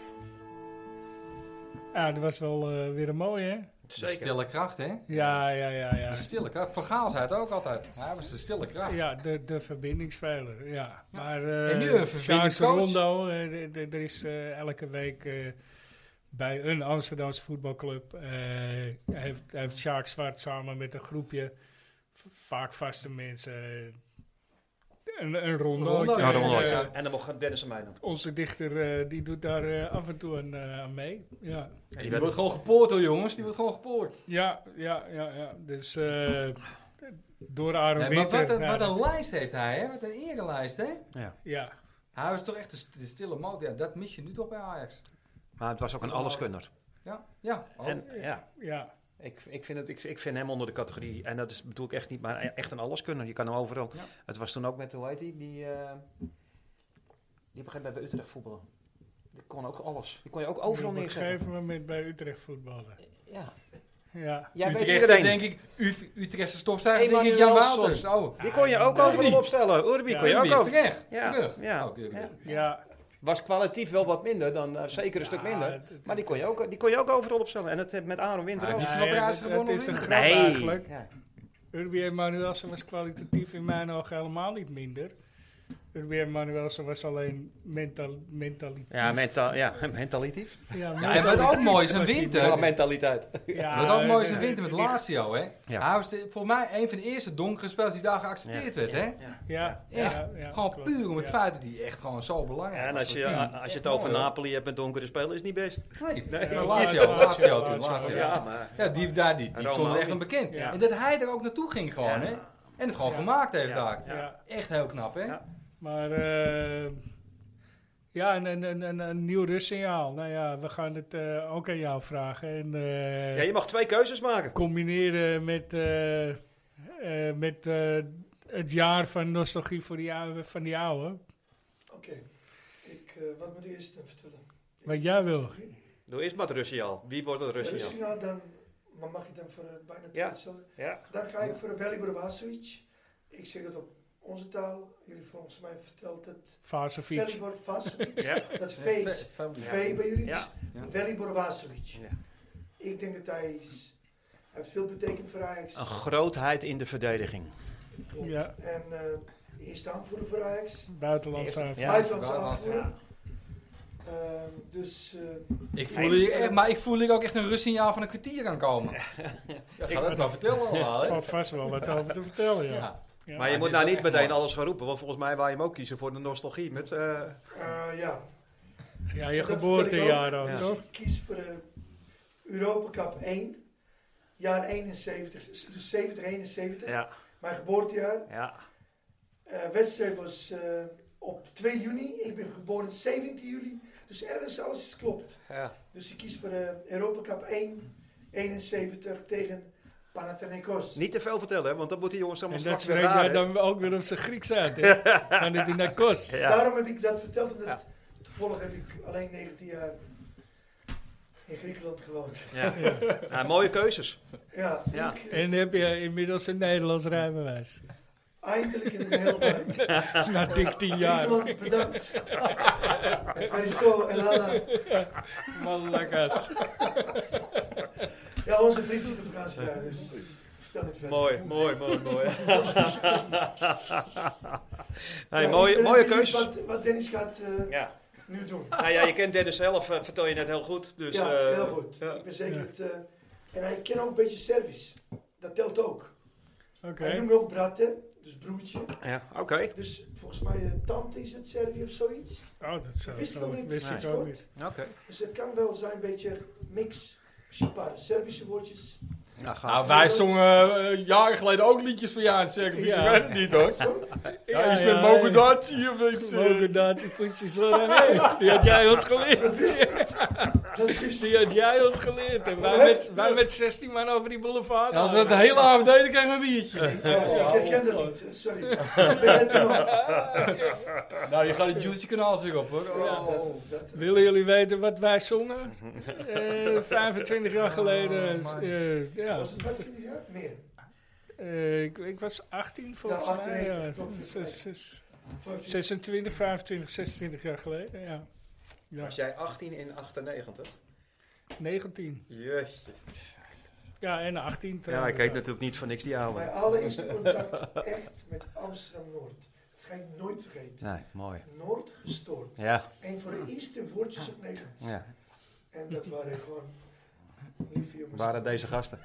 Speaker 1: Ja, dat was wel eh, weer een mooie, hè?
Speaker 3: De stille kracht, hè?
Speaker 1: Ja, ja, ja, ja.
Speaker 3: De stille kracht. Van Gaal zei het ook altijd. Hij was de stille kracht.
Speaker 1: Ja, de, de verbindingsspeler, ja. Maar
Speaker 3: En nu een
Speaker 1: eh Sjaak
Speaker 3: verbindingscoach.
Speaker 1: Rondo, eh, d- d- er is eh, elke week eh, bij een Amsterdamse voetbalclub... eh, heeft, heeft Sjaak Zwart samen met een groepje, v- vaak vaste mensen... eh, een, een rondootje.
Speaker 3: Rondootje. Een
Speaker 1: Eh,
Speaker 3: rondootje.
Speaker 2: En dan mocht Dennis en mij doen.
Speaker 1: onze dichter eh, die doet daar eh, af en toe aan, eh, aan mee. Ja,
Speaker 3: Hey, die wordt gewoon gepoord hoor, jongens. Die wordt gewoon gepoord.
Speaker 1: ja, ja, ja. ja. Dus eh, door Aaron
Speaker 3: Nee, maar
Speaker 1: Winter.
Speaker 3: wat een,
Speaker 1: nou,
Speaker 3: wat een
Speaker 1: dat-
Speaker 3: lijst heeft hij, hè? Wat een erelijst, hè?
Speaker 1: Ja,
Speaker 3: Hij was toch echt de st- de stille moot. Ja, dat mis je nu toch bij Ajax.
Speaker 2: Maar het was ook een alleskunner.
Speaker 3: Ja, ja. Oh.
Speaker 2: En ja,
Speaker 1: ja.
Speaker 2: ik, ik, vind het, ik, ik vind hem onder de categorie, en dat is, bedoel ik echt niet, maar e-, echt een alleskunner. Je kan hem overal.
Speaker 3: Ja.
Speaker 2: Het was toen ook met, hoe heet die, die, eh, die begint bij bij Utrecht voetballen. Die kon ook alles. Die kon je ook overal
Speaker 1: op een
Speaker 2: neerzetten.
Speaker 1: gegeven moment bij Utrecht voetballen.
Speaker 2: Ja.
Speaker 1: Ja.
Speaker 2: Jij weet
Speaker 3: Utrecht,
Speaker 2: iedereen.
Speaker 3: denk ik, Uf- Utrechtse stofzuiger, denk ik, Jan
Speaker 2: Emanuel
Speaker 3: Wouters. Oh,
Speaker 2: Die kon je ook overal
Speaker 3: Urbi.
Speaker 2: opstellen. Urbi
Speaker 1: Ja,
Speaker 2: kon je
Speaker 3: Urbi
Speaker 2: ook
Speaker 3: is
Speaker 2: over-
Speaker 3: terecht.
Speaker 2: Ja,
Speaker 3: Terug.
Speaker 2: ja.
Speaker 3: Oh, Urbi.
Speaker 2: Ja.
Speaker 1: Ja.
Speaker 2: Was kwalitatief wel wat minder, dan, eh, zeker een
Speaker 1: Ja,
Speaker 2: stuk minder.
Speaker 1: het- het-
Speaker 2: Maar die kon, je ook, die kon je ook overal opstellen. En dat heeft met Aaron Winter
Speaker 3: Ah,
Speaker 2: ook.
Speaker 3: die-
Speaker 1: Ja,
Speaker 3: wel
Speaker 1: ja,
Speaker 3: prijs
Speaker 1: dat-
Speaker 3: gewonnen,
Speaker 1: dat is een
Speaker 3: Winter.
Speaker 1: grap eigenlijk.
Speaker 2: Ja.
Speaker 1: Urbi Emanuelsen was kwalitatief in mijn ogen helemaal niet minder. Urbi Emanuelsen was alleen mental, mentaliteit.
Speaker 2: Ja, menta ja, [laughs] mentalitief.
Speaker 3: Ja, en wat ook mooi is,
Speaker 2: Ja,
Speaker 3: een winter.
Speaker 2: mentaliteit.
Speaker 1: Ja,
Speaker 3: Wat ook mooi is,
Speaker 1: eh,
Speaker 3: een winter met
Speaker 1: die-
Speaker 3: Lazio, hè?
Speaker 2: Ja.
Speaker 3: Hij was de- volgens mij een van de eerste donkere spelers die daar geaccepteerd werd, hè?
Speaker 1: Ja,
Speaker 3: Echt.
Speaker 1: ja, ja,
Speaker 3: gewoon
Speaker 1: klopt.
Speaker 3: puur om het
Speaker 1: Ja.
Speaker 3: feit dat hij echt gewoon zo belangrijk
Speaker 2: en
Speaker 3: was
Speaker 2: als
Speaker 3: voor
Speaker 2: je, eh,
Speaker 3: het team.
Speaker 2: als je
Speaker 3: Echt
Speaker 2: het over
Speaker 3: mooi, hoor.
Speaker 2: Napoli hebt met donkere spelers, is niet best.
Speaker 3: Nee,
Speaker 2: Nee.
Speaker 3: maar
Speaker 1: Ja,
Speaker 3: Lazio,
Speaker 1: Lazio,
Speaker 3: Lazio toen,
Speaker 1: Lazio.
Speaker 3: Lazio.
Speaker 2: Ja, maar...
Speaker 3: Ja, die, daar, die,
Speaker 2: En
Speaker 3: die
Speaker 2: Roma
Speaker 3: stond
Speaker 2: ook
Speaker 3: echt
Speaker 2: niet.
Speaker 3: onbekend.
Speaker 2: Ja.
Speaker 3: En dat hij er ook naartoe ging gewoon,
Speaker 2: Ja.
Speaker 3: hè? En het gewoon
Speaker 1: Ja.
Speaker 3: gemaakt heeft
Speaker 2: Ja.
Speaker 3: daar.
Speaker 1: Ja.
Speaker 3: Echt heel knap, hè?
Speaker 2: Ja.
Speaker 1: Maar eh, ja, een, een, een, een, een nieuw rustsignaal. Nou ja, we gaan het eh, ook aan jou vragen. En, eh,
Speaker 2: Ja, je mag twee keuzes maken.
Speaker 1: combineren met, eh, eh, met eh, het jaar van nostalgie voor die oude, van die oude.
Speaker 4: Oké, Ik, eh, wat moet ik eerst eh, vertellen?
Speaker 1: Wat jij wil.
Speaker 2: Doe eerst maar het Russiaal. Wie wordt het Russiaal?
Speaker 4: Russia, dus, dan maar mag ik dan voor eh, bijna
Speaker 2: Ja.
Speaker 4: twee zeggen?
Speaker 2: Ja.
Speaker 4: Dan ga ik voor Veli Bravasovic. Ik zeg het op onze taal. Jullie volgens mij vertelt het
Speaker 1: Vasefiets.
Speaker 4: Velibor
Speaker 2: [laughs]
Speaker 4: Vasovic.
Speaker 2: Ja.
Speaker 4: Dat V
Speaker 3: Ve-
Speaker 4: is
Speaker 3: ve-
Speaker 4: V bij jullie.
Speaker 2: Ja.
Speaker 4: Dus Velibor Vasovic.
Speaker 2: Ja.
Speaker 4: Ik denk dat hij is. Hij heeft veel betekend voor Ajax.
Speaker 2: Een grootheid in de verdediging.
Speaker 4: Klopt.
Speaker 1: Ja.
Speaker 4: En eh, Eerste aanvoerder voor Ajax.
Speaker 1: Buitenlandse
Speaker 2: Eerste-
Speaker 1: aanval.
Speaker 2: Ja,
Speaker 4: Buitenlandse
Speaker 3: buitenlands,
Speaker 4: aanvoerder.
Speaker 2: ja.
Speaker 4: Ehm, dus eh,
Speaker 3: Ik voel hier, echt- maar ik voel hier ook echt een rustsignaal van een kwartier aankomen. Ja, ga dat maar vertellen allemaal, hè?
Speaker 1: valt vast wel wat over te vertellen, ja.
Speaker 3: Ja.
Speaker 1: Ja.
Speaker 9: Maar je
Speaker 3: die
Speaker 9: moet
Speaker 3: is
Speaker 9: nou
Speaker 3: wel
Speaker 9: niet
Speaker 3: echt
Speaker 9: meteen
Speaker 3: mooi.
Speaker 9: alles gaan roepen, want volgens mij wou je hem ook kiezen voor de nostalgie. Met, eh,
Speaker 4: eh, ja,
Speaker 1: Ja, je
Speaker 4: Dat
Speaker 1: geboortejaar
Speaker 4: vertel
Speaker 1: ook,
Speaker 4: ik ook.
Speaker 1: toch?
Speaker 4: Dus ik kies voor de Europa Cup 1, jaar 71, dus 70, 71.
Speaker 9: ja,
Speaker 4: Mijn geboortejaar.
Speaker 9: ja.
Speaker 4: Eh, wedstrijd was eh, op 2 juni. Ik ben geboren 17 juli. Dus ergens alles is klopt.
Speaker 9: ja.
Speaker 4: Dus ik kies voor de Europa Cup 1, 71 tegen Panathinaikos.
Speaker 9: Niet te veel vertellen, hè, want dan moeten die jongens allemaal
Speaker 1: En dat
Speaker 9: straks weer
Speaker 1: spreekt jij
Speaker 9: raden.
Speaker 1: dan ook weer op zijn Grieks uit,
Speaker 4: [laughs]
Speaker 1: hè? Van dit in dat kost.
Speaker 9: Ja.
Speaker 4: Dus Daarom heb ik dat verteld, omdat
Speaker 9: Ja.
Speaker 4: toevallig heb ik alleen 19 jaar in Griekenland gewoond.
Speaker 9: Ja. Nou, mooie keuzes.
Speaker 4: Ja,
Speaker 9: Ja.
Speaker 4: ik-
Speaker 1: En heb je inmiddels een Nederlands
Speaker 4: [laughs]
Speaker 1: rijbewijs.
Speaker 4: eindelijk in een
Speaker 3: [laughs]
Speaker 4: heel blij.
Speaker 1: Na dik tien jaar.
Speaker 4: Nederland, bedankt. [laughs] Evaristo, Elana.
Speaker 1: Malakas.
Speaker 4: Ja, onze vriend zit op vakantie daar, dus vertel het verder.
Speaker 9: Mooi, mooi, mooi, mooi.
Speaker 4: Ja,
Speaker 9: hey,
Speaker 4: ik
Speaker 9: mooie, mooie
Speaker 4: ben benieuwd
Speaker 9: keuzes.
Speaker 4: Wat, wat Dennis gaat eh,
Speaker 9: Ja.
Speaker 4: nu doen.
Speaker 9: Nou ja, je kent Dennis zelf, eh, vertel je net heel goed. Dus,
Speaker 4: ja,
Speaker 9: eh,
Speaker 4: heel goed.
Speaker 9: ja.
Speaker 4: Ik ben zeker het... eh, en hij kent ook een beetje service. Dat telt ook. Hij
Speaker 1: Oké.
Speaker 4: noemt ook Bratte, dus broertje.
Speaker 9: Ja, oké.
Speaker 4: Dus volgens mij eh, tante is het Servië of zoiets.
Speaker 1: Oh, dat zou
Speaker 4: Wist ik ook niet.
Speaker 1: Wist ik
Speaker 4: Nee.
Speaker 1: ook niet.
Speaker 9: Oké.
Speaker 4: Dus het kan wel zijn een beetje mix. Misschien een paar Servische woordjes.
Speaker 9: Nou, gaaf.
Speaker 3: Nou, wij zongen eh, jaren geleden ook liedjes van jou in het circus.
Speaker 1: Ja.
Speaker 3: Ik weet het niet hoor.
Speaker 4: Zo?
Speaker 3: Ja, iets
Speaker 1: ja,
Speaker 3: met Mogendachi of iets. eh.
Speaker 1: Mogendatie, poetsie, zo dan heen. Die had jij ons geleerd.
Speaker 4: Dat is
Speaker 1: Die had jij ons geleerd. En wij met, wij met 16 man over die boulevard.
Speaker 3: En als we dat de hele avond deden, kregen we een biertje.
Speaker 4: Ja, ik herken dat niet. eh, Sorry. Ik ben net te lang.
Speaker 3: Nou, je gaat het Juicy kanaal weer op hoor.
Speaker 4: Ja,
Speaker 3: Oh.
Speaker 4: dat- dat-
Speaker 1: Willen jullie weten wat wij zongen? Eh, 25 jaar geleden.
Speaker 3: Oh, man.
Speaker 1: eh, ja.
Speaker 4: Was het wat jullie ja? Meer.
Speaker 1: Eh, ik, ik was 18 volgens
Speaker 4: Ja,
Speaker 1: mij.
Speaker 4: 18,
Speaker 1: Ja.
Speaker 4: klopt.
Speaker 1: Zes- zes-
Speaker 4: Vijftien.
Speaker 1: 26, 25, 26 jaar geleden. Ja. ja.
Speaker 9: Was jij 18 in 98?
Speaker 1: 19.
Speaker 9: Jeetje.
Speaker 1: Ja, en 18
Speaker 9: Ja, ik
Speaker 1: trouwens.
Speaker 9: heet natuurlijk niet voor niks die oude.
Speaker 4: Mijn allereerste contact echt met Amsterdam-Noord. Dat ga ik nooit vergeten.
Speaker 9: Nee, mooi.
Speaker 4: Noord gestoord.
Speaker 9: Ja,
Speaker 4: Een van de eerste woordjes op Nederlands.
Speaker 9: ja.
Speaker 4: En dat waren gewoon lieve jongens.
Speaker 9: Waren deze gasten?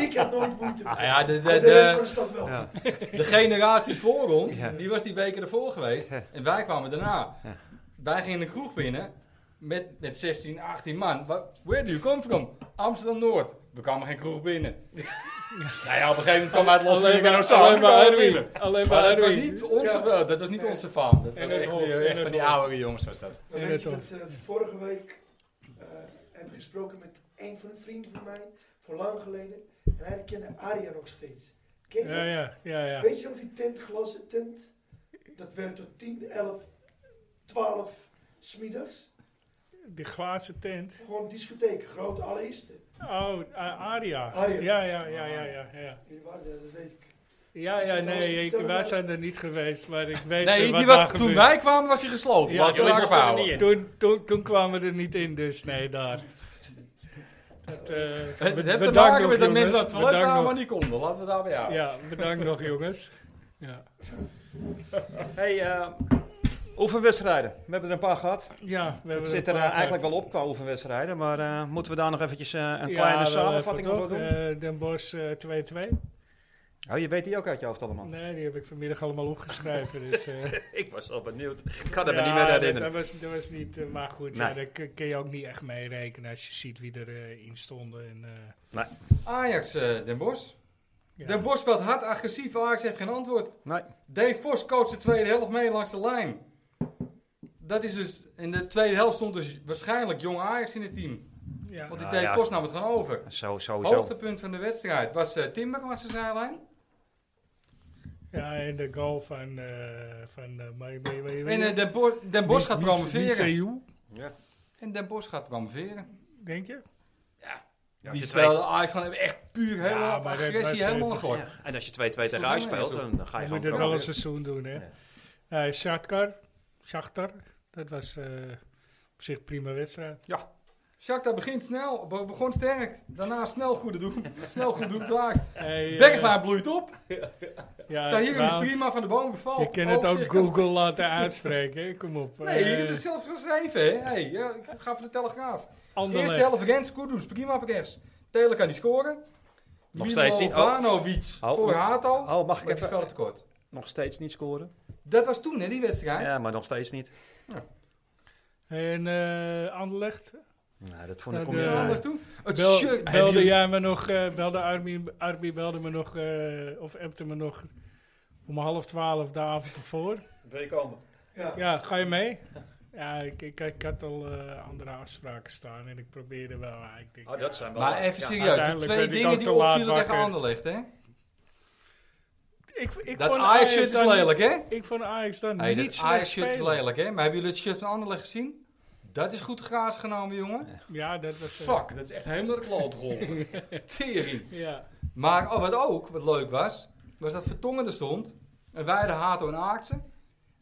Speaker 4: Ik had nooit moeite. met
Speaker 3: Ah ja, de- de-
Speaker 4: Maar de rest
Speaker 3: de-
Speaker 4: van de stad wel.
Speaker 9: Ja.
Speaker 3: De generatie voor ons,
Speaker 9: Ja.
Speaker 3: die was die weken ervoor geweest.
Speaker 9: Ja.
Speaker 3: En wij kwamen daarna.
Speaker 9: Ja.
Speaker 3: Wij gingen de kroeg binnen met, met 16, 18 man. Wa- Where do you come from? Amsterdam Noord. We kwamen geen kroeg
Speaker 9: [laughs]
Speaker 3: binnen. nou ja, op een gegeven moment kwam uit Las
Speaker 1: Alleen
Speaker 3: Vegas
Speaker 1: maar,
Speaker 3: of zo.
Speaker 1: alleen
Speaker 3: we kwamen
Speaker 1: maar
Speaker 3: er binnen.
Speaker 1: Erwin. Alleen
Speaker 3: Maar
Speaker 1: maar
Speaker 3: dat was
Speaker 1: Erwin.
Speaker 3: niet onze,
Speaker 4: Ja.
Speaker 3: dat was niet onze faam. Dat
Speaker 1: En
Speaker 3: was
Speaker 1: het
Speaker 3: echt,
Speaker 1: Hof,
Speaker 3: weer-
Speaker 1: en
Speaker 3: echt van die
Speaker 1: het Hof.
Speaker 3: oude jongens was dat.
Speaker 4: Maar
Speaker 1: Ja,
Speaker 4: weet je
Speaker 1: dat
Speaker 4: dat eh, vorige week eh, heb ik gesproken met een van de vrienden van mij, voor lang geleden. En hij kende Aria nog steeds. Ken je
Speaker 1: Ja,
Speaker 4: dat?
Speaker 1: ja, ja. ja.
Speaker 4: Weet je nog die tent, glazen tent? Dat werd tot 10, 11, 12 smiddags.
Speaker 1: Die glazen tent.
Speaker 4: Gewoon discotheek, groot allereerste.
Speaker 1: Oh, eh, Aria.
Speaker 4: Aria.
Speaker 1: Ja, ja, ja, ja, ja. ja.
Speaker 4: Jullie waren er, dat weet ik.
Speaker 1: Ja, ja,
Speaker 4: Vertel eens,
Speaker 1: nee, ik,
Speaker 4: vertel
Speaker 1: wij
Speaker 4: maar.
Speaker 1: zijn er niet geweest, maar ik weet eh,
Speaker 3: Nee,
Speaker 1: wat
Speaker 3: die
Speaker 1: daar
Speaker 3: was, toen
Speaker 1: gebeurt.
Speaker 3: wij kwamen was hij gesloten.
Speaker 1: Ja,
Speaker 3: Laat je
Speaker 1: toen
Speaker 3: daar
Speaker 1: was
Speaker 3: verhouden.
Speaker 9: niet in.
Speaker 1: Toen, toen, toen kwamen we er niet in, dus nee, daar. Dat, eh,
Speaker 3: Het, het
Speaker 1: be-
Speaker 3: heeft te
Speaker 1: bedankt
Speaker 3: maken
Speaker 1: nog,
Speaker 3: met dat mensen naar
Speaker 1: jongens.
Speaker 3: het toilet
Speaker 1: Bedankt
Speaker 3: waren,
Speaker 1: nog.
Speaker 3: maar niet konden. Laten we daar bij jou.
Speaker 1: Ja, bedankt nog, jongens. Ja,
Speaker 9: Hey, eh, oefenwedstrijden. We hebben er een paar gehad.
Speaker 1: ja we
Speaker 9: We
Speaker 1: hebben
Speaker 9: zitten er eh, eigenlijk wel op qua oefenwedstrijden. Maar eh, moeten we daar nog eventjes eh, een kleine samenvatting op doen?
Speaker 1: Den Bosch eh, 2-2.
Speaker 9: oh, je weet die ook uit je hoofd allemaal.
Speaker 1: eh. Nee, die heb ik vanmiddag allemaal opgeschreven. Dus, eh
Speaker 9: Ik was al benieuwd. Ik kan het me
Speaker 1: ja,
Speaker 9: niet meer
Speaker 1: dat-
Speaker 9: herinneren.
Speaker 1: Dat was, dat was niet, eh, maar goed,
Speaker 9: Nee.
Speaker 1: ja, daar kun- kun je ook niet echt mee rekenen als je ziet wie erin in stonden. En, eh,
Speaker 3: Ajax eh, Den Bosch.
Speaker 1: ja.
Speaker 3: Den Bosch speelt hard agressief, Ajax heeft geen antwoord.
Speaker 9: Nee.
Speaker 3: Dave Vos coacht de tweede helft mee langs de lijn. Dat is dus, in de tweede helft stond dus waarschijnlijk jong Ajax in het team.
Speaker 1: Ja.
Speaker 3: Want die
Speaker 9: Ah,
Speaker 3: Dave
Speaker 9: ja.
Speaker 3: Vos nam het gewoon over.
Speaker 9: Zo, sowieso.
Speaker 3: Hoogtepunt van de wedstrijd was eh, Timber langs de zijlijn.
Speaker 1: Ja, en de goal van... eh van eh, maar- maar- maar-
Speaker 3: En eh, Den, Bo- Den Bosch gaat
Speaker 1: Mis- Mis-
Speaker 3: promoveren.
Speaker 1: Miseu,
Speaker 9: Ja.
Speaker 3: En Den Bosch gaat promoveren.
Speaker 1: denk je?
Speaker 9: Ja,
Speaker 3: Die
Speaker 9: als je twee-
Speaker 3: speelde Ajax gewoon echt puur helemaal
Speaker 1: maar
Speaker 3: op
Speaker 1: dat was,
Speaker 3: agressie,
Speaker 1: eh,
Speaker 3: helemaal een
Speaker 9: Ja, En als je 2-2 tegen Ajax speelt, dan, dan ga je gewoon
Speaker 1: Je moet het wel een
Speaker 9: proberen.
Speaker 1: seizoen doen, hè?
Speaker 9: Ja.
Speaker 1: Eh, Shakhtar, Shakhtar, dat was eh, op zich prima wedstrijd.
Speaker 9: Ja.
Speaker 3: Shakhtar begint snel, be- begon sterk. Daarna snel goede
Speaker 1: [laughs]
Speaker 3: doel. snel goed doeltaak.
Speaker 1: Hey, eh,
Speaker 3: Bergwijn bloeit op.
Speaker 1: ja,
Speaker 3: Tahiri Nou, is
Speaker 1: Eh, Wout,
Speaker 3: prima van de boom bevalt.
Speaker 1: Je kan het
Speaker 3: Overzicht
Speaker 1: ook
Speaker 3: kan-
Speaker 1: Google laten [laughs] uitspreken. hè. Kom op.
Speaker 3: Nee,
Speaker 1: Eh,
Speaker 3: jullie hebben het zelf geschreven, hè? Hey, ja, ik ga voor de Telegraaf.
Speaker 1: Anderlecht.
Speaker 3: Eerste helft Rens, Kudus, prima op rechts. Telen kan niet scoren.
Speaker 2: Nog
Speaker 3: Milo
Speaker 2: steeds niet. Oh.
Speaker 3: Vanovic
Speaker 2: Oh,
Speaker 3: voor
Speaker 2: oh.
Speaker 3: Hato.
Speaker 2: Oh, mag ik
Speaker 3: maar die
Speaker 2: even...
Speaker 3: speelde tekort.
Speaker 2: Nog steeds niet scoren?
Speaker 3: Dat was toen, hè, die wedstrijd.
Speaker 2: Ja, maar nog steeds niet.
Speaker 1: En eh Anderlecht.
Speaker 2: Nou, dat vond
Speaker 1: Ja,
Speaker 2: ik
Speaker 1: de-
Speaker 3: Zo,
Speaker 2: onjuist.
Speaker 3: naartoe. Het
Speaker 1: Bel-
Speaker 3: shirt- hebben
Speaker 1: belde
Speaker 3: jullie-
Speaker 1: jij me nog, eh, belde Arby, Arby belde me nog, eh, of appte me nog om half twaalf de avond ervoor.
Speaker 2: Wil je komen?
Speaker 4: Ja.
Speaker 1: Ja, ga je mee? Ja, ik, ik, ik had al eh, andere afspraken staan en ik probeerde wel. maar ik denk,
Speaker 2: Oh, dat zijn wel...
Speaker 3: Maar even
Speaker 2: Ja.
Speaker 3: serieus, de
Speaker 1: uiteindelijk
Speaker 3: twee
Speaker 1: werd ik
Speaker 3: dingen
Speaker 1: ook
Speaker 3: die
Speaker 1: te laat
Speaker 3: opvielen tegen
Speaker 1: wakker.
Speaker 3: Anderlecht, hè?
Speaker 1: ik, ik
Speaker 3: Dat
Speaker 1: vond
Speaker 3: Ajax-shirt is
Speaker 1: dan-
Speaker 3: lelijk, hè?
Speaker 1: Ik vond Ajax dan
Speaker 3: Hey,
Speaker 1: niet
Speaker 3: dat
Speaker 1: slecht
Speaker 3: Ajax-shirt is
Speaker 1: spelen.
Speaker 3: lelijk, hè? Maar hebben jullie het shirt van Anderlecht gezien? Dat is goed graas genomen, jongen.
Speaker 1: Ja, dat was... eh,
Speaker 3: Fuck, dat is echt helemaal de
Speaker 1: [laughs]
Speaker 3: kloot geholpen. Tering.
Speaker 1: Ja.
Speaker 3: Maar oh, wat ook, wat leuk was, was dat Vertongen er stond. En wij de Hato en Aartsen.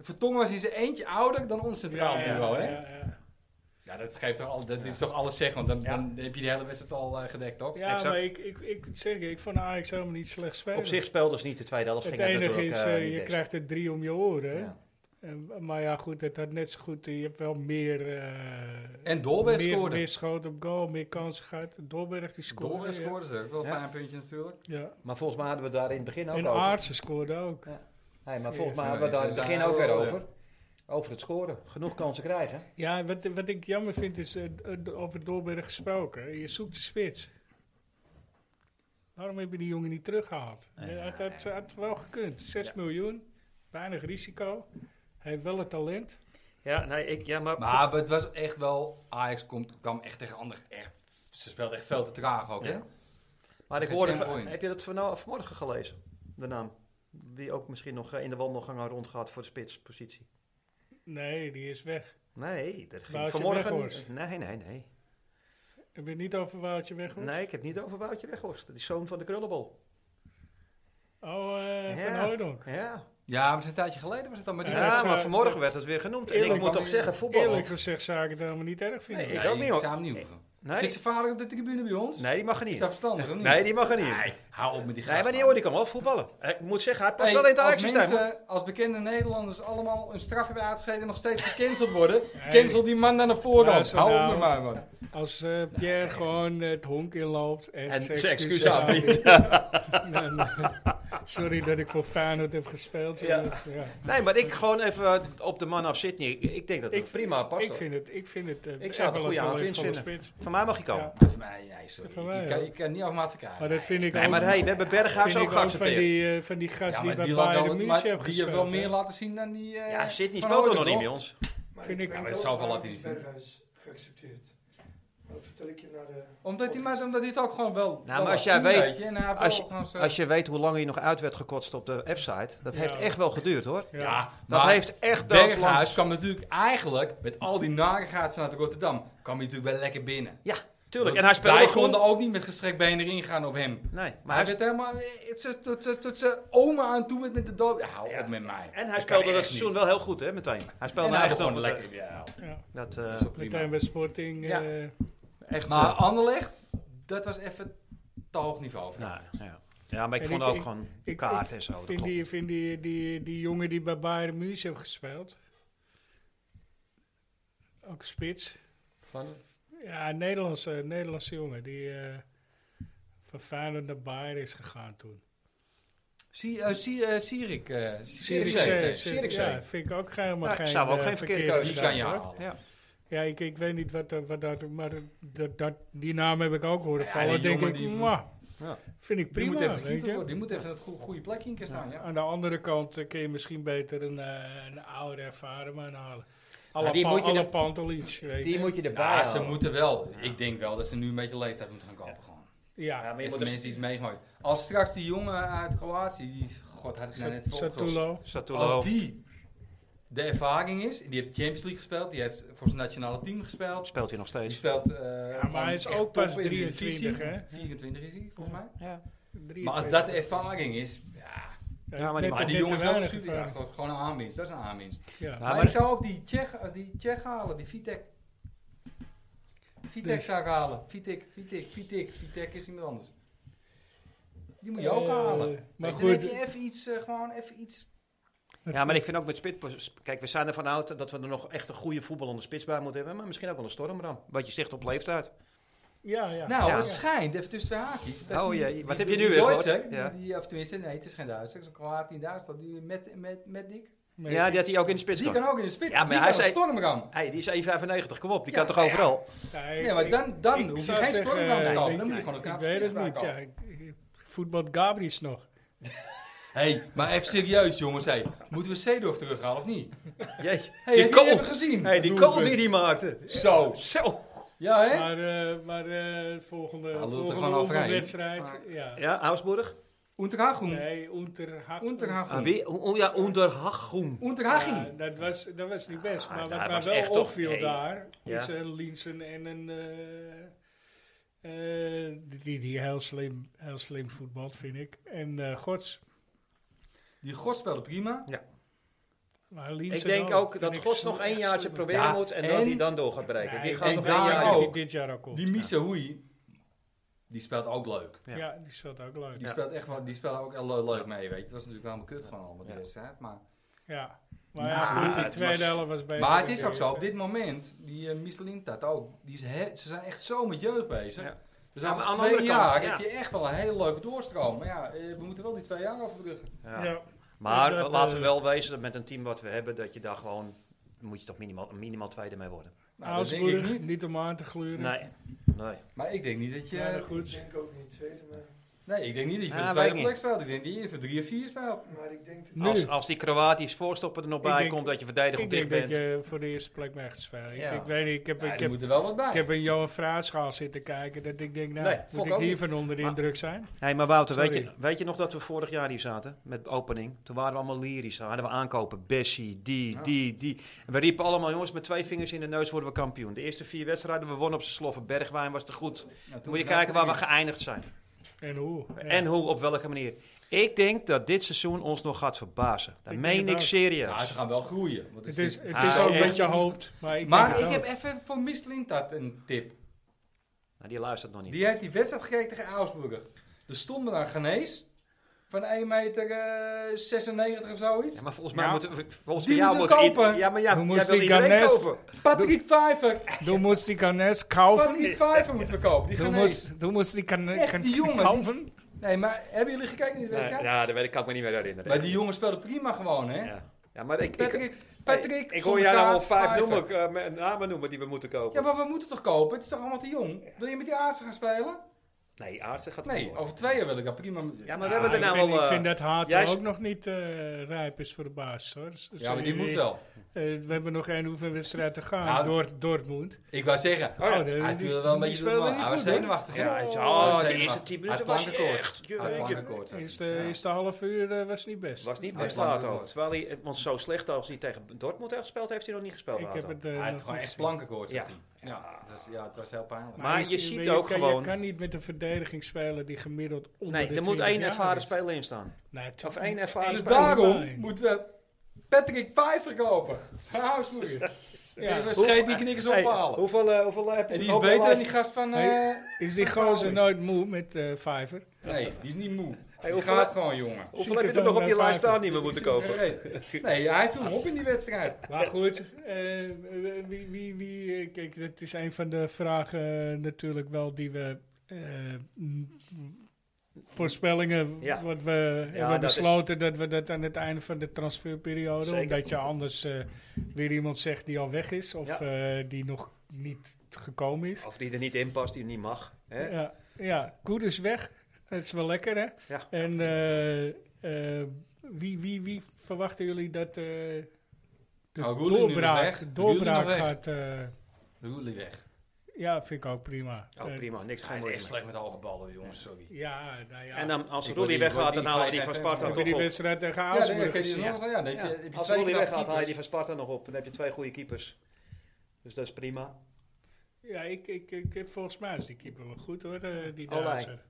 Speaker 3: Vertongen was in zijn eentje ouder dan ons centraal
Speaker 1: ja,
Speaker 3: bureau,
Speaker 1: ja,
Speaker 3: hè?
Speaker 1: ja, ja.
Speaker 3: Ja, dat geeft toch al, dat is toch alles zeggen, want dan, dan heb je de hele wedstrijd al eh, gedekt, toch?
Speaker 1: Ja,
Speaker 2: Exact.
Speaker 1: maar ik, ik, ik zeg je, ik vond Ajax helemaal niet slecht spelen.
Speaker 2: Op zich speelden ze niet de tweede helft.
Speaker 1: Het
Speaker 2: ging dat
Speaker 1: enige
Speaker 2: natuurlijk,
Speaker 1: is,
Speaker 2: eh,
Speaker 1: eh,
Speaker 2: niet
Speaker 1: je
Speaker 2: best.
Speaker 1: krijgt er drie om je oren. hè.
Speaker 2: Ja.
Speaker 1: En- maar ja, goed, het had net zo goed. eh, Je hebt wel meer. eh,
Speaker 3: En Dolberg
Speaker 1: meer,
Speaker 3: scoorde.
Speaker 1: meer schoten op goal, meer kansen gehad. Dolberg die scoorde.
Speaker 3: Dolberg
Speaker 1: ja.
Speaker 3: scoorde ze ook, wel een
Speaker 2: Ja.
Speaker 3: pijn puntje natuurlijk.
Speaker 1: Ja.
Speaker 2: Maar volgens mij hadden we daar in het
Speaker 3: Nou,
Speaker 2: begin ook
Speaker 1: En
Speaker 2: over.
Speaker 1: Aartsen scoorde ook.
Speaker 2: Hey, maar
Speaker 1: Serieus,
Speaker 2: volgens mij
Speaker 3: ja,
Speaker 2: hadden we daar in het
Speaker 3: ze
Speaker 2: begin
Speaker 3: zijn
Speaker 2: ook weer
Speaker 3: ouder.
Speaker 2: over. Over het scoren. Genoeg kansen krijgen.
Speaker 1: Ja, wat, wat ik jammer vind is, eh, d- over Dolberg gesproken, je zoekt de spits. Waarom heb je die jongen niet teruggehaald?
Speaker 2: Nee,
Speaker 1: Eh, Het had, had wel gekund. 6
Speaker 2: Ja.
Speaker 1: miljoen, weinig risico. Hij heeft wel het talent.
Speaker 2: Ja, nee, ik, ja maar...
Speaker 3: Maar het was echt wel, Ajax komt, kwam echt tegen Anderlecht, echt, ze speelden echt veel te traag ook, hè?
Speaker 2: Ja. Maar ik
Speaker 3: Geen
Speaker 2: hoorde,
Speaker 3: tempo in.
Speaker 2: heb je dat van, vanmorgen gelezen? De naam. Die ook misschien nog eh, in de wandelgang had rondgaat voor de spitspositie.
Speaker 1: Nee, die is weg.
Speaker 2: Nee, dat
Speaker 1: Woutje
Speaker 2: ging vanmorgen...
Speaker 1: Weghorst.
Speaker 2: Nee, nee, nee.
Speaker 1: Heb je het niet over Woutje weg?
Speaker 2: Nee, ik heb het niet over Woutje Weghorst. Die zoon van de krullenbol.
Speaker 1: Oh, eh,
Speaker 2: Ja.
Speaker 1: Van Hooydonk.
Speaker 2: Ja,
Speaker 3: Ja, maar het is een tijdje geleden was het dan, maar die
Speaker 1: Ja,
Speaker 2: ja,
Speaker 1: dat
Speaker 3: wedstrijd-
Speaker 2: maar
Speaker 1: zou-
Speaker 2: vanmorgen werd het weer genoemd. En ik
Speaker 1: Eerlijk-
Speaker 2: moet toch zeggen, voetbal...
Speaker 1: Eerlijk gezegd zou ik het helemaal niet erg vinden.
Speaker 2: Nee, ik ook niet, hoor.
Speaker 3: Ik zou hem niet hoeven. Zit
Speaker 2: Nee,
Speaker 3: zijn vader op de tribune bij ons?
Speaker 2: nee, die mag er
Speaker 3: Is
Speaker 2: niet.
Speaker 3: dat verstandig, of niet?
Speaker 2: Nee, die mag er niet.
Speaker 3: Nee, hou op met die
Speaker 2: Nee, maar die
Speaker 3: gast,
Speaker 2: hoor, die kan wel voetballen. Eh, Ik moet zeggen, hij past
Speaker 3: Hey,
Speaker 2: wel in het
Speaker 3: als,
Speaker 2: Ajax-systeem. hoor.
Speaker 3: mensen, als bekende Nederlanders allemaal een straf hebben uitgeschreven en nog steeds gecanceld worden,
Speaker 1: Hey.
Speaker 3: cancel die man naar de voorkant.
Speaker 1: Luister
Speaker 3: Hou op
Speaker 1: nou.
Speaker 3: met mij, man.
Speaker 1: Als eh, Pierre gewoon eh, het honk inloopt en,
Speaker 2: Nou, En
Speaker 1: zijn
Speaker 2: zijn
Speaker 1: excuses
Speaker 2: excuses aanbiedt.
Speaker 1: [laughs] aanbiedt. Nee, nee. Sorry dat ik voor Feyenoord heb gespeeld.
Speaker 2: Ja.
Speaker 1: jongens. Ja.
Speaker 2: Nee, maar ik gewoon even eh, op de man af Sydney. Ik, ik denk dat het
Speaker 1: Ik-
Speaker 2: prima past.
Speaker 1: Ik
Speaker 2: hoor.
Speaker 1: vind het, ik vind het. eh,
Speaker 2: zou
Speaker 1: echt
Speaker 2: het een
Speaker 1: wel
Speaker 2: goede
Speaker 1: talentvolle
Speaker 2: aanwinst vinden.
Speaker 1: spits.
Speaker 2: Van mij mag je komen.
Speaker 1: Ja.
Speaker 3: Voor mij, nee, sorry.
Speaker 1: Van mij,
Speaker 3: ik, kan,
Speaker 1: hoor.
Speaker 3: ik kan niet over maat verkrijgen.
Speaker 1: Maar dat vind ik
Speaker 2: Nee,
Speaker 1: ook.
Speaker 2: maar hey, we hebben Berghuis
Speaker 1: vind
Speaker 2: ook
Speaker 1: ik ook van
Speaker 2: geaccepteerd.
Speaker 1: die, eh, van die gast
Speaker 3: dus
Speaker 1: die bij
Speaker 3: laat
Speaker 1: Bayern
Speaker 3: wel-
Speaker 1: München
Speaker 3: maar
Speaker 1: heeft
Speaker 3: die
Speaker 1: gespeeld.
Speaker 3: wel meer
Speaker 1: hè.
Speaker 3: laten zien dan die... eh,
Speaker 2: Ja, Sydney
Speaker 3: Van
Speaker 2: speelt toch nog
Speaker 3: Hooydonk,
Speaker 2: niet met ons.
Speaker 4: Maar
Speaker 1: Vind ik-
Speaker 4: weet
Speaker 3: Ja, maar
Speaker 4: ook,
Speaker 3: zoveel
Speaker 4: waarom
Speaker 3: laat hij
Speaker 4: is
Speaker 3: niet zien.
Speaker 4: Berghuis geaccepteerd. Maar Dat vertel ik je naar de...
Speaker 3: Omdat hij maar- omdat hij het ook gewoon wel... wel
Speaker 2: Nou, maar
Speaker 3: laat
Speaker 2: als jij
Speaker 3: zien,
Speaker 2: weet-
Speaker 3: weet je, en hij heeft eh,
Speaker 2: als
Speaker 3: wel
Speaker 2: je-
Speaker 3: gewoon zo-
Speaker 2: Als je weet hoe lang hij nog uit werd gekotst op de F-site. Dat
Speaker 1: Ja.
Speaker 2: heeft echt wel geduurd hoor.
Speaker 1: Ja.
Speaker 3: Ja,
Speaker 2: Dat
Speaker 3: maar-
Speaker 2: heeft echt doodslang.
Speaker 3: Berghuis kwam natuurlijk eigenlijk, met al die narigheid vanuit Rotterdam, kwam hij natuurlijk wel lekker binnen.
Speaker 2: Ja, tuurlijk. En hij
Speaker 3: Wij
Speaker 2: speelde
Speaker 3: konden
Speaker 2: gewoon.
Speaker 3: ook niet met gestrekt been erin gaan op hem.
Speaker 2: Nee,
Speaker 3: Maar
Speaker 2: maar hij
Speaker 3: hij werd helemaal eh, tot- tot- tot- tot zijn oma aan toe met, met de dood. Ja, hou
Speaker 2: Ja.
Speaker 3: op met
Speaker 2: en
Speaker 3: mij.
Speaker 2: hij
Speaker 3: Dat
Speaker 2: speelde
Speaker 3: kan
Speaker 2: dat
Speaker 3: echt
Speaker 2: seizoen
Speaker 3: niet.
Speaker 2: wel heel goed hè, meteen. Hij speelde
Speaker 3: En hij
Speaker 2: echt
Speaker 3: begon
Speaker 2: wel
Speaker 3: lekker. Ja,
Speaker 1: Ja.
Speaker 2: Dat, eh,
Speaker 3: dat is toch prima.
Speaker 1: Meteen bij Sporting.
Speaker 2: Ja.
Speaker 1: eh,
Speaker 2: echt,
Speaker 3: Maar
Speaker 2: eh,
Speaker 3: Anderlecht, dat was even te hoog niveau. voor hem.
Speaker 2: nou, ja. ja, maar ik
Speaker 1: En
Speaker 2: vond
Speaker 1: ik-
Speaker 2: ook
Speaker 1: ik-
Speaker 2: gewoon
Speaker 1: ik-
Speaker 2: kaart en zo. dat
Speaker 1: vind
Speaker 2: klopt.
Speaker 1: die, vind die, die, die jongen die bij Bayern München heeft gespeeld. Ook spits.
Speaker 3: Van,
Speaker 1: Ja, een Nederlandse, een Nederlandse jongen die eh, van Feyenoord naar Bayern is gegaan toen.
Speaker 3: zie, eh zie, eh Sierik. eh, Sierik
Speaker 1: Sirikzee,
Speaker 3: Zee,
Speaker 1: Sirikzee.
Speaker 3: Sirikzee.
Speaker 1: Ja, vind ik ook helemaal
Speaker 2: Ja,
Speaker 1: geen,
Speaker 2: zou ook
Speaker 1: eh,
Speaker 2: geen verkeerde
Speaker 3: Die kan je
Speaker 1: hoor.
Speaker 3: halen.
Speaker 2: Ja.
Speaker 1: Ja, ik, ik weet niet wat, dat- wat dat... Maar dat, dat, die naam heb ik ook horen
Speaker 3: Ja,
Speaker 1: vallen.
Speaker 3: die
Speaker 1: denk
Speaker 3: jongen
Speaker 1: ik,
Speaker 3: die moet-
Speaker 1: mwah,
Speaker 2: Ja.
Speaker 1: vind ik prima.
Speaker 3: die moet even
Speaker 1: weet
Speaker 3: gekieteld
Speaker 1: je.
Speaker 3: worden. Die moet even het goe- goede plekje in keer staan. Ja.
Speaker 1: Aan de andere kant eh, kun je misschien beter een, eh, een oude ervaren man halen. Alle,
Speaker 2: die
Speaker 1: pa-
Speaker 2: moet je
Speaker 1: alle
Speaker 2: dan-
Speaker 1: Panteliets, weet je.
Speaker 2: Die moet je erbij
Speaker 3: Ja, ze
Speaker 2: halen.
Speaker 3: moeten wel. Ik denk wel dat ze nu een beetje leeftijd moeten gaan kopen. Gewoon.
Speaker 1: Ja,
Speaker 2: Ja, maar je
Speaker 3: Even
Speaker 2: moet dus
Speaker 3: mensen die iets meegemaakt. Als straks die jongen uit Kroatië, die, god had ik nou net voor opgelost.
Speaker 1: Satulo.
Speaker 2: Satulo.
Speaker 3: Als die de ervaring is, en die heeft Champions League gespeeld, die heeft voor zijn nationale team gespeeld.
Speaker 2: Speelt hij nog
Speaker 3: Die
Speaker 2: steeds.
Speaker 3: speelt. eh,
Speaker 1: maar
Speaker 3: gewoon
Speaker 1: hij is
Speaker 3: echt
Speaker 1: ook pas
Speaker 3: top in de
Speaker 1: 23,
Speaker 3: divisie.
Speaker 1: hè?
Speaker 3: 24 is hij, volgens mij. Maar als
Speaker 1: 23.
Speaker 3: dat de ervaring is, ja,
Speaker 2: Ja, maar die-
Speaker 1: net-
Speaker 3: maar die
Speaker 1: net te
Speaker 3: jongen is ook
Speaker 1: weinig
Speaker 3: super. Ja,
Speaker 1: ervaring.
Speaker 3: gewoon gewoon een aanwinst, dat is een aanwinst.
Speaker 1: Ja.
Speaker 3: maar,
Speaker 2: maar-
Speaker 3: ik zou ook die Tsjech, eh, die Tsjech halen, die Vitek.
Speaker 1: Dus-
Speaker 3: Vitek zou ik halen. Vitek, Vitek, Vitek. Vitek is iemand anders. Die moet je ook halen.
Speaker 1: Eh, maar
Speaker 3: Dan heb
Speaker 1: goed,
Speaker 3: je even iets, eh, gewoon even iets.
Speaker 2: Ja, maar ik vind ook met spits... Kijk, we zijn ervan uit dat we er nog echt een goede voetballende spits bij moeten hebben. Maar misschien ook wel een stormram. Wat je zegt op leeftijd.
Speaker 1: ja, ja.
Speaker 3: Nou,
Speaker 2: Ja.
Speaker 3: het schijnt, even tussen de haakjes. dat
Speaker 2: Oh
Speaker 3: die-
Speaker 2: jee,
Speaker 3: die-
Speaker 2: wat
Speaker 3: die-
Speaker 2: heb je
Speaker 3: die
Speaker 2: nu weer gehoord?
Speaker 3: Duitser,
Speaker 2: Ja.
Speaker 3: die- Of tenminste, nee, het is geen Duitser. Zo'n Kroatië in Duitsland. Die met, met, met Dick.
Speaker 1: Maar-
Speaker 2: Ja, die had hij ook in de spits
Speaker 3: Die
Speaker 2: kan.
Speaker 3: kan ook in de spits.
Speaker 2: Ja, maar
Speaker 3: die
Speaker 2: hij
Speaker 3: kan
Speaker 2: zei-
Speaker 3: een stormram.
Speaker 2: Hey, die is 1,95. Kom op, die
Speaker 3: Ja,
Speaker 2: kan toch
Speaker 3: ja, ja.
Speaker 1: [laughs]
Speaker 2: overal?
Speaker 1: Ja, ik-
Speaker 3: Nee, maar
Speaker 1: ik-
Speaker 3: dan, dan hoef je
Speaker 1: zou
Speaker 3: geen
Speaker 1: zeggen,
Speaker 3: stormram te
Speaker 1: eh,
Speaker 3: kopen.
Speaker 1: ik-
Speaker 3: Dan moet je gewoon een
Speaker 1: Ik
Speaker 3: knappe
Speaker 1: weet het
Speaker 3: spits
Speaker 1: niet,
Speaker 3: maken.
Speaker 1: ja. Ik- ik- Voetbalt Gabriels nog.
Speaker 3: Hé, hey, maar even serieus jongens. Hey. Moeten we Seedorf terughalen of niet?
Speaker 2: Jeetje. die
Speaker 3: Hey, heb je die
Speaker 2: kool.
Speaker 3: even gezien?
Speaker 2: Hey, die
Speaker 3: Doelpunt.
Speaker 2: kool die die maakte.
Speaker 3: Zo.
Speaker 2: Zo.
Speaker 3: Ja, hè?
Speaker 1: Maar, eh maar eh, volgende,
Speaker 3: lult er gewoon
Speaker 1: volgende
Speaker 3: overheen.
Speaker 1: oefenwedstrijd. Ja.
Speaker 2: Ja, Augsburg.
Speaker 3: Unterhachung.
Speaker 1: Nee, Unterhag.
Speaker 2: Ah,
Speaker 3: Unterhachung.
Speaker 2: wie? Oh ja, Onderhachum.
Speaker 3: Unterhaching.
Speaker 1: Ja, dat, was, dat was niet best.
Speaker 2: Ah,
Speaker 1: maar
Speaker 2: daar
Speaker 1: wat mij
Speaker 2: was
Speaker 1: wel
Speaker 2: echt toch-
Speaker 1: opviel
Speaker 2: nee.
Speaker 1: daar,
Speaker 2: Ja.
Speaker 1: is een Linsen en een... eh, eh, die, die heel slim, heel slim voetbalt, vind ik. En eh Gods.
Speaker 3: Die God speelde prima.
Speaker 1: Maar
Speaker 2: Ik
Speaker 1: Linsen
Speaker 2: denk ook dat
Speaker 1: vind ik
Speaker 2: Gods nog één
Speaker 1: echt
Speaker 2: jaartje
Speaker 1: slim.
Speaker 2: proberen
Speaker 3: Ja,
Speaker 2: moet en,
Speaker 3: en-
Speaker 2: dat hij dan door gaat bereiken.
Speaker 1: Nee,
Speaker 2: die
Speaker 1: ik
Speaker 2: gaat
Speaker 1: denk
Speaker 2: nog één
Speaker 3: daar
Speaker 1: dat
Speaker 2: jaar.
Speaker 1: hij
Speaker 3: ook.
Speaker 1: dit jaar ook komt.
Speaker 3: Die Misahoui, die speelt ook leuk.
Speaker 1: ja.
Speaker 2: Ja.
Speaker 1: ja, die speelt ook leuk.
Speaker 3: Die
Speaker 1: Ja.
Speaker 3: speelt echt wel, die speelt ook heel le- leuk mee, weet je. Het was natuurlijk wel een kut gewoon allemaal de
Speaker 2: Ja.
Speaker 3: wedstrijd, maar...
Speaker 1: Maar ja, goed, die
Speaker 2: het
Speaker 1: tweede
Speaker 2: was-
Speaker 1: helft was beter.
Speaker 3: Maar
Speaker 1: dan
Speaker 3: het is
Speaker 1: de
Speaker 3: ook zo, op
Speaker 1: eerste.
Speaker 3: dit moment, die uh, dat ook, die is he- ze zijn echt zo met jeugd bezig.
Speaker 2: Ja.
Speaker 3: Dus over
Speaker 2: maar aan de
Speaker 3: twee
Speaker 2: andere
Speaker 3: jaar
Speaker 2: kant, ja.
Speaker 3: heb je echt wel een hele leuke doorstroom. Maar ja, eh, we moeten wel die twee jaar overbruggen.
Speaker 2: Ja.
Speaker 1: Ja.
Speaker 2: Maar
Speaker 1: Dus dat,
Speaker 2: laten we
Speaker 1: eh,
Speaker 2: wel wezen dat met een team wat we hebben, dat je daar gewoon, moet je toch minimaal, minimaal tweede mee worden.
Speaker 3: Nou, dat denk ik
Speaker 1: Augsburg,
Speaker 3: niet.
Speaker 1: niet. om aan te gluren.
Speaker 2: Nee. Nee.
Speaker 3: Maar ik denk niet dat je...
Speaker 1: Ja, dat
Speaker 4: Ik
Speaker 1: goed.
Speaker 4: denk ook niet tweede, maar,
Speaker 3: Nee, ik denk Ah, niet dat je voor
Speaker 2: Ja,
Speaker 3: de
Speaker 2: weet ik
Speaker 3: tweede
Speaker 2: niet.
Speaker 3: plek speelt. Ik denk dat je voor drie of vier speelt.
Speaker 4: maar ik denk dat
Speaker 1: Nu.
Speaker 2: Als, als die Kroatisch voorstopper er nog
Speaker 1: Ik
Speaker 2: bij
Speaker 1: denk-
Speaker 2: komt, dat je verdedigend
Speaker 1: Ik
Speaker 2: dicht
Speaker 1: denk dat
Speaker 2: bent.
Speaker 1: je voor de eerste plek weg gaat spelen. Ik-
Speaker 2: Ja.
Speaker 1: Ik, weet niet, ik heb,
Speaker 3: Ja,
Speaker 1: ik
Speaker 3: er
Speaker 1: heb,
Speaker 3: moet er wel wat bij.
Speaker 1: ik heb een Johan Fraatschaal zitten kijken. Dat ik denk, nou,
Speaker 2: Nee,
Speaker 3: vond
Speaker 1: moet
Speaker 3: ik
Speaker 1: ik
Speaker 3: ook
Speaker 1: hier
Speaker 3: niet.
Speaker 1: van onder de
Speaker 2: Maar-
Speaker 1: indruk zijn?
Speaker 2: Hey, maar Wouter, weet je,
Speaker 1: Sorry.
Speaker 2: weet je nog dat we vorig jaar hier zaten met opening? Toen waren we allemaal lyrisch. Toen hadden we aankopen. Bessie, die,
Speaker 3: Ja.
Speaker 2: die, die. En we riepen allemaal, jongens, met twee vingers in de neus worden we kampioen. De eerste vier wedstrijden, we wonnen op z'n sloffen. Bergwijn was te goed.
Speaker 3: Nou, toen
Speaker 2: Moet je
Speaker 3: knapte
Speaker 2: kijken waar we
Speaker 3: het niet.
Speaker 2: geëindigd zijn.
Speaker 1: En hoe? Ja.
Speaker 2: En hoe, op welke manier. Ik denk dat dit seizoen ons nog gaat verbazen. Dat
Speaker 1: Ik denk
Speaker 2: meen
Speaker 1: het
Speaker 2: ik
Speaker 1: ook.
Speaker 3: Ja,
Speaker 2: serieus.
Speaker 3: Nou, ze gaan wel groeien. Want
Speaker 1: het is, het
Speaker 2: Ah,
Speaker 1: is ook
Speaker 2: echt.
Speaker 1: wat je hoopt. Maar ik,
Speaker 3: maar
Speaker 1: denk
Speaker 3: ik
Speaker 1: het
Speaker 3: heb
Speaker 1: ook.
Speaker 3: even voor Miss Lindart een tip.
Speaker 2: Nou, die luistert nog niet.
Speaker 3: Die heeft die wedstrijd gekeken tegen Augsburger. Er stond er een Genees van 1 meter eh, 96 of zoiets.
Speaker 2: Ja, maar volgens mij
Speaker 1: Ja.
Speaker 2: moeten we, volgens
Speaker 3: Die
Speaker 2: jou
Speaker 3: moeten
Speaker 2: moet
Speaker 3: kopen.
Speaker 2: ieder- Ja, maar ja,
Speaker 1: Hoe
Speaker 2: jij
Speaker 1: moest
Speaker 2: wil
Speaker 1: die
Speaker 2: iedereen
Speaker 1: Ganes?
Speaker 2: kopen.
Speaker 3: Patrick Vijver.
Speaker 1: Du musst die Ganes kaufen.
Speaker 3: Patrick Vijver moeten we kopen. Die
Speaker 1: Du
Speaker 3: Genees.
Speaker 1: musst, du musst die
Speaker 3: Echt, die jongen,
Speaker 1: Ganes
Speaker 3: die-
Speaker 1: kaufen.
Speaker 3: Nee, maar hebben jullie gekeken in die wedstrijd?
Speaker 2: Nee, ja, dat weet ik, kan ik me niet meer herinneren.
Speaker 3: Maar die jongen speelde prima gewoon, hè?
Speaker 2: Ja, ja maar ik... ik
Speaker 3: Patrick, Patrick.
Speaker 2: Hey, ik hoor
Speaker 3: zonder
Speaker 2: jij nou al
Speaker 3: kaart,
Speaker 2: vijf
Speaker 3: Vijver.
Speaker 2: noemen, eh, me- namen noemen die we moeten kopen.
Speaker 3: Ja, maar we moeten toch kopen? Het is toch allemaal te jong? Wil je met die aardse gaan spelen?
Speaker 2: Nee, Aartsen gaat
Speaker 3: Nee,
Speaker 2: door.
Speaker 3: over twee jaar wil ik dat prima.
Speaker 2: Ja,
Speaker 3: Ja,
Speaker 2: maar we hebben er
Speaker 1: ik,
Speaker 2: nou
Speaker 1: vind,
Speaker 2: wel...
Speaker 1: ik
Speaker 2: eh,
Speaker 1: vind dat Hato
Speaker 2: jij-
Speaker 1: ook nog niet eh, rijp is voor de baas. Hoor. Dus-
Speaker 3: maar die moet wel.
Speaker 1: eh, we hebben nog één oefenwedstrijd te gaan.
Speaker 3: Nou,
Speaker 1: door Dortmund.
Speaker 3: Ik wou zeggen,
Speaker 1: ja.
Speaker 3: oh, hij
Speaker 1: Die-
Speaker 3: viel er wel een
Speaker 1: die
Speaker 3: beetje
Speaker 1: speelde
Speaker 3: door.
Speaker 1: niet
Speaker 3: Hij was
Speaker 1: goed, hoor.
Speaker 3: zenuwachtig. hè?
Speaker 2: Ja, hij zei,
Speaker 3: Hij
Speaker 2: oh,
Speaker 3: was
Speaker 2: de
Speaker 3: zenuwachtig.
Speaker 2: eerste tien
Speaker 3: Hij had
Speaker 2: minuten was
Speaker 3: lang
Speaker 2: hij
Speaker 3: tekort.
Speaker 2: echt...
Speaker 3: Hij had lang
Speaker 2: Jeetje.
Speaker 3: tekort, zei hij.
Speaker 1: Eerste,
Speaker 3: Ja.
Speaker 1: eerste half uur eh, was niet best.
Speaker 2: Was niet
Speaker 3: Hij
Speaker 2: best
Speaker 3: was lang
Speaker 2: Lato.
Speaker 3: door.
Speaker 2: Terwijl hij, want zo slecht als hij tegen Dortmund heeft gespeeld, heeft hij nog niet gespeeld.
Speaker 1: ik heb
Speaker 2: Lato.
Speaker 1: het eh,
Speaker 3: Hij had
Speaker 1: nog
Speaker 3: gewoon
Speaker 1: niet
Speaker 3: echt
Speaker 1: gezien.
Speaker 3: plankenkoord, zat
Speaker 2: Ja.
Speaker 3: hij. Ja, het was, ja, het was heel pijnlijk.
Speaker 2: Maar je ziet ook
Speaker 1: kan,
Speaker 2: gewoon-
Speaker 1: Je kan niet met een verdediging spelen die gemiddeld onder
Speaker 2: Nee,
Speaker 1: de
Speaker 2: er moet
Speaker 1: 20
Speaker 2: één
Speaker 1: jaar
Speaker 2: ervaren
Speaker 1: is.
Speaker 2: speler in staan.
Speaker 1: Nee, tu-
Speaker 2: Of één ervaren
Speaker 3: dus
Speaker 1: spijt me wel.
Speaker 3: daarom moeten we Patrick Pfeiffer kopen. Van Hausmoeier.
Speaker 1: Ja.
Speaker 3: We scheiden die knikkers
Speaker 2: Hey,
Speaker 3: ophalen.
Speaker 2: hoeveel, eh, hoeveel heb je
Speaker 3: En die
Speaker 2: nog
Speaker 3: is
Speaker 2: op de
Speaker 3: beter dan
Speaker 2: lijst?
Speaker 3: die gast van... eh,
Speaker 1: Hey. Is die gozer nooit moe met eh Vijver?
Speaker 3: Nee, die is niet moe. Die
Speaker 2: hoeveel-
Speaker 3: gaat gewoon, jongen.
Speaker 2: Hoeveel
Speaker 1: Zieke
Speaker 2: heb je er nog
Speaker 1: van,
Speaker 2: op die
Speaker 1: eh,
Speaker 2: lijst staan
Speaker 1: Vaarten.
Speaker 2: die we moeten kopen?
Speaker 3: Nee, hij viel hem op in die wedstrijd.
Speaker 1: Maar goed, eh, eh, wie, wie, wie, eh, kijk, dat is een van de vragen eh, natuurlijk wel die we... eh, m- voorspellingen
Speaker 2: Ja.
Speaker 1: wat we hebben
Speaker 2: dat
Speaker 1: besloten dat we dat aan het einde van de transferperiode
Speaker 2: Zeker.
Speaker 1: omdat je anders eh, weer iemand zegt die al weg is of
Speaker 2: Ja.
Speaker 1: eh, die nog niet gekomen is
Speaker 2: Of die er niet in past, die niet mag. Hè?
Speaker 1: Ja, ja, Koed is weg. Dat is wel lekker, hè?
Speaker 2: Ja.
Speaker 1: En eh, eh, wie, wie, wie verwachten jullie dat eh de
Speaker 3: Nou, Roelie nu nog weg.
Speaker 1: doorbraak, doorbraak
Speaker 3: Roelie nog weg.
Speaker 1: gaat... eh,
Speaker 3: Roelie weg.
Speaker 1: ja, vind ik ook prima.
Speaker 2: Oh,
Speaker 1: Eh,
Speaker 2: prima. Niks
Speaker 3: Hij
Speaker 2: geen
Speaker 3: is
Speaker 2: moeite
Speaker 3: echt
Speaker 2: meer.
Speaker 3: slecht met hoge ballen, jongens. Sorry.
Speaker 1: Ja, nou ja.
Speaker 2: En dan, als
Speaker 3: Ik wil
Speaker 2: Roelie
Speaker 3: die-
Speaker 2: weggaat, dan
Speaker 3: die
Speaker 2: halen we die van
Speaker 3: vijf even-
Speaker 2: Sparta
Speaker 1: heb je
Speaker 2: toch
Speaker 1: die
Speaker 2: op.
Speaker 1: wedstrijd tegen
Speaker 3: Ja, dan
Speaker 1: Augsburg
Speaker 3: heb je
Speaker 1: gezien?
Speaker 3: die nog eens aan. Ja, dan heb je-
Speaker 2: Ja,
Speaker 3: heb je
Speaker 2: Als
Speaker 3: twee
Speaker 2: Roelie
Speaker 3: knappe
Speaker 2: weggaat, haal je die
Speaker 3: keepers.
Speaker 2: van Sparta nog op. Dan heb je twee goede keepers. Dus dat is prima.
Speaker 1: Ja, ik, ik, ik, ik- volgens mij is die keeper wel goed, hoor, eh, die
Speaker 2: Olij.
Speaker 1: Duitser.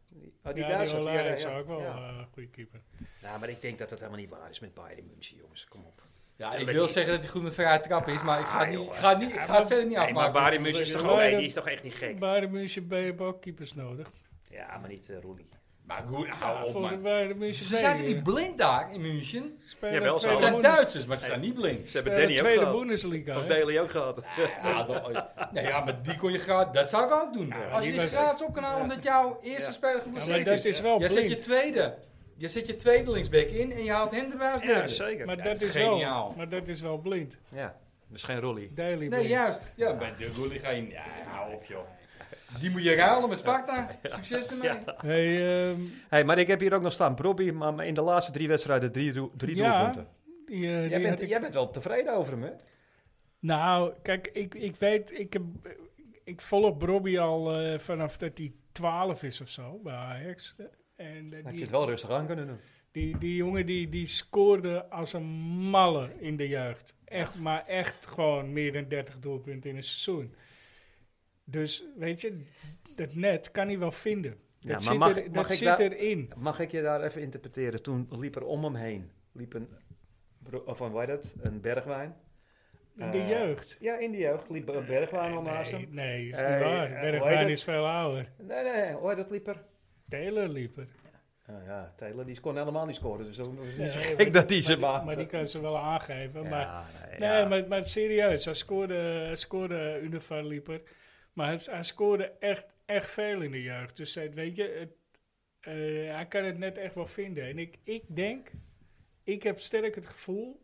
Speaker 2: Oh, die
Speaker 1: ja,
Speaker 2: Duitsers.
Speaker 1: die
Speaker 2: ja,
Speaker 1: Olij
Speaker 2: ja,
Speaker 1: is
Speaker 2: ja.
Speaker 1: ook wel
Speaker 2: Ja.
Speaker 1: eh, een goede keeper.
Speaker 2: Nou, maar ik denk dat dat helemaal niet waar is met Bayern München, jongens. Kom op.
Speaker 3: Ja, ik
Speaker 2: Tuurlijk
Speaker 3: wil
Speaker 2: niet.
Speaker 3: zeggen dat hij goed met vrije trappen is, maar ik ga, het niet, ik ga, het niet, ik ga
Speaker 1: maar-
Speaker 3: het verder niet
Speaker 2: Nee, maar
Speaker 3: afmaken.
Speaker 2: Barry Munch is toch
Speaker 1: Nee,
Speaker 2: ook- nee,
Speaker 1: dat-
Speaker 2: die is toch echt niet gek?
Speaker 1: Bayern München bij hebben ook keepers nodig.
Speaker 2: Ja, maar niet eh, Rooney.
Speaker 3: Maar goed,
Speaker 1: Ja,
Speaker 3: hou op,
Speaker 1: voor de
Speaker 3: man.
Speaker 1: Bayern München
Speaker 3: Ze
Speaker 1: B,
Speaker 3: zaten
Speaker 1: eh,
Speaker 3: niet blind daar in München.
Speaker 1: spelen
Speaker 2: Jawel, ze
Speaker 1: tweede
Speaker 3: Het zijn
Speaker 1: Bundes-
Speaker 3: Duitsers, maar ze zijn niet blind.
Speaker 2: Ze hebben
Speaker 1: spelen
Speaker 2: Danny ook
Speaker 1: tweede
Speaker 2: gehad.
Speaker 1: Bundesliga.
Speaker 2: Of
Speaker 1: hè.
Speaker 2: Daley ook gehad.
Speaker 3: Ja, dat- nee, ja, maar die kon je gratis. Dat zou ik ook doen. Als
Speaker 1: die
Speaker 3: je die
Speaker 1: was-
Speaker 3: gratis op kan halen omdat jouw eerste
Speaker 2: Ja.
Speaker 3: speler
Speaker 1: Ja, maar
Speaker 3: geblesseerd
Speaker 1: dat is wel
Speaker 3: Jij zet je
Speaker 1: blind.
Speaker 3: tweede. Je zet je tweede linksback in en je haalt hem erbij als
Speaker 2: Ja,
Speaker 3: derde.
Speaker 2: zeker.
Speaker 1: Maar
Speaker 3: Ja,
Speaker 1: dat
Speaker 3: dat is
Speaker 1: is wel-
Speaker 3: geniaal.
Speaker 1: maar dat is wel blind.
Speaker 2: ja, dus geen Rooney.
Speaker 1: Daily
Speaker 3: nee,
Speaker 1: blind.
Speaker 3: juist. Ja, bij de Gulli ga je... Ja, hou op, joh. Die moet je ruilen met Sparta. Succes ermee.
Speaker 1: Hey, ehm,
Speaker 2: Hey, maar ik heb hier ook nog staan, Bobby, maar in de laatste drie wedstrijden drie, doel- drie
Speaker 1: Ja,
Speaker 2: doelpunten.
Speaker 1: die, eh, die
Speaker 2: Jij
Speaker 1: had
Speaker 2: bent,
Speaker 1: ik-
Speaker 2: jij bent wel tevreden over hem, hè?
Speaker 1: Nou, kijk, ik, ik weet, ik, heb, ik volg Robbie al eh, vanaf dat hij 12 is of zo bij Ajax. En
Speaker 2: Had
Speaker 1: eh,
Speaker 2: je
Speaker 1: die,
Speaker 2: het wel rustig aan kunnen doen.
Speaker 1: die, die jongen die, die scoorde als een malle in de jeugd. Echt, maar echt gewoon meer dan 30 doelpunten in een seizoen. Dus weet je, dat net kan hij wel vinden. Dat
Speaker 2: Ja, maar mag-
Speaker 1: zit, er,
Speaker 2: mag
Speaker 1: dat
Speaker 2: ik
Speaker 1: zit
Speaker 2: daar-
Speaker 1: erin.
Speaker 2: Mag ik je daar even interpreteren? Toen liep er om hem heen, liep een, bro- of een, hoe heet dat, een bergwijn.
Speaker 1: In de
Speaker 2: Eh,
Speaker 1: jeugd.
Speaker 2: Ja, in die jeugd liep een bergwijn al naast
Speaker 1: Nee,
Speaker 2: hem.
Speaker 1: nee, is niet
Speaker 2: Eh,
Speaker 1: waar.
Speaker 2: eh, hoe heet
Speaker 1: Bergwijn
Speaker 2: het?
Speaker 1: is veel ouder.
Speaker 2: Nee, nee, hoor dat liep er.
Speaker 1: Taylor liep er.
Speaker 2: Ah, ja, Taylor die kon helemaal niet scoren, dus dat is niet zo
Speaker 1: Nee,
Speaker 2: gek dat hij
Speaker 1: Maar
Speaker 2: ze
Speaker 1: die,
Speaker 2: maakte.
Speaker 1: maar die kan ze wel aangeven.
Speaker 2: Ja,
Speaker 1: maar
Speaker 2: nee,
Speaker 1: Nee,
Speaker 2: ja.
Speaker 1: maar, maar serieus, hij scoorde, hij scoorde eh, Univar Lieper. Maar hij, hij scoorde echt, echt veel in de jeugd. Dus eh, weet je, het, eh, hij kan het net echt wel vinden. En ik, ik denk, ik heb sterk het gevoel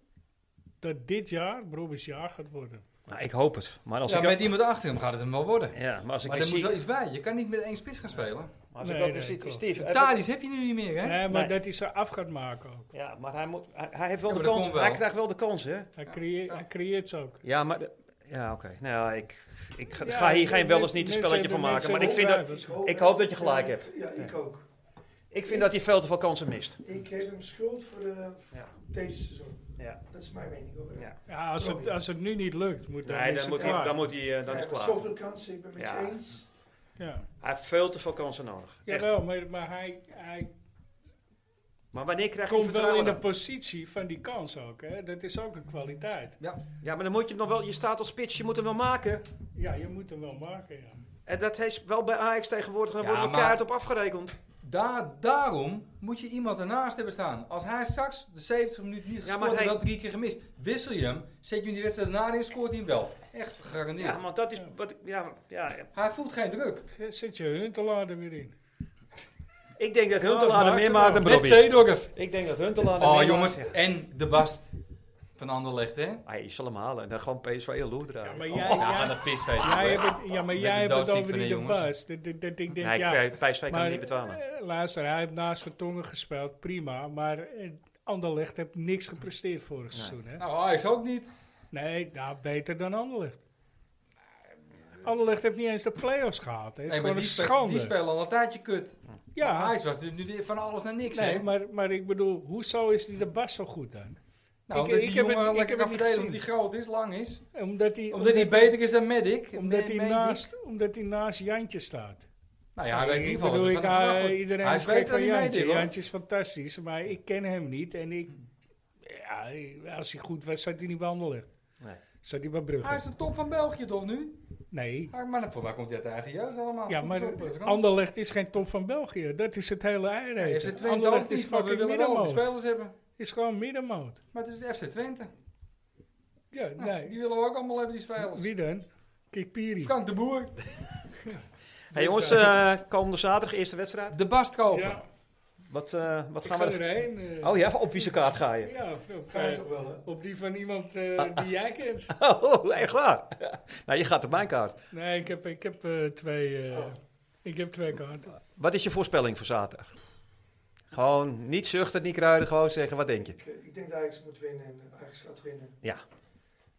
Speaker 1: dat dit jaar Brobbes jaar gaat worden.
Speaker 2: Nou, ik hoop het. Maar als
Speaker 3: Ja,
Speaker 2: ik
Speaker 3: met iemand achter hem gaat het hem wel worden.
Speaker 2: Ja, maar als ik
Speaker 3: Maar
Speaker 2: het
Speaker 3: er moet
Speaker 2: zie...
Speaker 3: wel iets bij. Je kan niet met één spits gaan spelen.
Speaker 2: maar als ik
Speaker 1: Nee,
Speaker 2: ook
Speaker 1: nee,
Speaker 2: zie-
Speaker 1: klopt.
Speaker 2: Steve, even-
Speaker 3: Thalys heb je nu niet meer, hè?
Speaker 1: Nee, maar
Speaker 2: Nee.
Speaker 1: dat hij ze af gaat maken ook.
Speaker 2: Ja, maar hij, moet, hij, hij heeft wel
Speaker 3: Ja,
Speaker 2: de
Speaker 3: maar dat
Speaker 2: kans.
Speaker 3: komt wel.
Speaker 2: Hij krijgt wel de kans, hè?
Speaker 1: Hij, creë- hij creëert ze ook.
Speaker 2: Ja, maar... de- Ja, oké. Nou ja, ik, ik ga,
Speaker 1: Ja,
Speaker 2: ga hier geen
Speaker 1: mensen-
Speaker 2: wel eens niet een
Speaker 1: mensen
Speaker 2: spelletje van
Speaker 1: hebben-
Speaker 2: maken.
Speaker 1: mensen
Speaker 2: Maar ik vind,
Speaker 1: hebben
Speaker 2: dat,
Speaker 1: twijfels.
Speaker 2: Ik hoop dat je gelijk hebt.
Speaker 4: Ja, ik ook.
Speaker 2: ik vind dat hij veel te veel kansen mist.
Speaker 4: Ik geef hem schuld voor eh,
Speaker 2: Ja.
Speaker 4: deze seizoen.
Speaker 2: Ja.
Speaker 4: Dat is mijn mening over hem.
Speaker 2: Ja.
Speaker 1: Ja, als, het, als het nu niet lukt, moet dan,
Speaker 2: Nee, dan,
Speaker 1: is het
Speaker 2: moet hij,
Speaker 1: klaar.
Speaker 2: dan, moet hij, eh, dan
Speaker 4: Hij
Speaker 2: is het
Speaker 4: heeft
Speaker 2: klaar.
Speaker 4: zoveel kansen, ik ben het met
Speaker 2: Ja.
Speaker 4: je eens.
Speaker 1: Ja.
Speaker 2: Hij heeft veel te veel kansen nodig. Echt.
Speaker 1: Jawel, maar, maar hij, hij
Speaker 2: Maar wanneer krijgt hij
Speaker 1: komt wel in
Speaker 2: vertrouwen
Speaker 1: de
Speaker 2: dan?
Speaker 1: positie van die kans ook. Hè? Dat is ook een kwaliteit.
Speaker 2: Ja, maar dan moet je hem nog wel... Je staat als spits, je moet hem wel maken.
Speaker 1: Ja, je moet hem wel maken, ja.
Speaker 2: En dat is wel bij Ajax tegenwoordig. Daar
Speaker 3: Ja,
Speaker 2: wordt
Speaker 3: maar-
Speaker 2: elkaar keihard op afgerekend.
Speaker 3: Daar, daarom moet je iemand ernaast hebben staan. Als hij straks de 70 minuten niet
Speaker 2: maar
Speaker 3: gescoord heeft,
Speaker 2: hij-
Speaker 3: dat drie keer gemist. Wissel je hem, zet je hem die wedstrijd daarna in, scoort hij hem wel. Echt gegarandeerd.
Speaker 2: Ja, want dat is... Wat, ik- ja, ja,
Speaker 3: Hij voelt geen druk.
Speaker 1: Zit je Huntelaar weer in?
Speaker 2: ik denk dat
Speaker 1: dat
Speaker 2: Huntelaar er
Speaker 1: maakt
Speaker 2: meer
Speaker 1: ze
Speaker 2: maakt
Speaker 1: wel.
Speaker 2: dan
Speaker 3: Met
Speaker 2: Brobbey.
Speaker 3: Zeedorf.
Speaker 2: Ik denk dat Huntelaar er
Speaker 3: Oh
Speaker 2: meer
Speaker 3: jongens,
Speaker 2: maakt.
Speaker 3: en de Bast van Anderlecht, hè?
Speaker 2: Hij zal hem halen en dan gewoon PSV en Loer draaien.
Speaker 1: Maar
Speaker 3: Ja,
Speaker 1: jij,
Speaker 3: gaan
Speaker 1: jij,
Speaker 3: nou, de pisfeest.
Speaker 1: jij hebt het, ja, maar
Speaker 3: Met
Speaker 1: jij
Speaker 3: de
Speaker 1: hebt het
Speaker 3: doodziek
Speaker 1: over
Speaker 3: van
Speaker 1: die
Speaker 3: de
Speaker 1: de
Speaker 3: jongens.
Speaker 1: baas. Dat, dat, dat ik denk,
Speaker 2: nee,
Speaker 1: ja.
Speaker 2: P- PSV kan
Speaker 1: Maar,
Speaker 2: hem niet betalen.
Speaker 1: eh, luister, hij heeft naast Vertongen gespeeld, prima. Maar eh, Anderlecht heeft niks gepresteerd vorig seizoen. Hè?
Speaker 3: Nou, hij is ook niet.
Speaker 1: Nee, nou, beter dan Anderlecht. Anderlecht heeft niet eens de play-offs gehaald. Dat is
Speaker 3: Nee, maar
Speaker 1: gewoon
Speaker 3: die,
Speaker 1: een
Speaker 3: spe-
Speaker 1: schande.
Speaker 3: die spelen al een tijdje kut.
Speaker 1: ja,
Speaker 3: Hij was nu nu van alles naar niks,
Speaker 1: nee,
Speaker 3: hè?
Speaker 1: maar, maar ik bedoel, hoezo is die de Bas zo goed dan?
Speaker 3: nou,
Speaker 1: ik- ik
Speaker 3: omdat die
Speaker 1: heb het-
Speaker 3: jongen
Speaker 1: ik heb
Speaker 3: lekker kan
Speaker 1: het niet
Speaker 3: verdelen, omdat
Speaker 1: gezien.
Speaker 3: hij groot is, lang is.
Speaker 1: Omdat hij
Speaker 3: Omdat hij beter is dan Medic.
Speaker 1: omdat hij
Speaker 3: Medic.
Speaker 1: naast, omdat hij naast Jantje staat.
Speaker 3: Nou ja, hij weet in ieder geval
Speaker 1: bedoel,
Speaker 3: wat
Speaker 1: ik,
Speaker 3: er van hem verwacht
Speaker 1: eh,
Speaker 3: wordt.
Speaker 1: iedereen
Speaker 3: Hij
Speaker 1: is
Speaker 3: is
Speaker 1: gek
Speaker 3: beter
Speaker 1: van
Speaker 3: dan die
Speaker 1: Jantje.
Speaker 3: Medic, hoor.
Speaker 1: Jantje is fantastisch, maar ik ken hem niet. En ik, ja, als hij goed was, zat hij niet bij Anderlecht.
Speaker 2: Nee.
Speaker 1: Zat hij bij
Speaker 3: Hij is
Speaker 1: Brugge.
Speaker 3: de top van België toch nu?
Speaker 1: Nee.
Speaker 3: Ah, Maar voor mij komt hij uit de eigen jeugd allemaal.
Speaker 1: Ja,
Speaker 3: Zoek
Speaker 1: maar
Speaker 3: eens Oh, op, Frans.
Speaker 1: Anderlecht is geen top van België. Dat is het hele
Speaker 3: Ja,
Speaker 1: eieren.
Speaker 3: FC Twente ook
Speaker 1: is
Speaker 3: niet, maar
Speaker 1: fucking
Speaker 3: we willen wel de
Speaker 1: middenmoot.
Speaker 3: spelers hebben.
Speaker 1: Is gewoon middenmoot.
Speaker 3: Maar het is FC Twente.
Speaker 1: Ja,
Speaker 3: Nou,
Speaker 1: nee.
Speaker 3: Die willen we ook allemaal hebben, die spelers.
Speaker 1: Wie dan? Kikpiri.
Speaker 3: Frank de Boer.
Speaker 2: hey,
Speaker 1: dus,
Speaker 2: jongens, eh, komende zaterdag eerste wedstrijd.
Speaker 3: De Bast kopen.
Speaker 1: Ja,
Speaker 2: Wat, eh, wat
Speaker 1: ik
Speaker 2: gaan
Speaker 1: ga
Speaker 2: we... er-
Speaker 1: erheen. eh.
Speaker 2: Oh ja, op wie zijn kaart ga je?
Speaker 1: Ja, op,
Speaker 4: Ga je
Speaker 1: eh,
Speaker 4: toch wel, hè?
Speaker 1: op die van iemand
Speaker 2: Ah.
Speaker 1: eh, die jij kent.
Speaker 2: [laughs] Oh, echt waar? nou, je gaat op mijn kaart.
Speaker 1: Nee, ik heb, ik heb eh, twee... eh, ik heb twee kaarten.
Speaker 2: Wat is je voorspelling voor zaterdag? Gewoon niet zuchten, niet kruiden, gewoon zeggen wat denk je?
Speaker 4: Ik, eh, ik denk dat Ajax moet winnen en Ajax gaat winnen.
Speaker 2: Ja.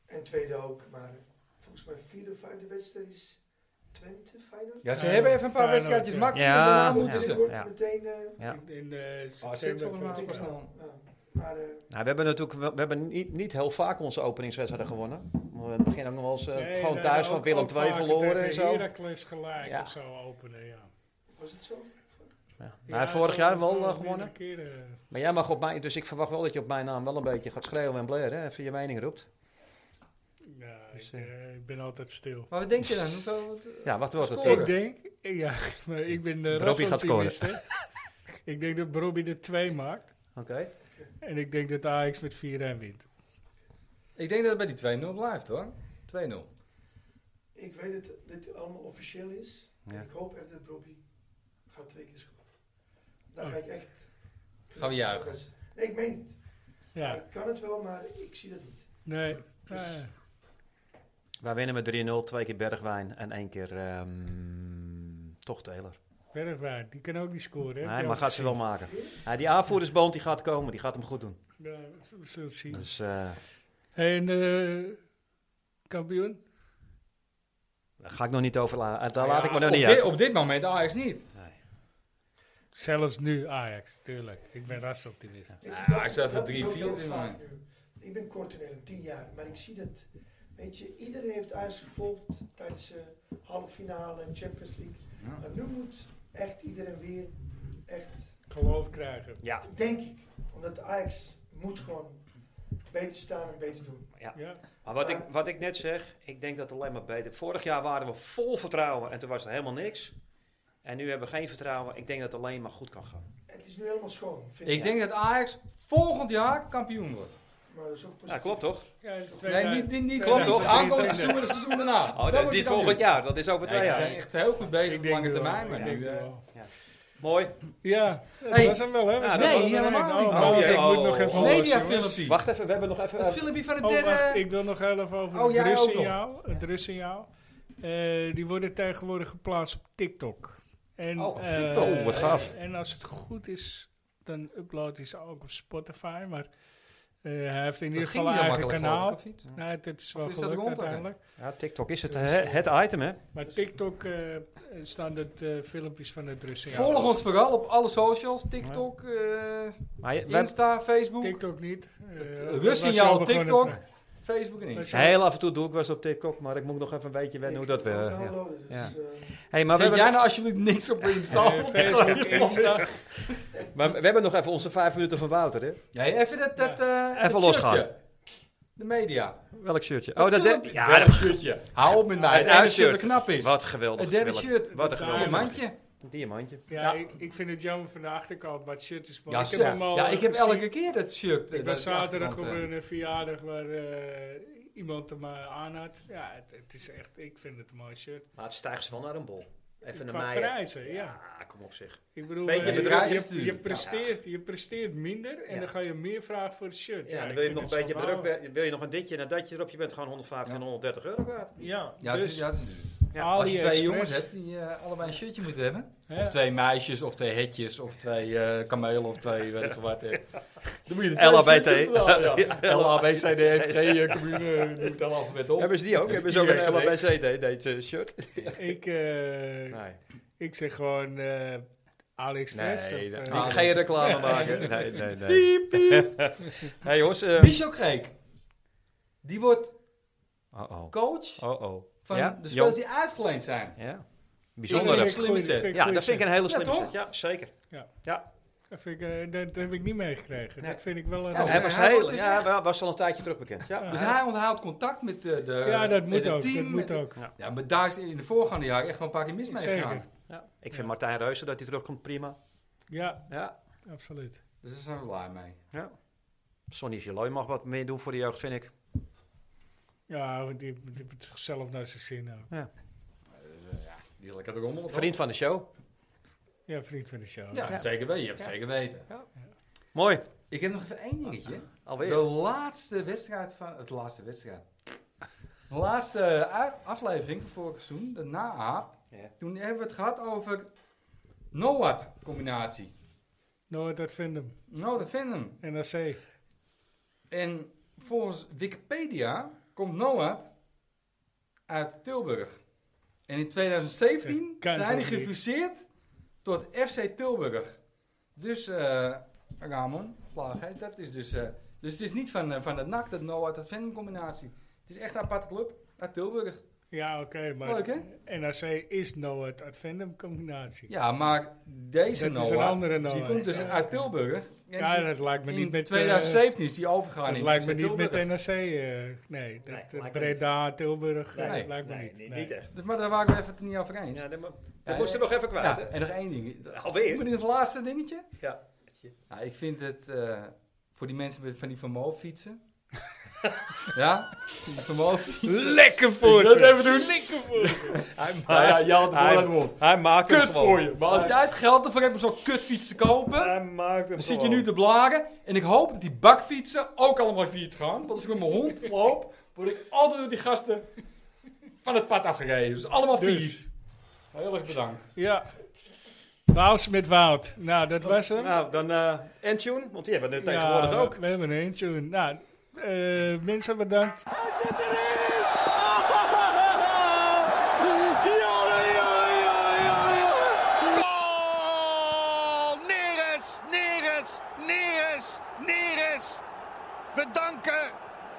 Speaker 4: En tweede ook, maar eh, volgens mij vierde of vijfde wedstrijd is Twente, Feyenoord.
Speaker 3: Ja, ze
Speaker 1: Feyenoord,
Speaker 3: hebben even een paar
Speaker 1: Feyenoord,
Speaker 3: wedstrijdjes
Speaker 1: ja.
Speaker 3: makkelijk.
Speaker 2: Ja,
Speaker 3: en daarna
Speaker 2: ja.
Speaker 3: moeten
Speaker 4: Dus
Speaker 3: ze.
Speaker 4: wordt
Speaker 2: ja.
Speaker 4: meteen... eh,
Speaker 2: Ja.
Speaker 1: In, in eh
Speaker 3: Oh, zit volgens mij ook al
Speaker 1: september.
Speaker 3: snel.
Speaker 4: ja, maar eh,
Speaker 2: Nou, we hebben natuurlijk we, we hebben niet, niet heel vaak onze openingswedstrijden gewonnen. We hebben in het begin ook nog wel eens eh,
Speaker 1: Nee,
Speaker 2: gewoon
Speaker 1: nee,
Speaker 2: thuis
Speaker 1: ook-
Speaker 2: van Willem
Speaker 1: ook
Speaker 2: II
Speaker 1: vaker
Speaker 2: verloren
Speaker 1: tegen
Speaker 2: en zo.
Speaker 1: Heracles gelijk
Speaker 2: Ja.
Speaker 1: of zo openen, ja.
Speaker 4: was het zo?
Speaker 2: Ja.
Speaker 1: Ja,
Speaker 2: Hij heeft vorig
Speaker 1: zo-
Speaker 2: jaar
Speaker 1: zo
Speaker 2: wel eh,
Speaker 1: meerdere
Speaker 2: gewonnen.
Speaker 1: keren, eh.
Speaker 2: Maar jij mag op mij, dus ik verwacht wel dat je op mijn naam wel een beetje gaat schreeuwen en blaren. hè, Even je mening roept.
Speaker 1: Ja,
Speaker 2: Dus,
Speaker 1: ik, eh, ik ben altijd stil.
Speaker 3: Maar wat denk je dan? Hoeveel, wat,
Speaker 2: Ja, wat wordt het?
Speaker 3: Scoren.
Speaker 2: eh,
Speaker 1: Ik denk, ja, [laughs] maar ik ben uh,
Speaker 2: Robbie gaat scoren.
Speaker 1: rasoptimist. hè. ik denk dat Robbie er twee maakt.
Speaker 2: Oké.
Speaker 1: En ik denk dat Ajax met 4-1 wint.
Speaker 3: ik denk dat het bij die 2-0 blijft hoor. 2-0.
Speaker 4: Ik weet dat dit allemaal officieel is.
Speaker 2: Ja.
Speaker 4: Ik hoop echt dat Robbie gaat twee keer scoren. Dan ga ik echt...
Speaker 3: Gaan we juichen.
Speaker 4: Nee, ik meen het.
Speaker 1: Ja,
Speaker 4: Ik kan het wel, maar ik zie dat niet.
Speaker 1: nee. Ah, ja.
Speaker 2: Wij winnen met 3-0, twee keer Bergwijn en één keer ehm, toch Taylor.
Speaker 1: Bergwijn, die kan ook niet scoren. hè?
Speaker 2: Nee,
Speaker 1: Ja,
Speaker 2: maar gaat ze wel maken. Ja, die aanvoerdersband die gaat komen, die gaat hem goed doen.
Speaker 1: Ja, we zullen het zien.
Speaker 2: Dus eh,
Speaker 1: En eh, kampioen?
Speaker 2: daar ga ik nog niet over la- eh, Daar
Speaker 1: Ja,
Speaker 2: laat ik me nog
Speaker 3: op,
Speaker 2: niet
Speaker 3: dit,
Speaker 2: uit.
Speaker 3: op dit moment Ajax niet.
Speaker 1: Zelfs nu Ajax, tuurlijk. Ik ben rasoptimist.
Speaker 4: Weet je,
Speaker 3: Ja,
Speaker 4: dat-
Speaker 3: Nou, hij speelt voor
Speaker 4: dat is
Speaker 3: drie,
Speaker 4: ook
Speaker 3: vier
Speaker 4: heel
Speaker 3: op dit
Speaker 4: vaak nu. Ik ben korter tien jaar, maar ik zie dat... Weet je, iedereen heeft Ajax gevolgd tijdens de halve finale Champions League. Maar nu moet echt iedereen weer echt,
Speaker 1: Geloof krijgen.
Speaker 2: Ja,
Speaker 4: denk ik, omdat Ajax moet gewoon beter staan en beter doen.
Speaker 1: Ja,
Speaker 2: maar wat ik, wat ik net zeg, ik denk dat het alleen maar beter. Vorig jaar waren we vol vertrouwen en toen was er helemaal niks. En nu hebben we geen vertrouwen. Ik denk dat het alleen maar goed kan gaan.
Speaker 4: Het is nu helemaal schoon, vind ik.
Speaker 3: Ik denk dat Ajax volgend jaar kampioen wordt.
Speaker 4: Maar dat is ook
Speaker 2: Ja,
Speaker 4: positief.
Speaker 2: klopt toch?
Speaker 1: ja het is
Speaker 3: Nee,
Speaker 1: 2000
Speaker 3: niet, niet, niet
Speaker 2: Klopt,
Speaker 3: klopt toch?
Speaker 2: toch?
Speaker 3: Aankomend seizoen, maar het seizoen daarna.
Speaker 2: Oh, dat is niet volgend jaar, dat is over twee
Speaker 3: ze
Speaker 2: jaar.
Speaker 3: zijn echt heel goed bezig
Speaker 1: Ik
Speaker 3: op
Speaker 1: denk
Speaker 3: lange
Speaker 1: het wel,
Speaker 3: termijn.
Speaker 1: ik
Speaker 3: Maar
Speaker 1: denk
Speaker 3: nu,
Speaker 1: het
Speaker 3: eh,
Speaker 1: wel.
Speaker 2: Mooi.
Speaker 1: Ja, dat
Speaker 3: Hey.
Speaker 1: was hem wel, hè? We
Speaker 2: Ja,
Speaker 1: zijn
Speaker 2: nee,
Speaker 1: wel doorheen.
Speaker 3: helemaal niet.
Speaker 1: Oh, wacht,
Speaker 2: Oh,
Speaker 1: ik
Speaker 2: oh,
Speaker 1: moet nog even
Speaker 2: oh.
Speaker 1: los,
Speaker 3: Media
Speaker 1: jongens.
Speaker 3: filmpje.
Speaker 2: Wacht even, we hebben nog even...
Speaker 3: Dat filmpje van de
Speaker 1: Oh, wacht,
Speaker 3: derde...
Speaker 1: ik wil nog heel even over
Speaker 3: Oh,
Speaker 1: het
Speaker 3: jij ook nog.
Speaker 1: rustsignaal. Het rustsignaal. Eh, die worden tegenwoordig geplaatst op TikTok. En,
Speaker 2: Oh,
Speaker 1: eh,
Speaker 2: TikTok. Oh, wat gaaf.
Speaker 1: En als het goed is, dan uploadt hij ze ook op Spotify. Maar eh, hij heeft in ieder
Speaker 3: Dat
Speaker 1: geval
Speaker 3: ging
Speaker 1: een
Speaker 3: niet
Speaker 1: eigen
Speaker 3: makkelijk,
Speaker 1: kanaal.
Speaker 3: geloof ik, of niet?
Speaker 1: Nou, het, het is wel
Speaker 3: Of is dat
Speaker 1: gelukt
Speaker 3: rond ook?
Speaker 1: uiteindelijk.
Speaker 2: Ja, TikTok is het, hè, het item, hè?
Speaker 1: Maar TikTok eh, staan dat eh, filmpjes van het rustsignaal.
Speaker 3: Volg ons vooral op alle socials. Tiktok, eh,
Speaker 2: Maar je- we hebben-
Speaker 3: Insta, Facebook.
Speaker 1: TikTok niet. Eh,
Speaker 3: eh,
Speaker 1: waar zijn we
Speaker 3: rustsignaal,
Speaker 1: begonnen
Speaker 3: TikTok.
Speaker 1: van?
Speaker 3: Facebook en Insta.
Speaker 2: heel af en toe doe ik wel eens op TikTok, maar ik moet nog even een beetje wennen hoe dat we...
Speaker 4: weer.
Speaker 2: Ja. Ja.
Speaker 4: Dus, eh,
Speaker 2: Hey, maar we,
Speaker 3: Zet
Speaker 2: hebben,
Speaker 3: jij nou alsjeblieft niks
Speaker 2: [laughs]
Speaker 3: op Insta?
Speaker 1: Eh,
Speaker 3: [laughs]
Speaker 1: Facebook, Insta.
Speaker 2: maar we hebben nog even onze vijf minuten van Wouter, hè?
Speaker 3: Nee, even dat, dat, eh dat
Speaker 2: Even losgaan.
Speaker 3: shirtje. De media.
Speaker 2: Welk shirtje? Oh, dat...
Speaker 3: filmpje.
Speaker 2: de- Ja, dat...
Speaker 3: shirtje. Hou op met mij. Het
Speaker 2: ene
Speaker 3: ene shirt
Speaker 2: shirt.
Speaker 3: dat knap is.
Speaker 2: Wat geweldig.
Speaker 3: Het derde
Speaker 2: Willem.
Speaker 3: shirt.
Speaker 2: Wat een
Speaker 3: Een
Speaker 2: geweldig.
Speaker 1: Diamantje.
Speaker 3: mandje.
Speaker 2: Diamantje.
Speaker 1: Ja,
Speaker 3: Ja.
Speaker 1: Ik, ik vind het jammer van de achterkant, maar het shirt is mooi.
Speaker 3: Ja,
Speaker 1: ik
Speaker 3: zo.
Speaker 1: heb hem al
Speaker 3: ja,
Speaker 1: eh,
Speaker 3: ik heb
Speaker 1: gezien.
Speaker 3: elke keer dat shirt. eh,
Speaker 1: Ik
Speaker 3: dat
Speaker 1: was
Speaker 3: is
Speaker 1: zaterdag op
Speaker 3: achterkant, eh.
Speaker 1: een eh, verjaardag waar eh, iemand hem eh, aan had. Ja, het, het is echt, ik vind het een mooi shirt.
Speaker 2: Maar het stijgt ze wel naar een bol. Even naar
Speaker 1: Qua
Speaker 2: mij.
Speaker 1: prijzen, ja.
Speaker 2: kom op zich.
Speaker 1: Ik bedoel,
Speaker 2: Beetje
Speaker 1: eh, je- je,
Speaker 3: bedrijfsstuur.
Speaker 1: je, presteert, je presteert minder en
Speaker 2: Ja.
Speaker 1: dan ga je meer vragen voor het shirt.
Speaker 2: Ja, dan
Speaker 1: ik
Speaker 2: wil je
Speaker 1: vind
Speaker 2: nog een
Speaker 1: het
Speaker 2: beetje
Speaker 1: schandalig.
Speaker 2: druk, wil je nog een ditje en een datje erop, je bent gewoon 150 en 130 euro waard.
Speaker 1: Ja,
Speaker 3: Ja,
Speaker 1: dus
Speaker 3: dus, ja, het is-
Speaker 2: Ja,
Speaker 1: AliExpress.
Speaker 3: als je twee jongens hebt die eh, allebei een shirtje moeten hebben.
Speaker 1: Ja.
Speaker 3: Of twee meisjes, of twee hetjes, of twee eh, kamelen, of twee weet ik veel wat. eh. Dan moet je de twee
Speaker 2: LHBT.
Speaker 3: shirtjes
Speaker 2: [laughs]
Speaker 3: wel, ja. LHBT, CDFG, eh, commune, eh, doe het hele alfabet op.
Speaker 2: Hebben ze die ook? Hebben ze ook een LHBC shirt?
Speaker 1: ik, eh,
Speaker 2: Nee.
Speaker 1: ik zeg gewoon eh AliExpress.
Speaker 2: Nee, Ah,
Speaker 1: of,
Speaker 2: dat-
Speaker 1: eh,
Speaker 2: ik ga je reclame maken. Nee, nee, nee. [laughs] hey, jongens. eh,
Speaker 3: Michel Kreek, die wordt
Speaker 2: oh, oh.
Speaker 3: coach
Speaker 2: Oh, oh.
Speaker 3: van
Speaker 2: Ja? Jong-
Speaker 3: de spelers die uitgeleend zijn.
Speaker 2: Ja.
Speaker 1: dat
Speaker 2: Bijzonder.
Speaker 1: vind ik
Speaker 3: slimme
Speaker 1: goed,
Speaker 3: set.
Speaker 1: vind
Speaker 2: Ja,
Speaker 1: goed
Speaker 2: dat vind ik
Speaker 1: set.
Speaker 2: een hele
Speaker 3: Ja,
Speaker 2: slimme
Speaker 3: toch?
Speaker 2: set. Ja, zeker.
Speaker 1: Dat, vind ik, eh, dat heb ik niet meegekregen.
Speaker 2: Nee.
Speaker 1: Dat vind ik wel een
Speaker 3: Ja,
Speaker 2: Hij
Speaker 3: maar
Speaker 2: was,
Speaker 3: hij
Speaker 2: heel,
Speaker 3: wordt dus
Speaker 2: ja,
Speaker 3: echt-
Speaker 2: wa- was al een tijdje terug bekend. Ja.
Speaker 3: Dus hij onthoudt contact met eh, de,
Speaker 1: Ja, dat
Speaker 3: met
Speaker 1: moet
Speaker 3: het
Speaker 1: ook.
Speaker 3: team.
Speaker 1: Dat moet ook.
Speaker 3: Ja, maar daar is in de voorgaande jaren echt wel een paar keer mis mee
Speaker 1: Zeker.
Speaker 3: gegaan.
Speaker 2: Ja. Ik vind Martijn Reuzen dat hij terugkomt prima.
Speaker 1: Ja,
Speaker 2: Ja.
Speaker 1: absoluut.
Speaker 3: Dus daar zijn we blij mee.
Speaker 2: ja. Sonny Giloy mag wat meer doen voor de jeugd, vind ik.
Speaker 1: Ja, want die, die heeft het zelf naar zijn zin. ook.
Speaker 3: Eh, Die is lekker eronder.
Speaker 2: Vriend van de show.
Speaker 1: Ja, vriend van de show.
Speaker 3: Ja, zeker weten. Je hebt het zeker weten.
Speaker 2: Mooi.
Speaker 3: Ik heb nog even één dingetje. De
Speaker 2: Alweer.
Speaker 3: laatste wedstrijd van... Het laatste wedstrijd. De laatste uit- aflevering van vorig seizoen, de na-aap.
Speaker 2: Ja.
Speaker 3: Toen hebben we het gehad over Noat combinatie.
Speaker 1: Nooit dat vinden.
Speaker 3: Nou, dat vinden we.
Speaker 1: NAC.
Speaker 3: En volgens Wikipedia komt Noat uit Tilburg. En in 2017
Speaker 1: Dat kan
Speaker 3: zijn die
Speaker 1: toch niet?
Speaker 3: gefuseerd tot FC Tilburg. Dus eh, Ramon, Plaagheid, dat is dus... eh, dus het is niet van, eh, van het NAC, dat Noat, dat Venom combinatie. Het is echt een aparte club uit Tilburg.
Speaker 1: Ja, oké. maar
Speaker 3: Leuk, hè?
Speaker 1: NAC is Noord Advendum combinatie.
Speaker 3: Ja, maar deze
Speaker 1: Dat is
Speaker 3: Noah,
Speaker 1: een andere
Speaker 3: die
Speaker 1: Noah.
Speaker 3: komt dus
Speaker 1: Ja,
Speaker 3: uit
Speaker 1: oké.
Speaker 3: Tilburg. En
Speaker 1: Ja,
Speaker 3: die-
Speaker 1: dat lijkt me
Speaker 3: in
Speaker 1: niet met... eh,
Speaker 3: 2017 is die overgegaan
Speaker 1: dat
Speaker 3: in
Speaker 1: lijkt me niet
Speaker 3: Tilburg.
Speaker 1: met NAC. eh, nee, dat,
Speaker 2: lijkt
Speaker 1: eh,
Speaker 2: me
Speaker 1: Breda, Tilburg, eh,
Speaker 2: Nee,
Speaker 1: dat lijkt me
Speaker 2: nee,
Speaker 1: niet.
Speaker 2: nee,
Speaker 1: Nee.
Speaker 2: niet echt.
Speaker 3: Dus, maar daar waren we even het niet over eens.
Speaker 2: Ja,
Speaker 3: Ja,
Speaker 2: dat mo-
Speaker 3: Ja,
Speaker 2: dat moest er nog even kwijt, hè?
Speaker 3: en nog één ding.
Speaker 2: Alweer?
Speaker 3: Moet in het laatste dingetje?
Speaker 2: Ja.
Speaker 3: Nou, ik vind het eh, voor die mensen met van die vermogen fietsen. [laughs] ja, die vermogen fietsen.
Speaker 1: Lekker voor ze.
Speaker 2: [laughs] Hij
Speaker 3: Nou ja,
Speaker 2: maakt,
Speaker 3: je had het
Speaker 2: hij,
Speaker 3: behoorlijk op.
Speaker 2: hij maakt hem
Speaker 3: Kut
Speaker 2: gewoon.
Speaker 3: voor je. Maar als jij het geld ervoor hebt om zo'n kutfiets te kopen,
Speaker 2: Hij maakt hem
Speaker 3: dan zit je
Speaker 2: gewoon.
Speaker 3: nu te blaren. En ik hoop dat die bakfietsen ook allemaal viert gaan. Want als ik met mijn hond loop, word ik altijd door die gasten van het pad afgereden. Dus allemaal
Speaker 1: Dus.
Speaker 3: fiets. Heel erg bedankt.
Speaker 1: Ja. Waals met Wout. Nou,
Speaker 3: Oh,
Speaker 1: dat was hem.
Speaker 2: Nou, dan eh Entune, want die hebben we
Speaker 1: Ja,
Speaker 2: tegenwoordig ook.
Speaker 1: We, we hebben een eentje. Nou, eh, mensen bedankt.
Speaker 5: Hij zit erin! Ah, Oh, jongen, jongen, jongen, jongen. Goal! Neres, Neres, Neres, Neres. We danken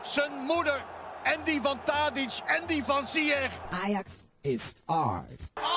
Speaker 5: zijn moeder en die van Tadic en die van Ziyech.
Speaker 10: Ajax is ours.
Speaker 5: Oh,